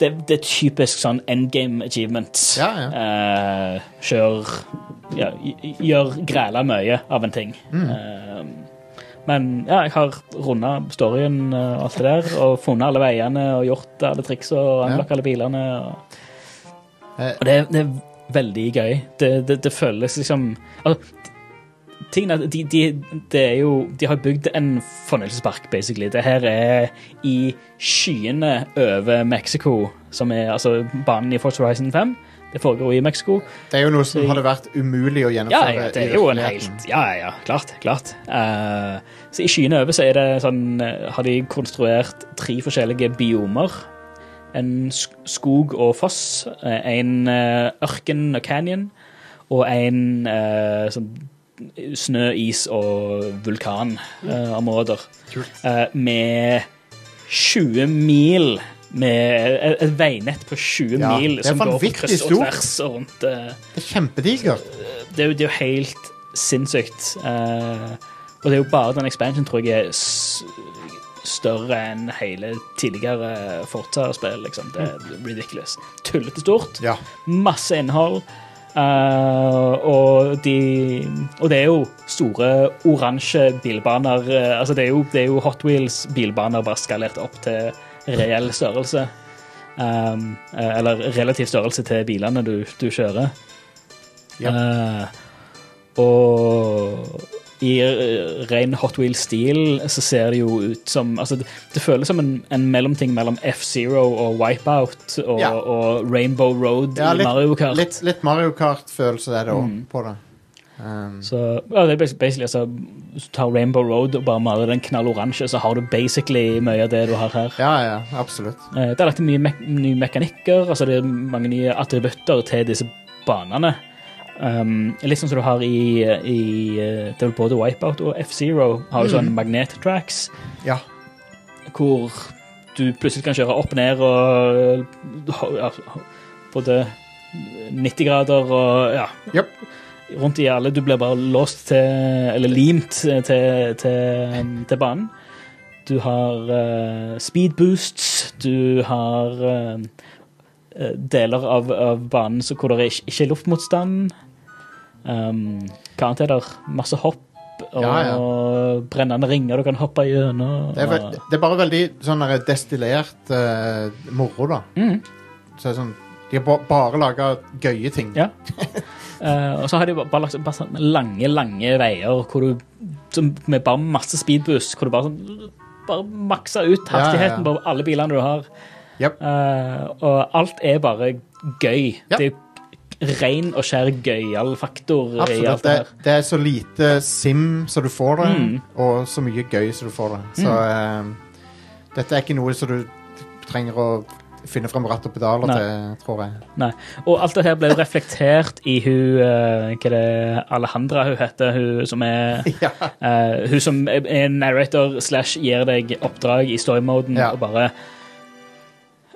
C: det, det er typisk sånn endgame achievement.
B: Ja, ja.
C: Eh, kjør ja, gj- Gjør græla mye av en ting.
B: Mm.
C: Eh, men ja, jeg har runda storyen eh, og alt det der, og funnet alle veiene og gjort alle triksa og anlagt alle bilene. Og,
B: Eh.
C: og det, er- det er veldig gøy. Det, det, det føles liksom altså, tingene, de, de, det er jo, de har bygd en fornøyelsespark, basically. Det her er i skyene over Mexico, som er altså banen i Force Horizon 5. Det foregår i Mexico.
B: Det er jo noe som hadde vært umulig å
C: Ja,
B: gjennomføre.
C: ja,
B: i
C: det er jo en
B: virkeligheten.
C: helt Ja, ja, ja, klart. klart. Eh, så I skyene over så er det sånn eh, Har de konstruert tre forskjellige biomer. En sk- skog og foss, eh, en eh, ørken og canyon, og en eh, sånn snø, is og vulkanområder. Eh, med 20 mil med eh, et, et veinett på 20
B: Ja,
C: mil
B: det er
C: som går på
B: vanvittig
C: kryss og
B: stort.
C: tvers og rundt. eh,
B: Det er kjempedigert.
C: det er jo, det er jo helt sinnssykt. Eh, og det er jo bare den expansion tror jeg er s større enn hele tidligere Forza-spill. Liksom. Det er ridiculous. Tullete stort.
B: Ja.
C: Masse innhold. eh, og, de, og det er jo store oransje bilbaner. eh, altså det, er jo, det er jo Hot Wheels-bilbaner bare skalert opp til reell størrelse. Um, eh, eller relativ størrelse til bilene du, du kjører.
B: Ja.
C: Eh, og i eh, ren Hot Wheel-stil så ser det jo ut som altså, det, det føles som en, en mellomting mellom F-Zero og Wipeout og,
B: Ja.
C: og Rainbow Road
B: Ja,
C: i Mario
B: litt,
C: Kart. Mm.
B: litt, litt Mario Kart-følelse er det òg på det. Um,
C: Så ja, det er bas- basically altså Hvis du tar Rainbow Road og bare maler den knalloransje, så har du basically mye av det du har her.
B: ja, ja, absolutt.
C: Eh, Det er lagt inn mye mek nye mekanikker, altså det er mange nye attributter til disse banene. Um, litt sånn som du har i, i eh, det er vel både Wipeout og F-Zero, har du sånn
B: Mm.
C: magnet-tracks,
B: Ja.
C: hvor du plutselig kan kjøre opp ned og ja, både 90 grader og ja,
B: Japp.
C: rundt i alle. Du blir bare låst til, eller limt til, til, til banen. Du har eh, speed boosts, du har eh, eh, deler av, av banen så hvor det ikke, ikke er luftmotstand. Um, hva annet er der? Masse hopp og
B: Ja, ja.
C: brennende ringer du kan hoppe gjennom.
B: Det er,
C: og-
B: vel- det er bare veldig sånn der destillert eh, moro, da.
C: Mm.
B: Så det er sånn, de har ba bare laga gøye ting.
C: Ja. Eh, og så har de bare lagt bare sånn lange, lange veier hvor du, som, med bare masse speedbuss, hvor du bare, sånn, bare makser ut
B: Ja, ja, ja.
C: hastigheten på alle bilene du har.
B: Jep.
C: Eh, og alt er bare gøy.
B: Ja.
C: Det er jo ren og skjær gøyal faktor i
B: Absolutt.
C: alt det
B: Det,
C: her.
B: det er så lite sim som du får det,
C: Mm.
B: og så mye gøy som du får det. Så eh, dette er ikke noe som du trenger å finne fram ratt og pedaler
C: Nei.
B: til, tror jeg.
C: Nei. Og alt det her ble jo reflektert i hun eh, Hva er det Alejandra hun heter, hun som er
B: Ja.
C: Eh, hun som er er narrator slash gir deg oppdrag i storymoden
B: Ja.
C: og bare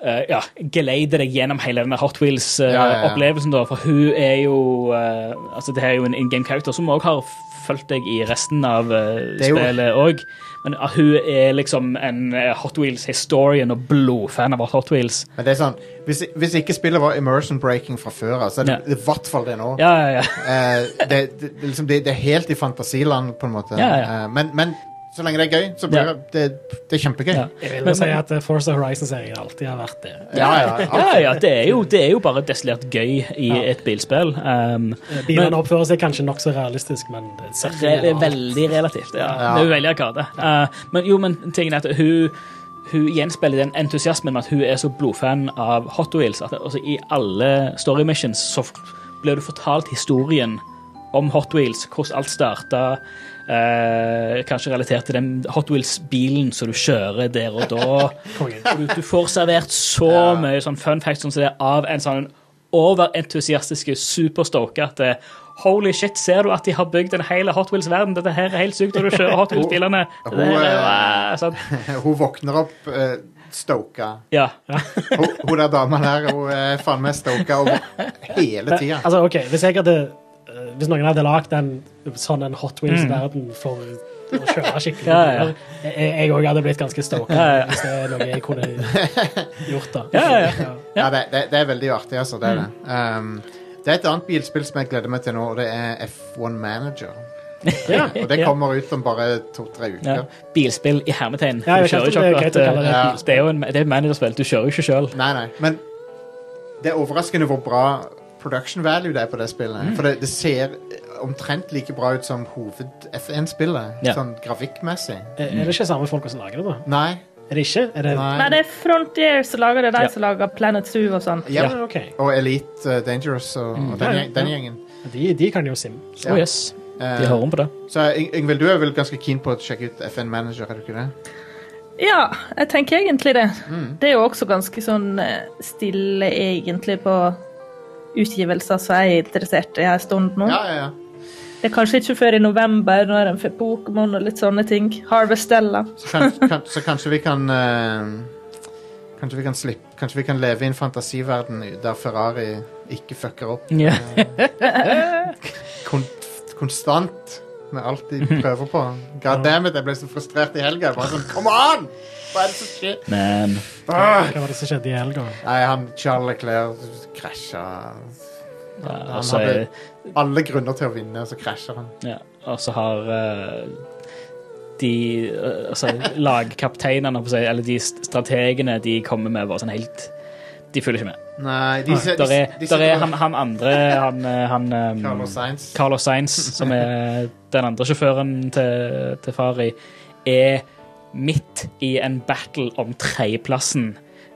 C: eh, ja, geleider deg gjennom hele denne Hot
B: Ja, ja, ja.
C: Wheels-opplevelsen. da, For hun er jo eh, altså Det her er jo en in game-character som òg har fulgt deg i resten av eh,
B: Det er jo-
C: spillet òg. Men ah, hun er liksom en eh, Hot Wheels-historian og blodfan av Hot Wheels.
B: Men det er sånn, hvis, hvis ikke spillet var immersion breaking fra før, så er det,
C: Ja.
B: det er i hvert fall det nå.
C: Ja, ja, ja.
B: Eh, det, det, liksom, det, det er helt i fantasiland, på en måte.
C: Ja, ja.
B: Eh, men, men så lenge det er gøy, så blir
C: Ja.
B: det, det, det er kjempegøy.
C: Ja.
A: Jeg vil
C: Men-
A: jo si at eh, Forza Horizon-serien alltid har vært det. Eh,
B: Ja, ja,
C: Ja, ja, det er jo, det er jo bare destillert gøy i et bilspill. Um,
A: Eh, Bilene oppfører seg kanskje nokså realistisk, men det ser
C: Re det er
A: ikke bra ut.
C: veldig relativt, ja.
B: Ja.
C: Det er jo veldig arkade. Eh, men jo, men tingen er at hun, hun gjenspeiler den entusiasmen med at hun er så blodfan av Hot Wheels. At, altså, I alle story missions så f- blir du fortalt historien om Hot Wheels, hvordan alt starta. eh, kanskje relatert til den Hot Wheels-bilen som du kjører der og da.
A: Konge.
C: Du, du får servert så mye sånn fun facts som det er av en sånn overentusiastiske superstoker at eh, holy shit, ser du at de har bygd en hel Hot Wheels-verden? Dette her er helt sykt, og du kjører Hot Wheels-bilene. Dette her er jo, eh, sånn.
B: Hun våkner opp uh, stoka.
C: Ja.
B: Hun, hun der dama der, hun er faen meg stoka over hele tida.
A: Altså, ok, hvis, jeg hadde, eh, hvis noen hadde lagd en sånn en Hot Wheels-verden for å kjøre skikkelig
C: Mm. Ja, ja.
A: biler, Jeg jeg òg hadde blitt ganske stoka
C: Ja, ja.
A: hvis det er noe jeg kunne gjort. da.
C: Ja, ja, ja.
B: Ja, det, det, det er veldig artig, altså. Det er det.
C: Mm.
B: Um, det er et annet bilspill som jeg gleder meg til nå, og det er F1 Manager. og det
C: ja.
B: kommer ut om bare to-tre uker.
C: ja. Bilspill i hermetegn.
A: Ja, jeg
C: Du kjører
A: vet
C: jo
A: ikke om
C: ikke
A: det er greit å
C: akkurat,
A: kalle det
B: et
C: eh,
B: bilspill.
C: Det er jo en, det er et managerspill, du kjører jo ikke sjøl.
B: Nei, nei, men det er overraskende hvor bra production value det er på det spillet. For det, det ser omtrent like bra ut som hoved-F1-spillet,
C: Ja.
B: sånn grafikkmessig.
A: Eh, Er er det ikke samme folk som lager det, da?
B: Nei,
A: Er det ikke? Er det...
D: Nei,
B: nei.
D: det er Frontier som lager det, de
C: Ja.
D: som lager Planet Zoo og sånn.
B: Ja.
A: Ja, ok.
B: Og Elite eh, Dangerous og, og den,
A: Ja, ja,
B: gjeng- den
A: ja.
B: gjengen.
A: De, de kan jo sim.
B: Ja.
C: Oh, yes.
B: Eh,
C: De hører om på det.
B: så Yng- Yngvild, du er vel ganske keen på å sjekke ut FN Manager, er du ikke det?
D: Ja, jeg tenker egentlig det. Det er jo også ganske sånn eh, stille egentlig på utgivelser som jeg er interessert i en stund nå.
B: Ja, ja, ja.
D: Det er kanskje ikke før i november, når en får Pokémon og litt sånne ting. Harvestella.
B: Så, kan, kan, så kanskje vi kan eh, Kanskje vi kan slippe Kanskje vi kan leve i en fantasiverden der Ferrari ikke fucker opp
C: Ja.
B: kon konstant med alt de prøver på. God damn it, jeg ble så frustrert i helga. Jeg Bare sånn, come on! Hva er det som skjer?
C: Men
B: Ah!
A: Hva var det som skjedde i helga?
B: Nei, han Charles Leclerc krasja.
C: ja,
B: Han
C: altså,
B: hadde
C: jeg-
B: alle grunner til å vinne, og så krasjer han.
C: Ja, og så har eh, de eh, altså, lagkapteinene, holdt på å si, eller de st- strategene, de kommer med bare sånn helt De følger ikke med.
B: Nei, de, se- de,
C: Der er,
B: de
C: der er
B: sitter-
C: han, han andre, han, eh, han ehm,
B: Carlos Sainz.
C: Carlos Sainz, som er den andre sjåføren til, til Fari, er midt i en battle om tredjeplassen.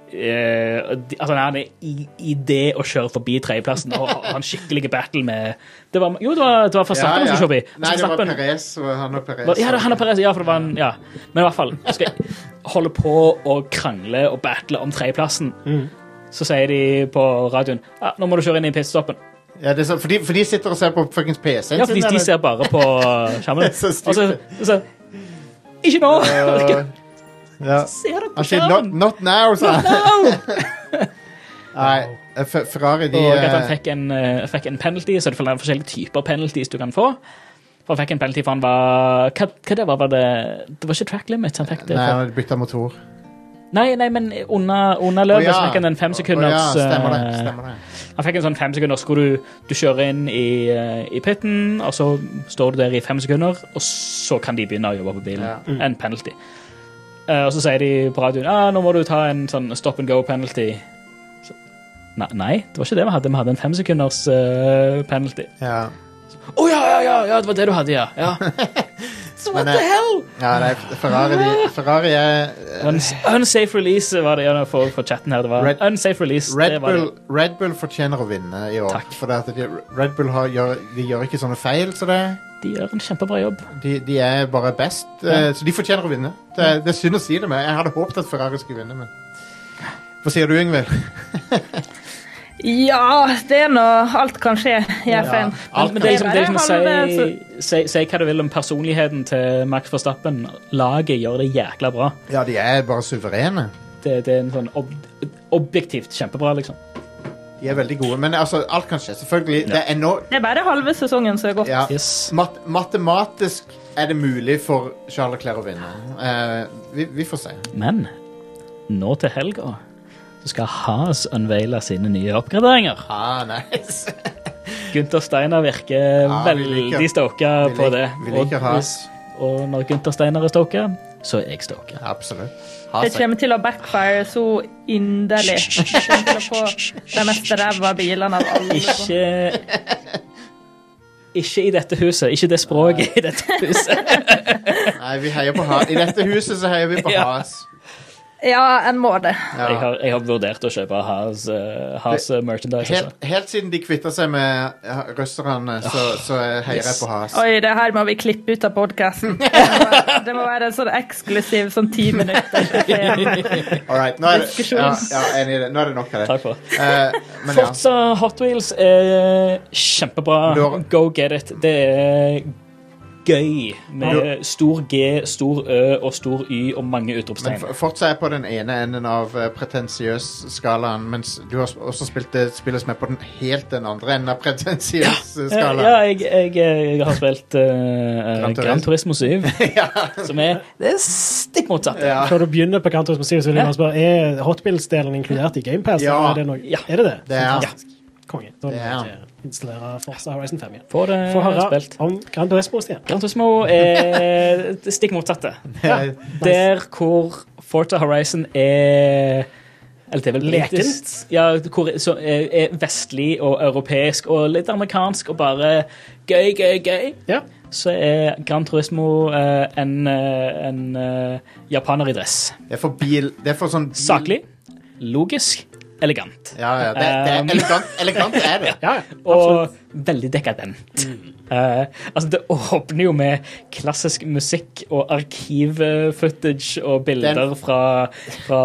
C: Eh, de- altså, han er i, i det å kjøre forbi tredjeplassen og har en skikkelig battle med det var, Jo, det var, det var Verstappen som kjørte forbi.
B: Nei, det var
C: Verstappen-
B: Perez. og Han og Perez.
C: ja, det- han og Perez, ja, for det var en, ja. Men i hvert fall, skal jeg holde på å krangle og battle om tredjeplassen. Så sier de på radioen ja, nå må du kjøre inn i pitstoppen.
B: Ja, det er så, for, de, for de sitter og ser på fuckings PC-en
C: Ja, fordi
B: sin,
C: de
B: eller?
C: ser bare på skjermen.
B: Det er så stygt.
C: Og så, og så Ikke nå!
B: Øh, ja.
C: Ser dere på
B: Han sier not,
C: skjermen?
B: not now, sa han.
C: Au!
B: Nei, eh, Fe- Ferrari, de
C: Og at han
B: eh,
C: fikk en, eh, fikk en penalty, så det er forskjellige typer penalties du kan få. For han fikk en penalty for han var Hva, hva det var, var det Det var ikke track limits han fikk det
B: Nei, han
C: for.
B: hadde bytta motor.
C: Nei, nei, men under, under
B: Å
C: løpet
B: ja.
C: så fikk han
B: Å
C: en
B: ja,
C: femsekunders
B: stemmer det.
C: eh,
B: Stemmer det.
C: Han fikk en sånn fem sekunder, så skulle du, du kjøre inn i, eh, i pitten, og så står du der i fem sekunder, og så kan de begynne å jobbe på bilen.
B: Ja.
C: En penalty. Eh, og så sier de på radioen ah, nå må du ta en sånn stop and go-penalty. Nei, nei, det var ikke det vi hadde. Vi hadde en femsekunders eh, penalty.
B: Ja.
C: Å ja, ja, ja, ja, det var det du hadde, ja. ja. so what
B: Men, eh,
C: the hell?
B: ja, nei, Ferrari, de, Ferrari er eh,
C: Uns unsafe release var det ja, for, for chatten her. Det var
B: Red-
C: unsafe release.
B: Red
C: det var
B: Bull, Red Bull fortjener å vinne i år.
C: Takk.
B: For det at de, Red Bull har, gjør, de gjør ikke sånne feil som så det.
C: det. De gjør en kjempebra jobb.
B: De, de er bare best. eh, Så de fortjener å vinne. Det, det er synd å si det, men jeg hadde håpet at Ferrari skulle vinne. Men. Hva sier du, Yngvild?
D: Ja, det er nå alt kan skje i F1.
C: Men, men det er liksom, det er liksom å
D: Bare halve-
C: si, si, si hva du vil om personligheten til Max Verstappen. Laget gjør det jækla bra.
B: Ja, de er bare suverene.
C: Det, det er en sånn ob objektivt kjempebra, liksom.
B: De er veldig gode. Men altså, alt kan skje. Selvfølgelig. Det er nå
D: Det er bare halve sesongen som er gått.
B: ja,
C: Yes.
B: mat, Matematisk er det mulig for Charles Leclerc å vinne. Eh, vi, vi får se.
C: Men nå til helga så skal Haas unveile sine nye oppgraderinger.
B: Ah, nice.
C: Gunther Steiner virker
B: Ja, vi liker-
C: veldig stoka
B: vi
C: på
B: lik-
C: det.
B: vi liker
C: og,
B: Haas.
C: og når Gunther Steiner er stoka, så er jeg stoka.
B: Absolutt.
D: Det
B: Has-
D: kommer til å backfire så inderlig. Det kommer til å få de mest ræva bilene av alle.
C: Ikke Ikke i dette huset. Ikke det språket i dette huset.
B: Nei, vi heier på Haas. I dette huset så heier vi på
C: Ja.
B: Haas.
D: Ja, en må det.
B: Ja.
C: Jeg, har, jeg har vurdert å kjøpe Haas, eh, Haas eh, merchandise.
B: Helt,
C: Altså.
B: helt siden de kvitta seg med ja, russerne, så,
C: Ah,
B: så heier jeg på Haas.
D: Oi, det her må vi klippe ut av podkasten. Det må være en sånn eksklusiv sånn ti minutter.
B: All right, nå er det,
D: Diskusjon.
B: ja, ja, enig i det. Nå er det nok av det.
C: Takk for det.
B: Eh, men ja.
C: Forza Hot Wheels er kjempebra.
B: Du har-
C: Go get it. Det er gøy med stor G, stor Ø og stor Y og mange
B: Men
C: utropstegn.
B: for- fortsatt er på den ene enden av eh, pretensiøs-skalaen, mens du har s- også spilt det spillet som er på den helt den andre enden av
C: Ja,
B: pretensiøs-skalaen.
C: Eh, ja, jeg, jeg, jeg har spilt eh,
B: Gran Turismo.
C: Gran Turismo 7, som er det er stikk motsatt.
B: Ja.
A: Før du begynner på Kantos Museum, så vil jeg bare spørre, er Hotbills-delen inkludert i GamePass?
B: Ja.
A: Er det, noe?
C: Ja.
A: er det det?
B: Det er-
A: Fantastisk. Konge. Da må
B: Det er-
A: jeg eh, installere Forza Horizon 5 igjen.
C: Få det
A: Få høre
C: eh, spilt.
A: om Grand Turismo igjen.
C: Gran Turismo er det stikk motsatte.
B: Eh,
C: Der hvor Forta Horizon er eller det er vel
A: Lekent.
C: britisk. Ja, hvor, så er, er vestlig og europeisk og litt amerikansk og bare gøy, gøy, gøy.
A: Ja.
C: Så er Gran Turismo eh, en, eh, en eh, japaner i dress.
B: Det er for bil Det er for sånn bil-
C: Saklig, logisk, elegant.
B: Ja, ja. Det, det er
C: Um.
B: elegant, elegant er det.
A: Ja,
C: Og veldig dekadent.
B: Mm.
C: Eh, altså, det åpner jo med klassisk musikk og arkiv-footage og bilder
B: Den-
C: fra, fra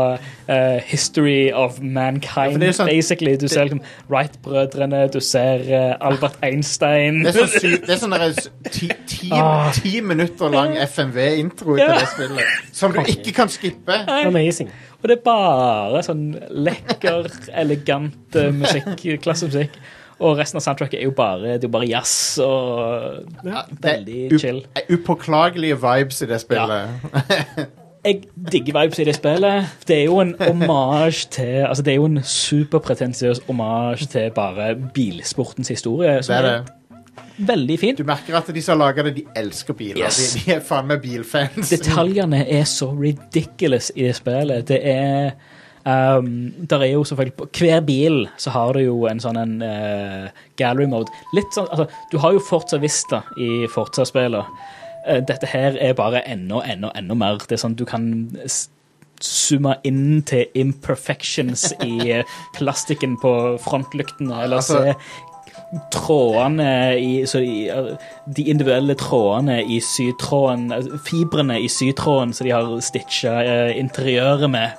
C: eh, history of mankind,
B: for det er sånn-
C: basically. Du ser liksom Wright-brødrene, du ser eh, Albert Einstein
B: Det er sånn, sy- det er sånn der s- ti, ti,
C: Ah.
B: ti minutter lang FMV-intro til
C: Ja.
B: det spillet. Som du ikke kan skippe.
A: Amazing.
C: Og det er bare sånn lekker, elegant eh, musikk, klassemusikk. Og resten av soundtracket er jo bare, det er jo bare jazz og
B: Ja, det er
C: veldig
B: up-
C: chill.
B: er Upåklagelige vibes i det spillet.
C: jeg digger vibes i det spillet. Det er jo en homage til altså Det er jo en superpretensiøs homage til bare bilsportens historie.
B: Det
C: Som
B: er
C: er,
B: det.
C: veldig fin.
B: Du merker at de som har laga det, de elsker biler.
C: Yes.
B: De, de er faen meg bilfans.
C: Detaljene er så ridiculous i det spillet. Det er Um, der er jo selvfølgelig På hver bil så har du jo en sånn en eh, gallery mode. Litt sånn, altså, Du har jo Forza Vista i Forza-spillene. Eh, dette her er bare enda, enda, enda mer. Det er sånn Du kan s- zoome inn til imperfections i eh, plastikken på frontlyktene, eller
B: Altså-
C: se trådene i, så i eh, De individuelle trådene i sytråden altså, Fibrene i sytråden som de har stitcha interiøret med.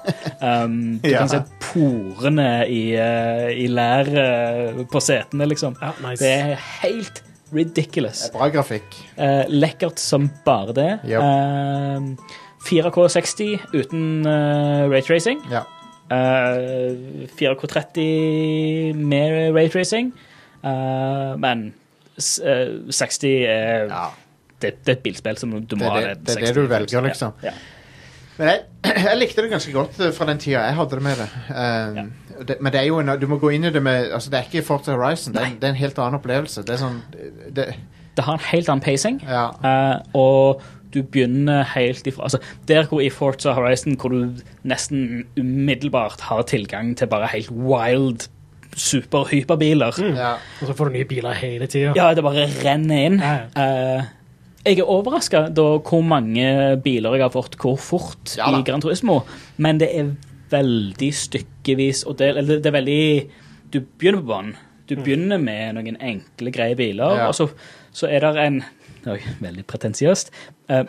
C: Um, du
B: Ja.
C: kan se porene i, eh, i læret på setene, liksom.
A: Ja, nice.
C: Det er helt ridiculous.
B: Bra grafikk.
C: Eh, lekkert som bare det.
B: Yep.
C: Eh, 4K60 uten uh, raytracing.
B: Ja.
C: Eh, 4K30 med raytracing. Eh, men s- eh, 60 er
B: ja.
C: det, det er et bilspill som du må
B: Det er
C: ha
B: det-
C: det
B: det er det du velger, liksom.
C: Ja, ja.
B: Men jeg, jeg likte det ganske godt eh, fra den tida jeg hadde det med det. Um, det men det er jo en, du må gå inn i det med altså Det er ikke Forza Horizon. Det er, en- det er en helt annen opplevelse. Det er sånn det,
C: Det har en helt annen pacing.
B: Ja.
C: Eh, og du begynner helt ifra altså, Der hvor i Forza Horizon, hvor du nesten umiddelbart har tilgang til bare helt wild superhyperbiler
B: ja.
A: Og så får du nye biler hele tida.
C: Ja, det bare renner inn.
A: Ja,
C: Eh, jeg er overraska hvor mange biler jeg har fått hvor fort
B: Ja da.
C: i Gran Turismo, men det er veldig stykkevis og del, eller det er veldig Du begynner på banen. Du
A: Mm.
C: begynner med noen enkle, greie biler,
B: Ja.
C: og så, så er det en Oi, veldig pretensiøst. eh,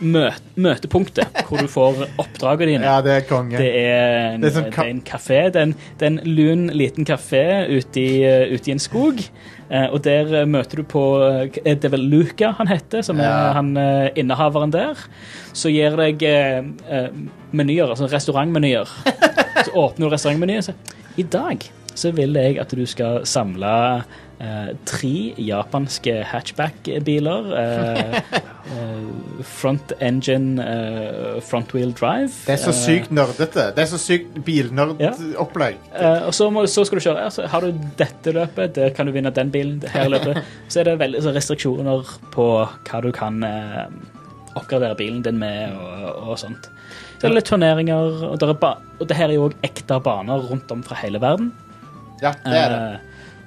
C: mø, møtepunktet hvor du får oppdragene dine.
B: ja, det er konge.
C: Det er en,
B: Det
C: det
B: er sånn
C: er
B: ka-
C: en kafé. Det er en, det er en lun, liten kafé ute i, eh, ute i en skog. Eh, og der eh, møter du på eh, Det er vel Luca han heter, som
B: Ja.
C: er han eh, innehaveren der. Så gir deg eh, eh, menyer, altså restaurantmenyer. Så åpner du restaurantmenyen og sier I dag så vil jeg at du skal samle eh, tre japanske hatchback-biler. Eh, eh, front engine, eh, front wheel drive.
B: Det er så
C: Eh,
B: sykt nerdete. Det er så sykt bilnerdopplegg.
C: Eh, og så, må, så skal du kjøre. Altså, har du dette løpet, der kan du vinne den bilen. det her løpet. Så er det veldig så restriksjoner på hva du kan eh, oppgradere bilen din med og, og sånt. Så er det litt turneringer, og, der er ba og det her er jo også ekte baner rundt om fra hele verden.
B: Ja, det er det.
C: eh,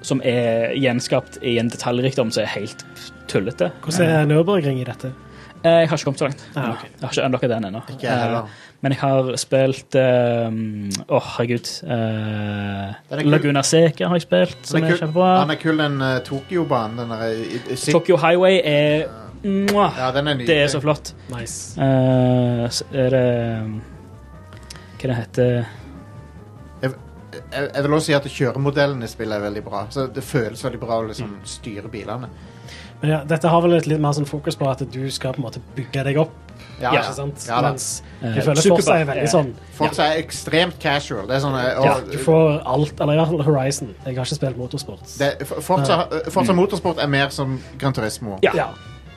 C: Som er gjenskapt i en detaljrikdom som er helt tullete.
A: Hvordan er Nürburgring i dette?
C: Eh, Jeg har ikke kommet så langt.
A: Ah, ok.
C: Jeg har ikke unlocka den ennå.
B: Ikke jeg heller.
C: Eh, Men jeg har spilt eh, Åh, herregud. eh,
B: Den er kul.
C: Laguna Seca har jeg spilt, som
B: Den er
C: er
B: kul-
C: kjempebra.
B: Den er kul, den eh, Tokyo-banen. Den er, i- i- i-
C: Tokyo Highway er Mwah!
B: Ja, den er nydelig.
C: Det er så flott.
A: Nice.
C: Eh, så er det Hva det heter
B: Jeg, jeg vil også si at kjøremodellen i spillet er veldig bra. Så Det føles veldig bra å liksom styre bilene.
A: Men ja, dette har vel et litt mer sånn fokus på at du skal på en måte bygge deg opp.
B: Ja,
A: ikke sant?
B: Ja, da.
A: Mens
C: Eh,
A: du føler
C: Superbad,
A: Forza er veldig
C: eh,
A: sånn
B: Fortsatt er ekstremt casual. Det er sånn eh,
A: ja,
B: og-
A: Du får alt, eller i hvert fall Horizon. Jeg har ikke spilt motorsport.
B: det, for- Forza, Forza Motorsport er mer som Gran Turismo.
C: Ja.
A: Ja.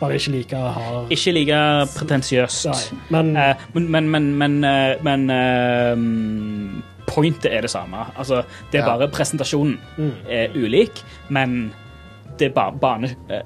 A: Bare ikke like hard.
C: Ikke like pretensiøst.
A: Nei, Men
C: Eh, men men, men, men, eh, men eh, mm, Pointet er det samme. Altså, det er
B: Ja. Mm.
C: bare presentasjonen er ulik, men det er ba bane... eh,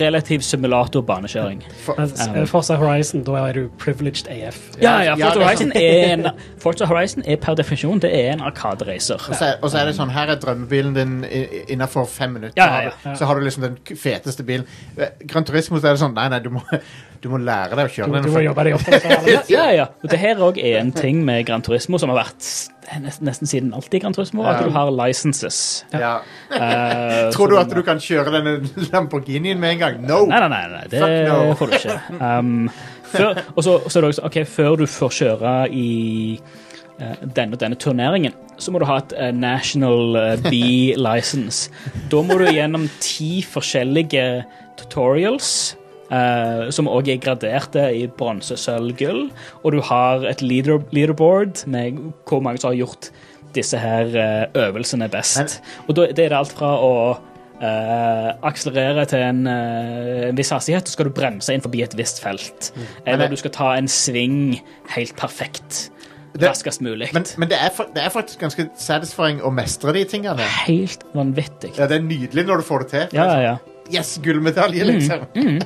C: relativ simulator-banekjøring.
B: For,
A: mens, eh, Forza Horizon, da er du privileged AF.
C: Ja, ja,
B: Ja, det
C: Forza
B: er
C: Horizon
B: sant.
C: er, en, Forza Horizon er per definisjon det er en arkadereiser.
B: og, så er, og så er det sånn Her er drømmebilen din i- i- innenfor fem minutter.
C: Ja, ja, ja.
B: har du- Så har du liksom den k- feteste bilen. Eh, Gran Turismo så er det sånn Nei, nei, du må, du må lære deg å kjøre
A: Du,
B: den.
A: du må jobbe deg opp. for å
C: Ja,
A: det.
C: ja, ja. Og det her òg er en ting med Gran Turismo som har vært s- nes- nesten siden alltid Gran Turismo, at
B: Ja.
C: du har licenses.
B: Ja.
C: Eh,
B: Tror
C: så
B: du at du kan kjøre denne Lamborghinien med en gang? No!
C: Nei, nei, nei, nei det
B: Fuck no.
C: får du ikke. Um, før, og så, så er det også, ok, før du får kjøre i eh, denne og denne turneringen, så må du ha et eh, National eh, B-license. Da må du gjennom ti forskjellige tutorials. eh, som òg er graderte i bronse, sølv, gull. Og du har et leader, leaderboard med hvor mange som har gjort disse her eh, øvelsene best. Og da, det er det alt fra å eh, akselerere til en, eh, en viss hastighet, så skal du bremse inn forbi et visst felt. Eller
B: det-
C: du skal ta en sving helt perfekt.
B: Det-
C: raskest mulig.
B: Men, men det, er, fa- det er faktisk ganske satisfying å mestre de tingene.
C: helt vanvittig.
B: Ja, Det er nydelig når du får det til.
C: Ja, ja, ja.
B: Yes, gullmedalje, liksom.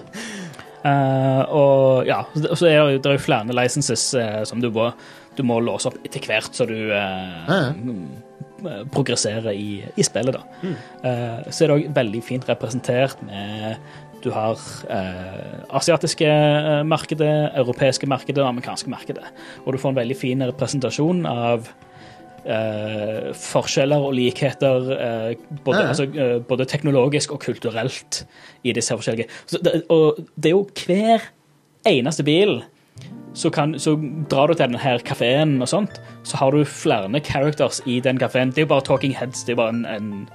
C: Eh, og ja, så det- så er det, jo- det er jo flere licenses eh, som du må, du må låse opp etter hvert så du eh,
B: Ja, ja.
C: mm, progresserer i, i spillet. da. Eh, så er det òg veldig fint representert med Du har eh, asiatiske eh, markedet, europeiske markedet og amerikanske markedet. Og du får en veldig fin representasjon av eh, forskjeller og likheter, eh, både,
B: Ja, ja.
C: altså, eh, både teknologisk og kulturelt, i disse her forskjellige. Så det, og det er jo hver eneste bil så, kan, så drar du til denne her kafeen og sånt, så har du flere characters i den kafeen. Det er jo bare talking heads. Det er bare en, en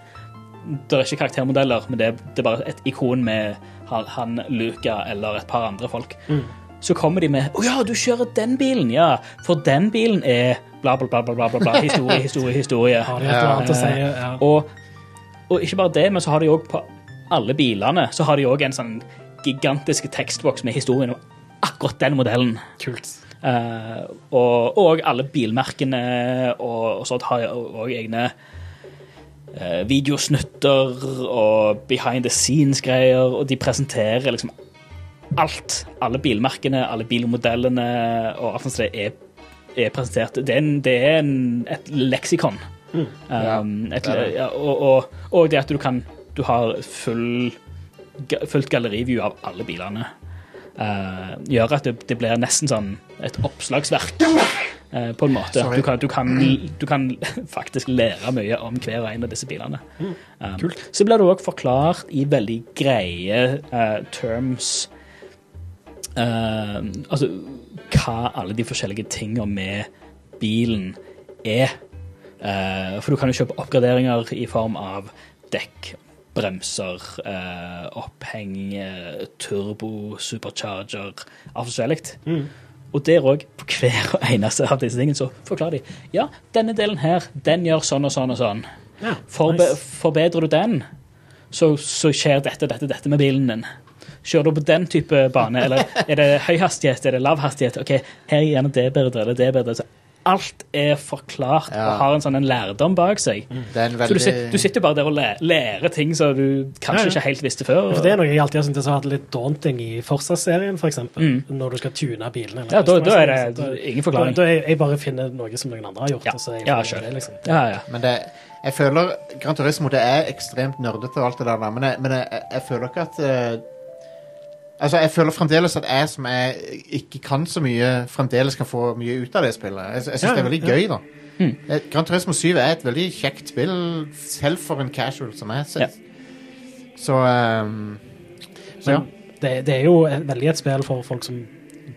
C: det er ikke karaktermodeller, men det er, det er bare et ikon med han, han Luca eller et par andre folk.
A: Mm.
C: Så kommer de med 'Å ja, du kjører den bilen', ja. For den bilen er bla, bla, bla, bla, bla, bla, bla. Historie, historie, historie. Eh,
A: Har de et eller annet å si? Ja.
C: Og, og ikke bare det, men så har de òg på alle bilene så har de også en sånn gigantisk tekstboks med historien om akkurat den modellen.
A: Kult.
C: Eh, og, og alle bilmerkene og, og sånt har jo òg egne eh, videosnutter og behind the scenes-greier, og de presenterer liksom alt. Alle bilmerkene, alle bilmodellene og alt sånt som det er, er presentert. Det er, en, det er en, et leksikon. Um, et,
B: Mm. det er det.
C: ja, og, og, og det at du kan Du har full, ga- fullt galleriview av alle bilene eh, gjør at det, det blir nesten sånn et oppslagsverk. eh, på en måte.
B: Sorry.
C: Du kan, du, kan, du kan faktisk lære mye om hver og en av disse bilene. Um, Så blir det òg forklart i veldig greie eh, terms eh, Altså hva alle de forskjellige tinga med bilen er. Eh, for du kan jo kjøpe oppgraderinger i form av dekk, bremser, eh, oppheng, eh, turbo, supercharger, alt forskjellig. Og der òg, på hver og eneste av disse tingene, så forklarer de ja, denne delen her, den gjør sånn og sånn og sånn.
A: Ja,
C: Forbe
A: nice.
C: Forbedrer du den, så, så skjer dette, dette, dette med bilen din. Kjører du på den type bane, eller er det høy hastighet, er det lav hastighet? Ok, her er gjerne det bedre, eller det bedre. Så alt er forklart
B: Ja.
C: og har en sånn en lærdom bak seg.
B: Det er en
C: Så du,
B: veldig
C: sit- du sitter bare der og læ- lærer ting som du
A: Ja,
C: kanskje
A: ja.
C: ikke helt visste før.
A: For Det er noe jeg alltid har syntes har vært litt daunting i Forsa-serien, f.eks. eksempel Når du skal tune bilene. eller
C: Mm. Ja, da, da er
A: customize
C: det
A: dem,
C: ingen
A: så Da,
C: forklaring.
A: da jeg, jeg bare finner noe som noen andre har gjort.
C: Ja.
A: og så er jeg
C: Ja,
A: fornøyd med
C: skjønner.
A: det, liksom.
C: Ja, ja.
B: Men det, jeg føler Gran Turismo det er ekstremt nerdete og alt det der, der, men jeg, men jeg, jeg føler ikke at eh, Altså, jeg føler fremdeles at jeg som er, ikke kan så mye, fremdeles kan få mye ut av det spillet. Jeg, jeg syns
A: Ja,
B: det er veldig
A: ja.
B: gøy, da. Eh, Gran Turismo 7 er et veldig kjekt spill, selv for en casual som jeg. Så,
C: Ja.
B: så ehm, så ja.
A: Men det, det er jo et- veldig et spill for folk som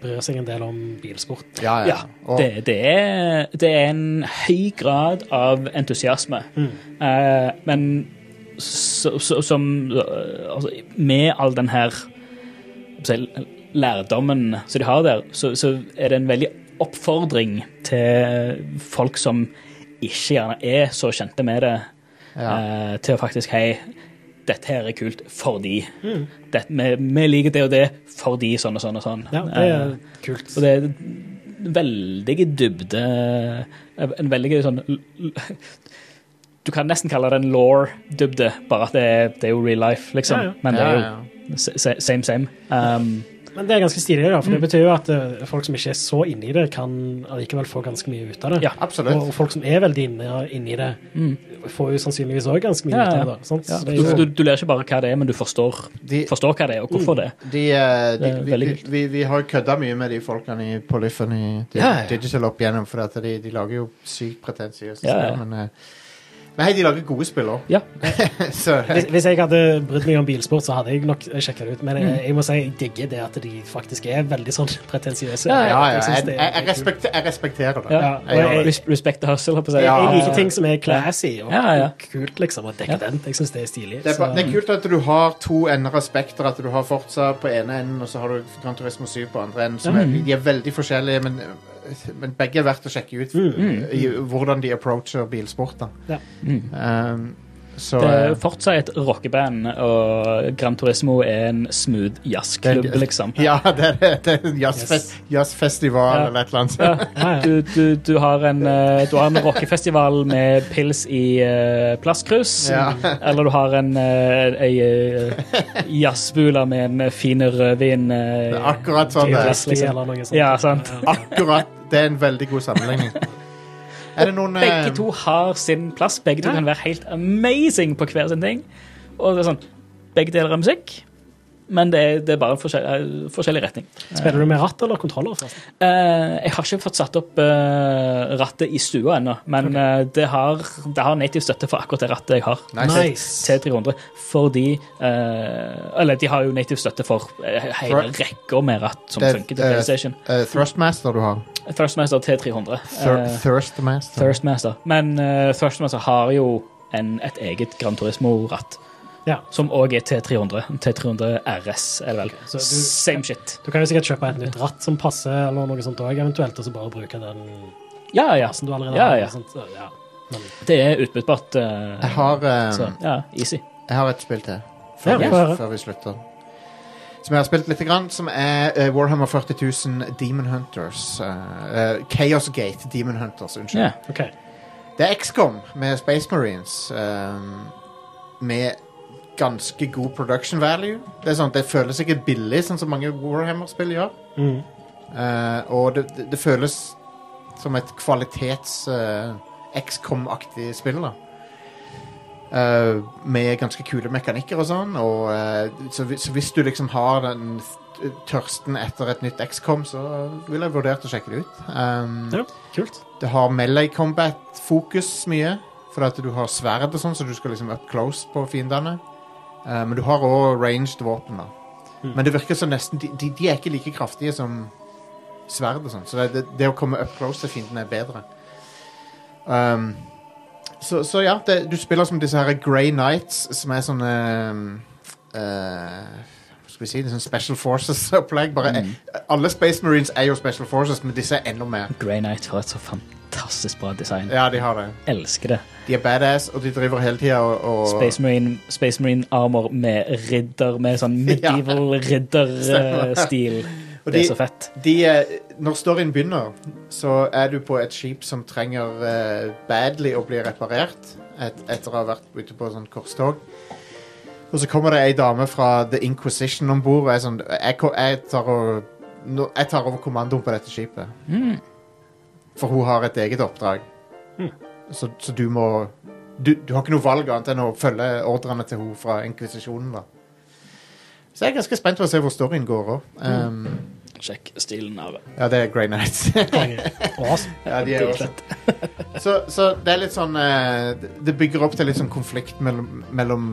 A: bryr seg en del om bilsport.
B: Ja, ja.
C: Ja,
B: Og,
C: det, det, er, det er en høy grad av entusiasme.
A: Mm.
C: Eh, men så, så, som eh, altså, Med all den her si, lærdommen som de har der, så, så er det en veldig oppfordring til folk som ikke gjerne er så kjente med det,
B: ja.
C: eh, til å faktisk Hei, dette her er kult fordi
A: Mm.
C: det, vi, vi liker det og det fordi sånn og sånn og sånn.
A: Ja, det
C: Eh,
A: er kult.
C: og det er veldig dybde En veldig sånn Du kan nesten kalle det en law-dybde, bare at det er, det er jo real life, liksom.
A: Ja, ja.
C: Men det
B: ja,
C: er jo
B: ja.
C: s- s- same, same. Um,
A: Men det er ganske stilig, da,
C: Mm.
A: for det betyr jo at eh, folk som ikke er så inne i det, kan allikevel få ganske mye ut av det.
C: Ja,
A: Og
B: Absolutt.
A: og folk som er veldig inne, inne i det, får jo sannsynligvis òg ganske mye
C: Mm. Ja,
A: ut
C: ja.
A: av det. Sant?
C: ja.
A: Så det er
C: du,
A: jo-
C: du, du lærer ikke bare hva det er, men du forstår,
B: De,
C: forstår hva det er, og hvorfor det.
B: De, eh,
C: Det
B: de,
C: er
B: vi,
C: veldig
B: vi,
C: kult.
B: vi, vi har jo kødda mye med de folkene i, på Lyffen i di
C: Ja, ja.
B: Digital opp igjennom, for at de, de lager jo sykt pretensiøse
C: Ja, ja.
B: spill. Men, eh, men hei, de lager gode spill òg.
C: Ja.
B: så eh,
A: Hvis, hvis jeg hadde brydd meg om bilsport, så hadde jeg nok sjekka det ut. Men
C: Mm.
A: jeg, jeg må si jeg digger det at de faktisk er veldig sånn pretensiøse.
B: ja, ja,
A: Jeg synes
B: jeg,
A: det er
B: jeg, jeg,
A: kult.
B: respekter, jeg respekterer det.
C: Ja.
A: og jeg-
C: Res- Respect the hustle, holdt på å si.
B: Ja.
A: Jeg liker ting som er classy og
C: Ja, ja.
A: kult, liksom. Og dekadent. Jeg syns det er stilig.
B: Det er, ba-
A: så-
B: det er kult at du har to ender av spekteret. At du har Forza på ene enden, og så har du Gran Turismo 7 på andre enden. Som
C: Mhm.
B: er, de er veldig forskjellige, men, men
C: Mhm.
B: begge er verdt å sjekke ut i, hvordan de approacher bilsport. Da.
A: Ja.
B: Um, Så
C: Det er
B: eh,
C: fortsatt et rockeband, og Gran Turismo er en smooth jazzklubb,
B: Det er-
C: liksom.
B: Ja, det er, det er en jazzfest, jazzfestival
C: Ja.
B: eller et eller annet.
C: Ja, du, du, du har en, eh, du har en rockefestival med pils i eh, plastkrus.
B: Ja.
C: Eller du har en eh, ei, eh, jazzbula med en fin rødvin. eh,
B: Det er akkurat sånn det er.
C: glass, liksom.
A: Eller noe sånt.
C: Ja, sant.
B: Akkurat. Det er en veldig god sammenligning. Er det noen eh,
C: Begge to har sin plass. Begge to
A: Ja.
C: kan være helt amazing på hver sin ting. Og det er sånn, Begge deler er musikk, men det er, det er bare en forskjell, eh, forskjellig retning.
A: Spiller du med ratt eller kontroller? forresten?
C: Eh, jeg har ikke fått satt opp eh, rattet i stua ennå, men eh, det, har, det har native støtte for akkurat det rattet jeg har.
B: Nice.
C: T300, fordi eh, Eller de har jo native støtte for eh, hele
B: Thrust.
C: rekker med ratt som
B: Det er,
C: funker til
B: eh,
C: PlayStation.
B: eh, Thrustmaster du har?
C: Thrustmaster T300.
B: Thir
C: eh,
B: Thirstmaster?
C: Thirstmaster. Men eh, Thrustmaster har jo en, et eget Gran Turismo-ratt,
A: Ja.
C: som òg er T300. T300 RS, er det vel.
A: Så du-
C: Same shit.
A: Du kan jo sikkert kjøpe et nytt ratt som passer, eller noe sånt også, eventuelt, og så bare bruke den
C: Ja, ja.
A: plassen du allerede
C: Ja,
A: har.
C: ja.
A: eller sånt. Så, ja. Men,
C: Det er utbyttbart. eh,
B: Jeg har, eh,
C: Så, ja, easy.
B: jeg har et spill til.
A: Ja,
B: Før,
A: vi
B: vi,
A: får høre.
B: før vi slutter. Som jeg har spilt litt, grann, som er eh, Warhammer 40 000 Demon Hunters. eh, eh, Chaos Gate Demon Hunters, unnskyld.
C: Ja.
A: OK.
B: Det er XCOM med Space Marines. ehm, med ganske god production value. Det, er sånn, det føles ikke billig, sånn som mange Warhammer-spill gjør.
A: Mm.
B: Eh, og det, det, det føles som et kvalitets eh, XCOM-aktig spill, da. Eh, med ganske kule mekanikker og sånn. Og, eh, så, hvis- så hvis du liksom har den th- tørsten etter et nytt XCOM, så ville jeg vurdert å sjekke det ut. Um,
A: Ja, kult.
B: det har melee combat-fokus mye, for at du har sverd og sånn, så du skal liksom up close på fiendene. Eh, men du har òg ranged våpen, da.
A: Mm.
B: Men det virker som nesten de, de, de er ikke like kraftige som sverd og sånn, så det, det, det å komme up close til fienden er bedre. Um, så, så ja, det, du spiller som disse her Grey Knights, som er sånne eh, Hva skal vi si? det er Sånn Special Forces-opplegg. Bare Alle Space Marines er jo Special Forces, men disse er enda mer.
C: Grey Knight har et så fantastisk bra design.
B: Ja, de har det.
C: Elsker det.
B: De er badass, og de driver hele tida og, og
C: Space Marine, Space Marine armor med ridder, med sånn medieval
B: Stemmer.
C: ridderstil.
B: Og
C: Det
B: de-
C: er så fett.
B: de, eh, Når storyen begynner, så er du på et skip som trenger eh, badly å bli reparert et, etter å ha vært ute på sånn korstog. Og så kommer det ei dame fra The Inquisition om bord og er sånn jeg, ko- jeg, tar og, nå- jeg tar over kommandoen på dette skipet. For hun har et eget oppdrag. Så, så du må du, du har ikke noe valg annet enn å følge ordrene til hun fra inkvisisjonen, da. Så jeg er ganske spent på å se hvor storyen går òg. Um,
C: Sjekk stilen av det.
B: ja, det er Grey Nights.
A: Awesome.
B: ja, de er jo også. Så, så det er litt sånn eh, Det bygger opp til litt sånn konflikt mellom, mellom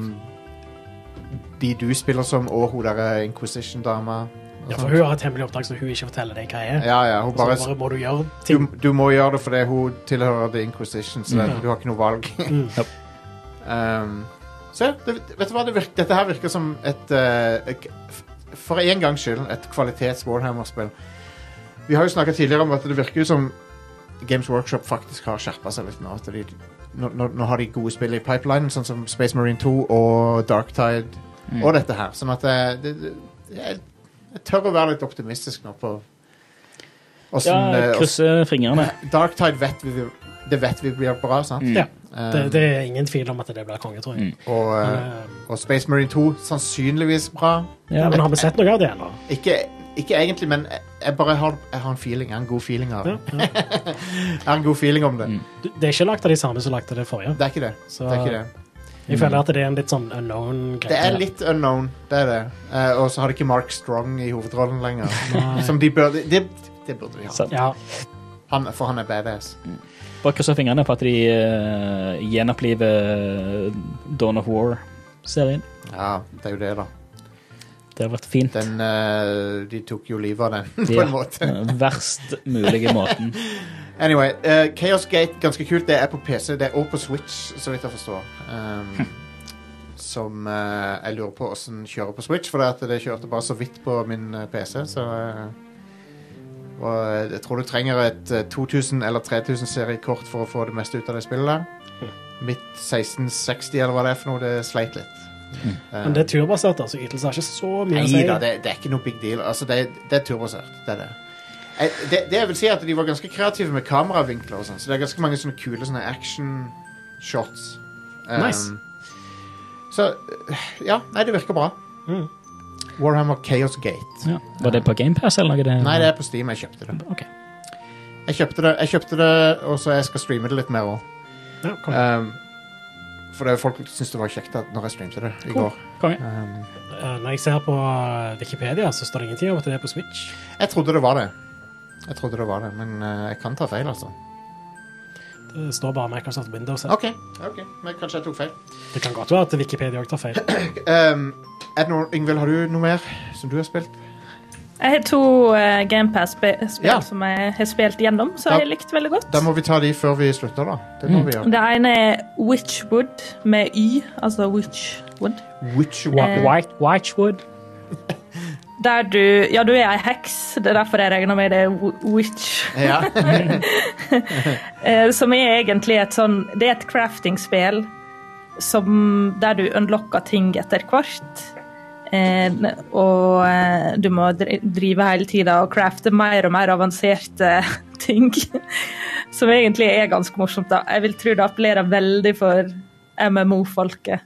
B: de du spiller som, og hun derre Inquisition-dama. og
A: Ja,
B: sånt.
A: for hun har et hemmelig oppdrag som hun ikke forteller deg hva er. Altså,
B: ja, ja, hun
A: Så
B: bare, Mm.
A: bare må du gjøre
B: du,
A: ting.
B: du må gjøre det fordi hun tilhører The Inquisition, så det, du har ikke noe valg. um, så ja, det, vet du hva, det virker, dette her virker som et eh, k- f- For en gangs skyld et kvalitets Warhammer-spill. Vi har jo snakka tidligere om at det virker jo som Games Workshop faktisk har skjerpa seg litt nå. At de, nå, nå, nå har de gode spill i pipelinen, sånn som Space Marine 2 og Darktide og dette her. Sånn at eh, det, det, jeg, jeg tør å være litt optimistisk nå på
C: Ja,
B: åssen eh,
C: krysse fingrene.
B: Darktide vet vi, det vet vi blir bra, sant?
C: Mm.
A: Ja,
B: Eh,
A: det, det er ingen tvil om at det blir konge, tror jeg.
B: og, eh,
A: Men, eh,
B: og Space Marine 2 sannsynligvis bra.
A: Ja, men har vi sett noe av det ennå?
B: Ikke, ikke egentlig, men jeg, jeg bare har, jeg har en feeling. Jeg har en god feeling av
A: Ja,
B: det.
A: ja.
B: Jeg har en god feeling om
C: Mm.
B: det.
A: Du- Det er ikke lagt av de samme som lagde det forrige.
B: Det er ikke det.
A: Så
B: Det er ikke det.
A: jeg føler at det er en litt sånn unknown greie.
B: Mm. Det er litt unknown, det er det. Eh, og så har de ikke Mark Strong i hovedrollen lenger.
A: Nei.
B: Som de burde Det det burde de ha.
C: Sant.
A: Ja,
B: Han, for han er badass.
C: Mm. Bare krysse fingrene på at de eh, gjenoppliver eh, Dawn of War-serien.
B: Ja, det er jo det, da.
C: Det har vært fint.
B: Den, eh, de tok jo livet av den, på
C: Ja.
B: en måte.
C: Eh, Verst mulige måten.
B: Anyway, eh, Chaos Gate, ganske kult. Det er på PC, det er også på Switch, så vidt jeg forstår. Um, som eh, jeg lurer på åssen kjører på Switch, for det, at det kjørte bare så vidt på min eh, PC. Så eh, Og eh, jeg tror du trenger et eh, 2000 eller 3000 seriekort for å få det meste ut av det spillet. der. Mitt 1660 eller hva det er for noe, det sleit litt. Eh,
A: Men det er turbasert, altså. Ytelser har ikke så mye å si.
B: Nei da, det, det er ikke noe big deal. Altså, det, det er turbasert. Det er det. Eh, Det, det jeg vil si er at De var ganske kreative med kameravinkler, og sånn, så det er ganske mange sånne kule sånne action shots. Um,
A: Nice.
B: Så eh, Ja, nei, det virker bra.
A: Mm.
B: Warhammer Chaos Gate.
C: Ja. Var det på GamePass eller noe?
A: Mhm.
C: Det?
B: Nei, det er på Steam. Jeg kjøpte det.
C: Ok.
B: Jeg kjøpte det, jeg kjøpte det og så jeg skal streame det litt mer òg.
A: Ja, kom.
B: Um, for det, folk syntes det var kjekt at når jeg streamte det i går.
C: Konge.
B: Um,
A: Eh, Når jeg ser på uh, Wikipedia, så står det ingenting om at det er på Switch.
B: jeg trodde det var det. Jeg trodde det var det, men eh, jeg kan ta feil, altså.
A: Det står bare Microsoft Windows her.
B: OK, ok, men kanskje jeg tok feil.
A: Det kan godt være at Wikipedia òg tar feil.
B: Um, er det noe, Yngvild, har du noe mer som du har spilt?
D: Jeg har to uh, GamePass-spill
B: Ja.
D: som jeg har spilt gjennom, så
B: Da-
D: jeg likte veldig godt.
B: Da må vi ta de før vi slutter, da. Det må vi gjøre.
D: Det ene er Witchwood med Y, altså Witchwood.
B: Witch
D: Eh.
C: White, Whitewood.
D: Der du Ja, du er ei heks, det er derfor jeg regner med det er wi- witch.
B: Ja.
D: Eh, som er egentlig et sånn Det er et crafting-spill som, der du unlocker ting etter hvert. Eh, og eh, du må dri- drive hele tida og crafte mer og mer avanserte ting. Som egentlig er ganske morsomt. da. Jeg vil tro det appellerer veldig for MMO-folket.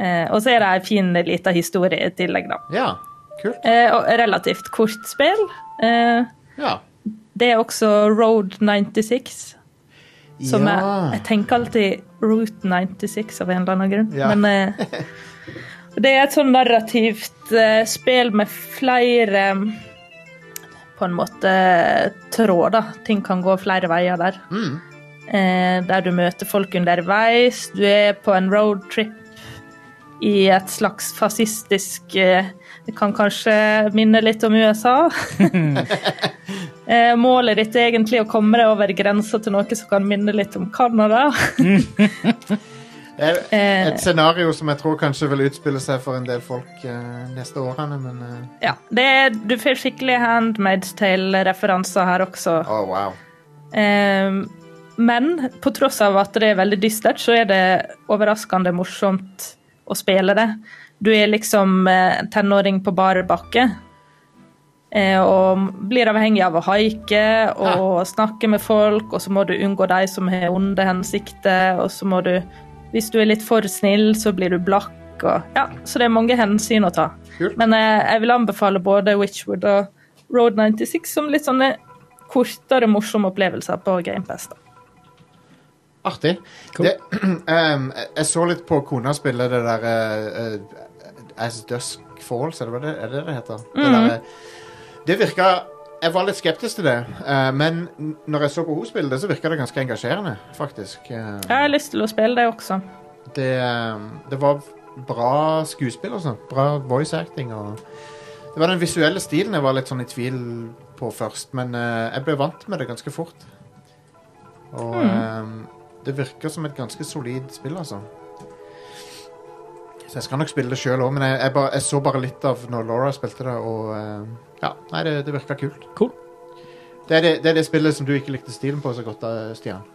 D: Eh, og så er det ei fin lita historie i tillegg, da.
B: ja. Kult.
D: Eh, og relativt kort spill. Eh,
B: Ja.
D: det er også Road 96. Som
B: ja.
D: jeg, jeg tenker alltid Route 96 av en eller annen grunn.
B: Ja.
D: Men eh, det er et sånn narrativt eh, spill med flere eh, på en måte tråder. Ting kan gå flere veier der.
B: Mm.
D: Eh, der du møter folk underveis. Du er på en roadtrip i et slags fascistisk eh, Det kan kanskje minne litt om USA. Eh, Målet ditt er egentlig å komme deg over grensa til noe som kan minne litt om Canada.
B: Det er
D: Eh.
B: Et scenario som jeg tror kanskje vil utspille seg for en del folk eh, neste årene, men eh,
D: ja, det er, du får skikkelig handmade tale-referanser her også.
B: Oh, wow.
D: Eh, men på tross av at det er veldig dystert, så er det overraskende morsomt å spille det. Du er liksom eh, tenåring på bar bakke. eh, Og blir avhengig av å haike og snakke med folk, og så må du unngå de som har onde hensikter, og så må du Hvis du er litt for snill, så blir du blakk, og Ja, så det er mange hensyn å ta.
B: Kult.
D: Men eh, jeg vil anbefale både Witchwood og Road 96 som litt sånne kortere, morsomme opplevelser på GamePass. da.
B: Artig. Det, ehm, jeg- jeg så litt på kona spille det der eh, eh, As Dusk Falls, er det hva det, er det, det heter? Det, der, eh, det virka Jeg var litt skeptisk til det, eh, men n- når jeg så på henne spille det, så virka det ganske engasjerende, faktisk. Eh,
D: Jeg har lyst til å spille det også.
B: det, ehm, det var bra skuespill og sånt. Bra voice acting og Det var den visuelle stilen jeg var litt sånn i tvil på først, men eh, jeg ble vant med det ganske fort. Og ehm, det virker som et ganske solid spill, altså. Så jeg skal nok spille det sjøl òg, men jeg, jeg, bare, jeg så bare litt av når Laura spilte det, og ehm, Ja, nei, det, det virka kult.
C: Cool.
B: Det er det, det er det spillet som du ikke likte stilen på så godt, eh, Stian.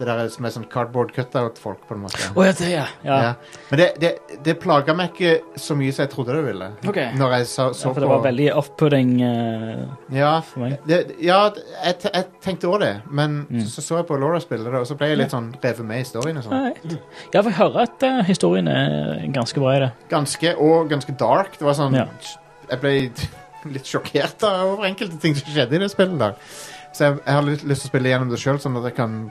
B: Det der som er sånn cardboard cutout-folk, på en måte.
C: Å ja, det, ja. ja.
B: Ja. Men det, det, det plaga meg ikke så mye som jeg trodde det ville.
C: Ok.
B: Når jeg så, så
C: Ja, for
B: på
C: det var veldig off-putting. eh,
B: Ja,
C: for meg.
B: det, ja jeg, te- jeg tenkte òg det, men så så jeg på Laura spille det, og så ble jeg litt sånn revet med i historien. og sånn.
C: Alright. Ja, for jeg hører at eh, historien er ganske bra i det.
B: Ganske, Og ganske dark. Det var sånn
C: Ja.
B: Jeg ble litt sjokkert da, over enkelte ting som skjedde i det spillet. der. Så jeg, jeg har litt lyst til å spille gjennom det sjøl, sånn at jeg kan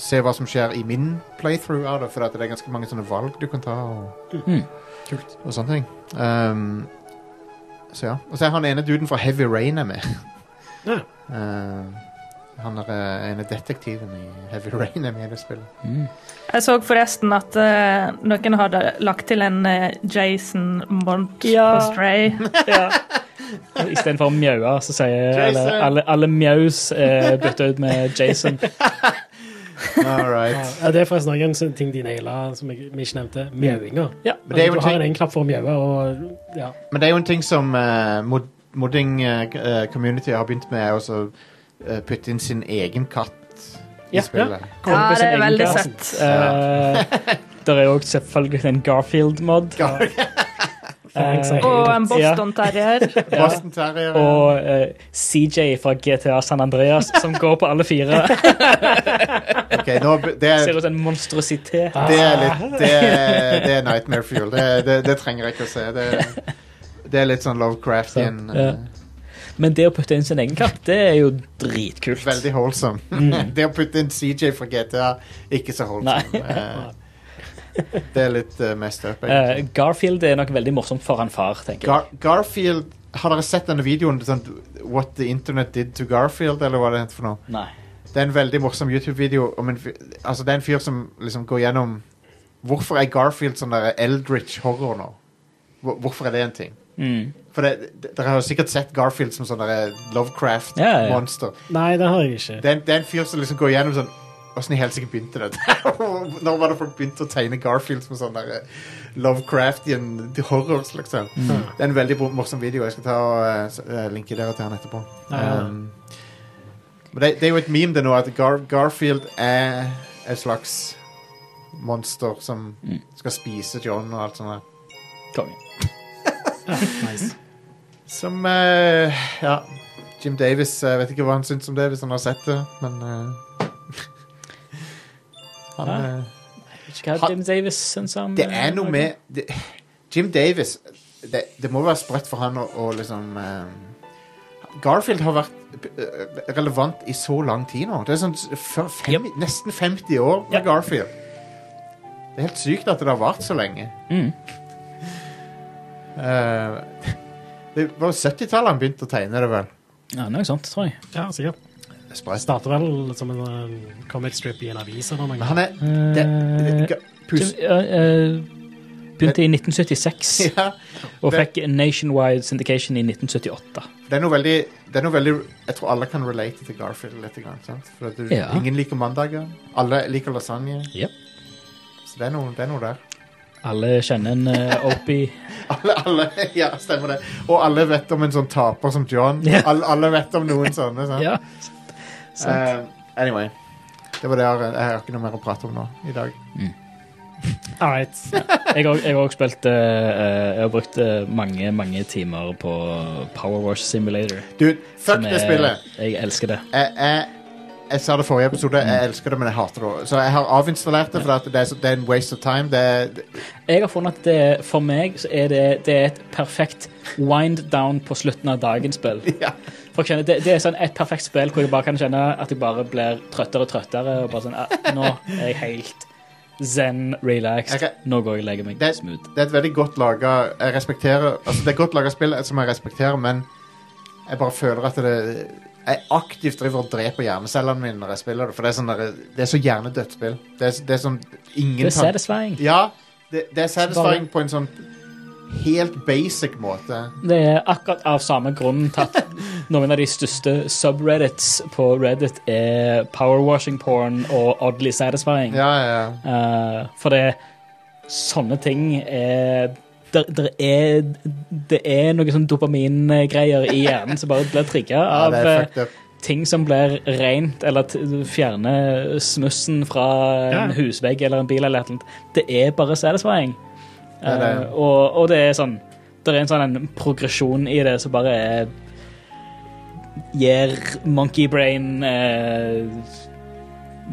B: se hva som skjer i min playthrough av det, for at det er ganske mange sånne valg du kan ta. og...
A: Kult.
B: og sånne ting. Ehm, så ja. Og så er han ene duden fra Heavy Rain er med.
A: Ja.
B: Ehm, han er eh, ene detektiven i Heavy Rain er med i det spillet.
D: Jeg så forresten at eh, noen hadde lagt til en eh, Jason Mont
C: Ja.
D: på Stray.
C: Ja. Istedenfor mjaua, så sier
B: Jason.
C: alle, alle, alle mjaus eh, bytta ut med Jason.
B: All right.
A: Ja, det er forresten også en sånn ting de naila som jeg vi ikke nevnte. Mjauinger.
C: Ja.
B: Men det er jo
A: Altså,
B: en
A: du har
B: ting-
A: en egen knapp for å mjaue, og ja.
B: Men det er jo en ting som eh, mod modding-community har begynt med, er også eh, putte inn sin egen katt i
C: Ja,
B: spillet.
D: Ja, det er veldig
C: søtt.
D: søtt.
C: Det Eh, er jo også selvfølgelig en Garfield-mod. Eh,
A: Thanks,
D: Og
A: I-
D: en Boston Terrier.
B: Boston Terrier.
C: Og eh, CJ fra GTA San Andreas som går på alle fire.
B: Ok, nå, be- det,
C: Ser
B: er,
C: ut som en monstrositet.
B: det er litt det er, det er nightmare fuel. Det, det, det trenger jeg ikke å se. Det, det er litt sånn Lovecraftian.
C: Så, ja.
B: eh,
C: Men det å putte inn sin egen katt, det er jo dritkult. Mm.
B: Veldig wholesome. det å putte inn CJ fra GTA, ikke så wholesome. Eh, det er litt eh, messed up. egentlig.
C: Eh, Garfield er nok veldig morsomt for han far, tenker jeg.
B: Gar Garfield Har dere sett denne videoen? Sånn, What the internet did to Garfield? Eller hva det heter for noe?
C: Nei.
B: Det er en veldig morsom YouTube-video om en fyr, altså det er en fyr som liksom går gjennom Hvorfor er Garfield sånn der Eldritch horror nå? Hvor- Hvorfor er det en ting?
C: Mm.
B: For det, det- Dere har jo sikkert sett Garfield som sånn der
C: Ja, ja, ja.
B: Lovecraft-monster.
A: Nei, det har jeg ikke.
B: det, er en- det er en fyr som liksom går gjennom sånn Åssen i helsike begynte dette? Når var det folk begynte å tegne Garfield som sånn der eh, Lovecraftian horrors, liksom?
A: Mm.
B: Det er en veldig bo- morsom video. Jeg skal ta og eh, s- eh, linke dere til han etterpå.
A: Ja.
B: Um, men det, det er jo et meme det nå, at Gar Garfield er et slags monster som skal spise John og alt sånt. der.
C: Konge.
A: Nice.
B: Som eh, Ja. Jim Davis eh, Jeg vet ikke hva han syns om det, hvis han har sett det, men eh, Han
C: Ja.
B: eh,
C: Ikke hva
B: Han-
C: Jim Davis syns om
B: Det
C: eh,
B: er noe med det, Jim Davis det, det må være sprøtt for han å, å liksom eh, Garfield har vært eh, relevant i så lang tid nå. Det er sånn f- fem, nesten 50 år med
C: Yep.
B: Garfield. Det er helt sykt at det har vart så lenge.
C: Mm.
B: Eh, det var 70-tallet han begynte å tegne det, vel?
C: Ja, noe sånt, tror jeg.
A: Ja, sikkert.
B: Det er sprøtt.
A: Starter vel som en eh, comic strip i en avis eller noe.
B: Men han er det, det,
C: Eh,
B: ga- pus,
C: Jim, eh, eh, begynte i 1976
B: ja,
C: og
B: det-
C: fikk nationwide syndication i 1978.
B: det, er noe veldig, det er noe veldig Jeg tror alle kan relate til Garfield litt. Grann, sant? For at du,
C: Ja.
B: Ingen liker mandager. Alle liker lasagne.
C: Yep.
B: Så det er noe, det er noe der.
C: Alle kjenner en eh, Opie.
B: Alle, alle, ja, stemmer det. Og alle vet om en sånn taper som John.
C: Ja.
B: Alle, alle vet om noen sånne. Sant?
C: ja. sant.
B: Eh, anyway. Det var det jeg har, jeg har ikke noe mer å prate om nå i dag.
A: All right.
C: Jeg har jeg har også spilt eh, eh, Jeg har brukt eh, mange, mange timer på Power Wash Simulator.
B: Du, fuck
C: som
B: det
C: er-
B: spillet!
C: Jeg elsker det.
B: Jeg, jeg, jeg sa det forrige episode, jeg elsker det, men jeg hater det òg. Så jeg har avinstallert det, for at det, er, så- det er en waste of time. Det er,
C: Jeg har funnet at det, for meg så er det, det er et perfekt wind down på slutten av dagens spill.
B: Ja.
C: For jeg kjenner, det, det er sånn et perfekt spill hvor jeg bare kan kjenne at jeg bare blir trøttere og trøttere. Og bare sånn, «Ah, Nå er jeg helt zen, relaxed.
B: Jeg
C: Nå går jeg og legger meg
B: Det-
C: smooth.
B: det er et veldig godt laga Jeg respekterer Altså, det er godt laga spill som jeg respekterer, men jeg bare føler at det Jeg aktivt driver og dreper hjernecellene mine når jeg spiller det, for det er sånn der, Det er så hjernedødt spill. Det er, det er sånn ingen
C: Det er
B: tan-
C: satisfying.
B: Ja, det, det er satisfying på en sånn helt basic måte.
C: Det er akkurat av samme grunn tatt noen av de største subreddits på Reddit er powerwashing porn og oddly satisfying.
B: Ja, ja, ja.
C: Eh, for det sånne ting er der, der er, det er noe sånn dopamingreier i hjernen som bare blir trigga
B: ja
C: av
B: det er
C: eh,
B: fucked up.
C: ting som blir rent, eller t fjerner smussen fra
A: Ja.
C: en husvegg eller en bil. eller et eller annet. Det er bare satisfying.
B: Ja, det er-
C: Eh, og, og det er sånn Det er en sånn en progresjon i det som bare er Gir monkey brain eh,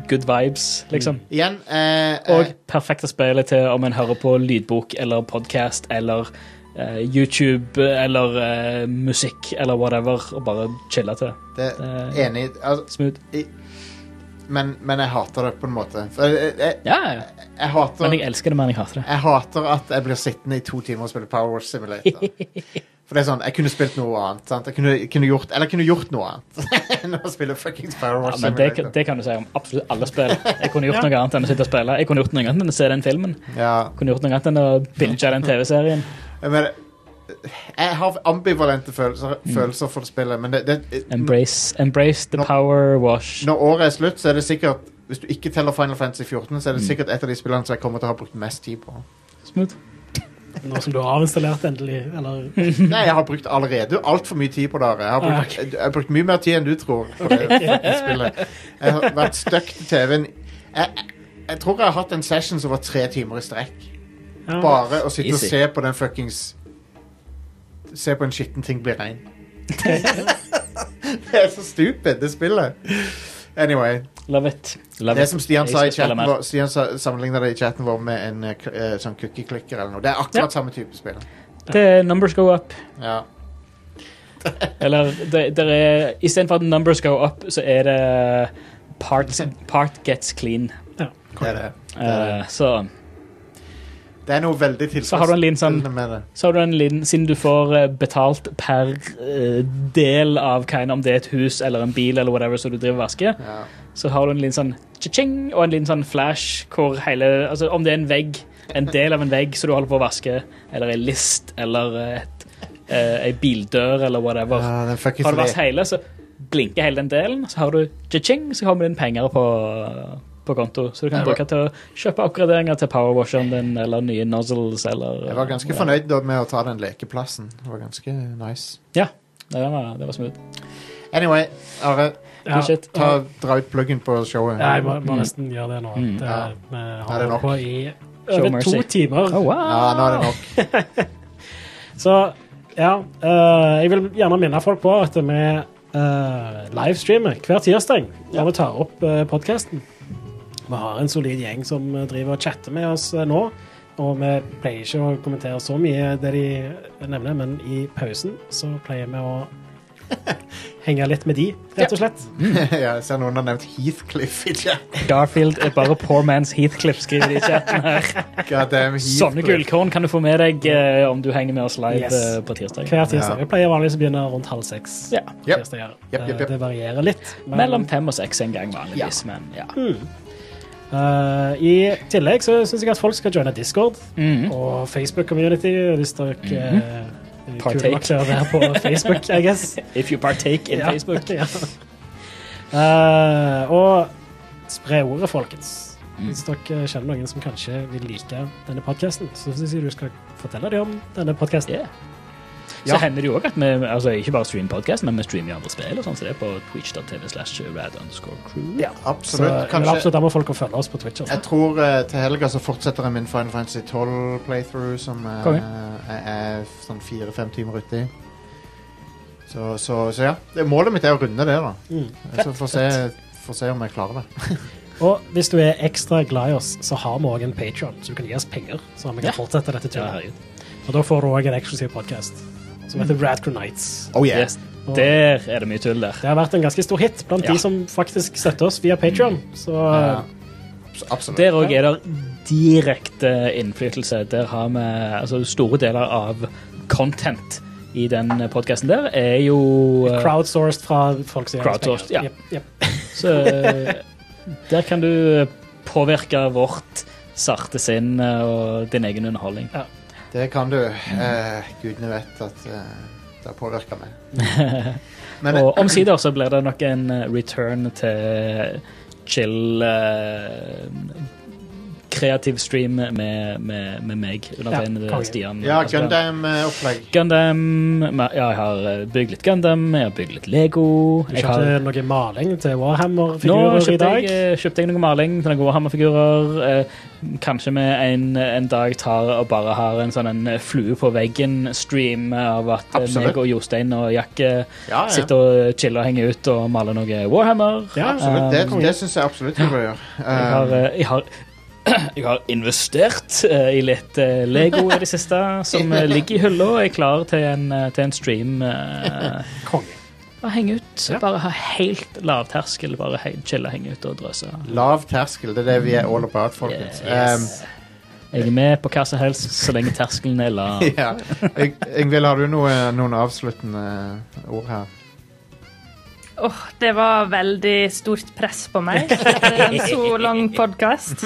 C: good vibes, liksom.
B: Igjen eh, eh,
C: Og perfekte spillet til om en hører på lydbok eller podcast eller eh, YouTube eller eh, musikk eller whatever, og bare chille til
B: eh,
C: det.
B: det,
C: det-
B: Enig. Altså,
C: Smooth.
B: men, men jeg hater det på en måte. For jeg, jeg,
C: Ja, ja.
B: jeg hater
C: Men jeg elsker det mer enn jeg hater det.
B: Jeg hater at jeg blir sittende i to timer og spille Power Wash Simulator. For det er sånn, jeg kunne spilt noe annet. sant? Jeg kunne, kunne gjort, eller jeg kunne gjort noe annet enn å spille fuckings Power
C: Ja,
B: Wash
C: men det,
B: Simulator.
C: det kan du si om absolutt alle spill. Jeg kunne gjort noe annet enn å sitte og spille. Jeg kunne gjort noe annet enn å se den filmen.
B: Ja,
C: Jeg kunne gjort noe annet enn å binge den TV-serien.
B: men jeg har ambivalente følelser, følelser for spillet, men det, det,
C: Mm. Embrace, embrace the
B: Nå-
C: power wash.
B: når året er slutt, så er det sikkert Hvis du
C: Mm.
B: ikke teller Final Fantasy 14, så er det sikkert et av de spillene som jeg kommer til å ha brukt mest tid på.
C: Smooth.
A: Nå som du har installert endelig, eller
B: Nei, jeg har brukt allerede altfor mye tid på det. Jeg har, brukt,
A: Ah, ok.
B: jeg har brukt mye mer tid enn du tror. På det, spillet. Jeg har vært stuck til TV-en. Jeg, jeg tror jeg har hatt en session som var tre timer i strekk.
A: Ja.
B: Bare å sitte
G: Easy.
B: og se på den fuckings Se på en skitten ting bli rein. det er så stupid, det spillet. Anyway.
C: Love it.
G: Love
B: Det
G: it.
B: som Stian sa i
C: Jeg skal spille
B: chatten
C: mer.
B: vår, Stian sa- sammenlignet det i chatten vår med en eh, k- eh, sånn cookie-klikker eller noe. Det er akkurat samme type spill.
C: Det er numbers go up.
B: Ja.
C: Eller det, det er Istedenfor at numbers go up, så er det parts, part gets clean.
B: Det er det.
C: Eh, så,
B: Det er noe veldig
C: Så har du en liten sånn-
B: tilfredsstillende med det.
C: så har du en liten Siden du får eh, betalt per eh, del av hva enn om det er et hus eller en bil eller whatever som du driver og vasker,
B: Ja.
C: så har du en liten sånn cha-ching og en liten sånn flash hvor hele Altså om det er en vegg, en del av en vegg som du holder på å vaske, eller en list eller et, eh, ei bildør eller whatever.
B: Ja, den fuckings
C: Har du vasket
B: le-
C: hele, så blinker hele den delen, så har du cha-ching, så kommer det inn penger på, på konto. Så du kan
B: Jeg var-
C: bruke til å kjøpe oppgraderinger til powerwasheren din, eller nye nozzles, eller
B: Jeg var ganske fornøyd da med å ta den lekeplassen. Det var ganske nice.
C: Ja. Nei, det var, det var smooth.
B: Anyway, Are,
A: ja.
C: Shit.
B: ta, dra ut pluggen på showet.
A: Ja, jeg må, må nesten gjøre det nå.
C: Mm.
A: Det,
B: Ja.
A: Vi
B: Er det
A: har holdt
B: nok?
A: på i
C: Show
A: over to
C: mercy.
A: timer.
C: Oh, wow.
B: Ja, nå er det nok.
A: Så ja, eh, jeg vil gjerne minne folk på at vi eh, livestreamer hver tirsdag når vi tar opp uh, podkasten. Vi har en solid gjeng som eh, driver og chatter med oss eh, nå. Og vi pleier ikke å kommentere så mye det de nevner, men i pausen så pleier vi å henge litt med de, rett og slett.
B: ja, jeg ser noen har nevnt Heathcliff i chat.
C: Garfield er bare poor man's Heathcliff, skriver de i chatten her.
B: God damn Heathcliff.
C: Sånne gullkorn kan du få med deg eh, om du henger med oss live
A: Yes.
C: eh, på tirsdag.
A: Hver tirsdag.
B: Ja.
A: Vi pleier vanligvis å begynne rundt halv seks.
C: Ja.
A: på
B: Yep.
A: tirsdager.
B: Yep, yep, yep.
A: Eh, Det varierer litt. men-
C: Mellom fem og seks en gang, vanligvis. Men ja.
A: Mm. Eh, I tillegg så syns jeg at folk skal joine Discord
B: Mm.
C: Mhm.
A: og Facebook-community hvis dere eh, er kule
C: Partake.
A: nok til å være på Facebook, I guess.
C: If you partake in
A: Ja.
C: Facebook.
A: ja. Eh, og spre ordet, folkens.
C: Mm.
A: Hvis dere kjenner noen som kanskje vil like denne podkasten, så syns jeg du skal fortelle dem om denne podkasten.
C: Yeah. Så
B: Ja.
C: hender det jo òg at vi altså ikke bare streamer podcast, men vi streamer jo andre spill. og sånn, Så det er på twitch.tv slash rad underscore crew.
A: Så
B: Absolutt.
A: jeg vil
B: Kanskje
A: absolutt anbefale folk å følge oss på Twitch. Altså.
B: Jeg tror eh, til helga så fortsetter jeg min Final Fantasy 12 playthrough, som eh,
C: Konge.
B: jeg er f- sånn fire-fem timer uti. Så, så, så ja. Det- Målet mitt er å runde det, da.
A: Mm.
B: Så får se, får se om jeg klarer det.
A: Og hvis du er ekstra glad i oss, så har vi òg en Patreon så du kan gi oss penger. Så vi kan
C: Ja.
A: fortsette dette
C: Ja,
A: turen.
C: herregud.
A: og da får du òg en eksklusiv podkast som heter Radcrew Nights.
B: Oh yeah.
C: Yes. Der er det mye tull der.
A: Det har vært en ganske stor hit blant
C: Ja.
A: de som faktisk støtter oss via Patreon. Så eh,
B: Ja. Abs- Absolutt.
C: Der òg er det direkte innflytelse. Der har vi altså store deler av content i den podkasten der er jo eh,
A: crowdsourced fra folk som gir oss
C: Crowdsourced, ja.
A: penger. Jep, jep.
C: Så eh, der kan du påvirke vårt sarte sinn eh, og din egen underholdning.
B: Det kan du. Eh, gudene vet at eh, det har påvirka meg. Men eh,
C: Og omsider så blir det nok en eh, return til chill eh, kreativ stream med, med, med meg, undertegnede
A: Ja, konge.
C: Stian.
B: ja,
C: Asbjørn.
B: Gundam-opplegg.
C: Gundam ma- Ja, jeg har eh, bygd litt Gundam, jeg har bygd litt Lego.
A: Du
C: Jeg har,
A: kjøpte noe maling til
C: nå
A: Warhammer-figurer i
C: kjøpte
A: dag.
C: jeg, eh, kjøpte jeg noe maling til noen Warhammer-figurer. Eh, kanskje vi en, eh, en dag tar og bare har en sånn en flue på veggen-stream av at eh,
B: Absolutt.
C: meg og Jostein og Jakke
B: Ja, ja.
C: sitter og chiller og henger ut og maler noe Warhammer.
A: Ja,
B: Absolutt. Det,
C: Um,
B: det syns jeg absolutt vi bør gjøre.
C: Jeg har,
B: Eh,
C: eh, jeg har, jeg har investert eh, i litt eh, Lego i det siste, som eh, ligger i hylla og er klar til en, eh, til en stream. eh,
A: Konge.
C: Bare henge ut.
A: Ja.
C: Bare ha helt lavterskel. Bare he chille, henge ut og drøse.
B: eh, lav terskel. Det er det vi er all about, folkens. Um,
C: Yes. Jeg er med på hva som helst så lenge terskelen er lav.
B: ja. Yng- Yngvild, har du noe, noen avsluttende ord her?
D: Åh, det var veldig stort press på meg etter en så lang podkast.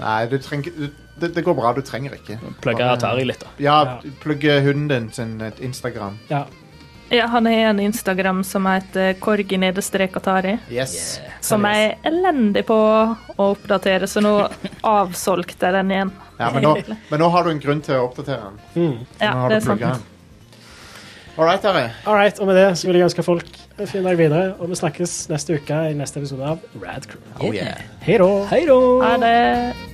B: Nei, du trenger du- det, det går bra. Du trenger ikke.
C: Plugger Atari litt, da.
B: Ja, plugg hunden din sin eh, Instagram.
A: Ja.
D: Ja, han har en Instagram som heter korgi-atari,
B: Yes.
D: som jeg er elendig på å oppdatere, så nå avsolgte jeg den igjen.
B: Ja, men, nå, men nå har du en grunn til å oppdatere den.
D: Ja,
B: nå har du
D: det er sant.
B: plugget den. All right, Ari.
A: All right, og med det så vil jeg ønske folk en fin dag videre, og vi snakkes neste uke i neste episode av Rad Crew.
B: Oh, yeah.
A: Hei da!
C: Hei da!
D: Ha det.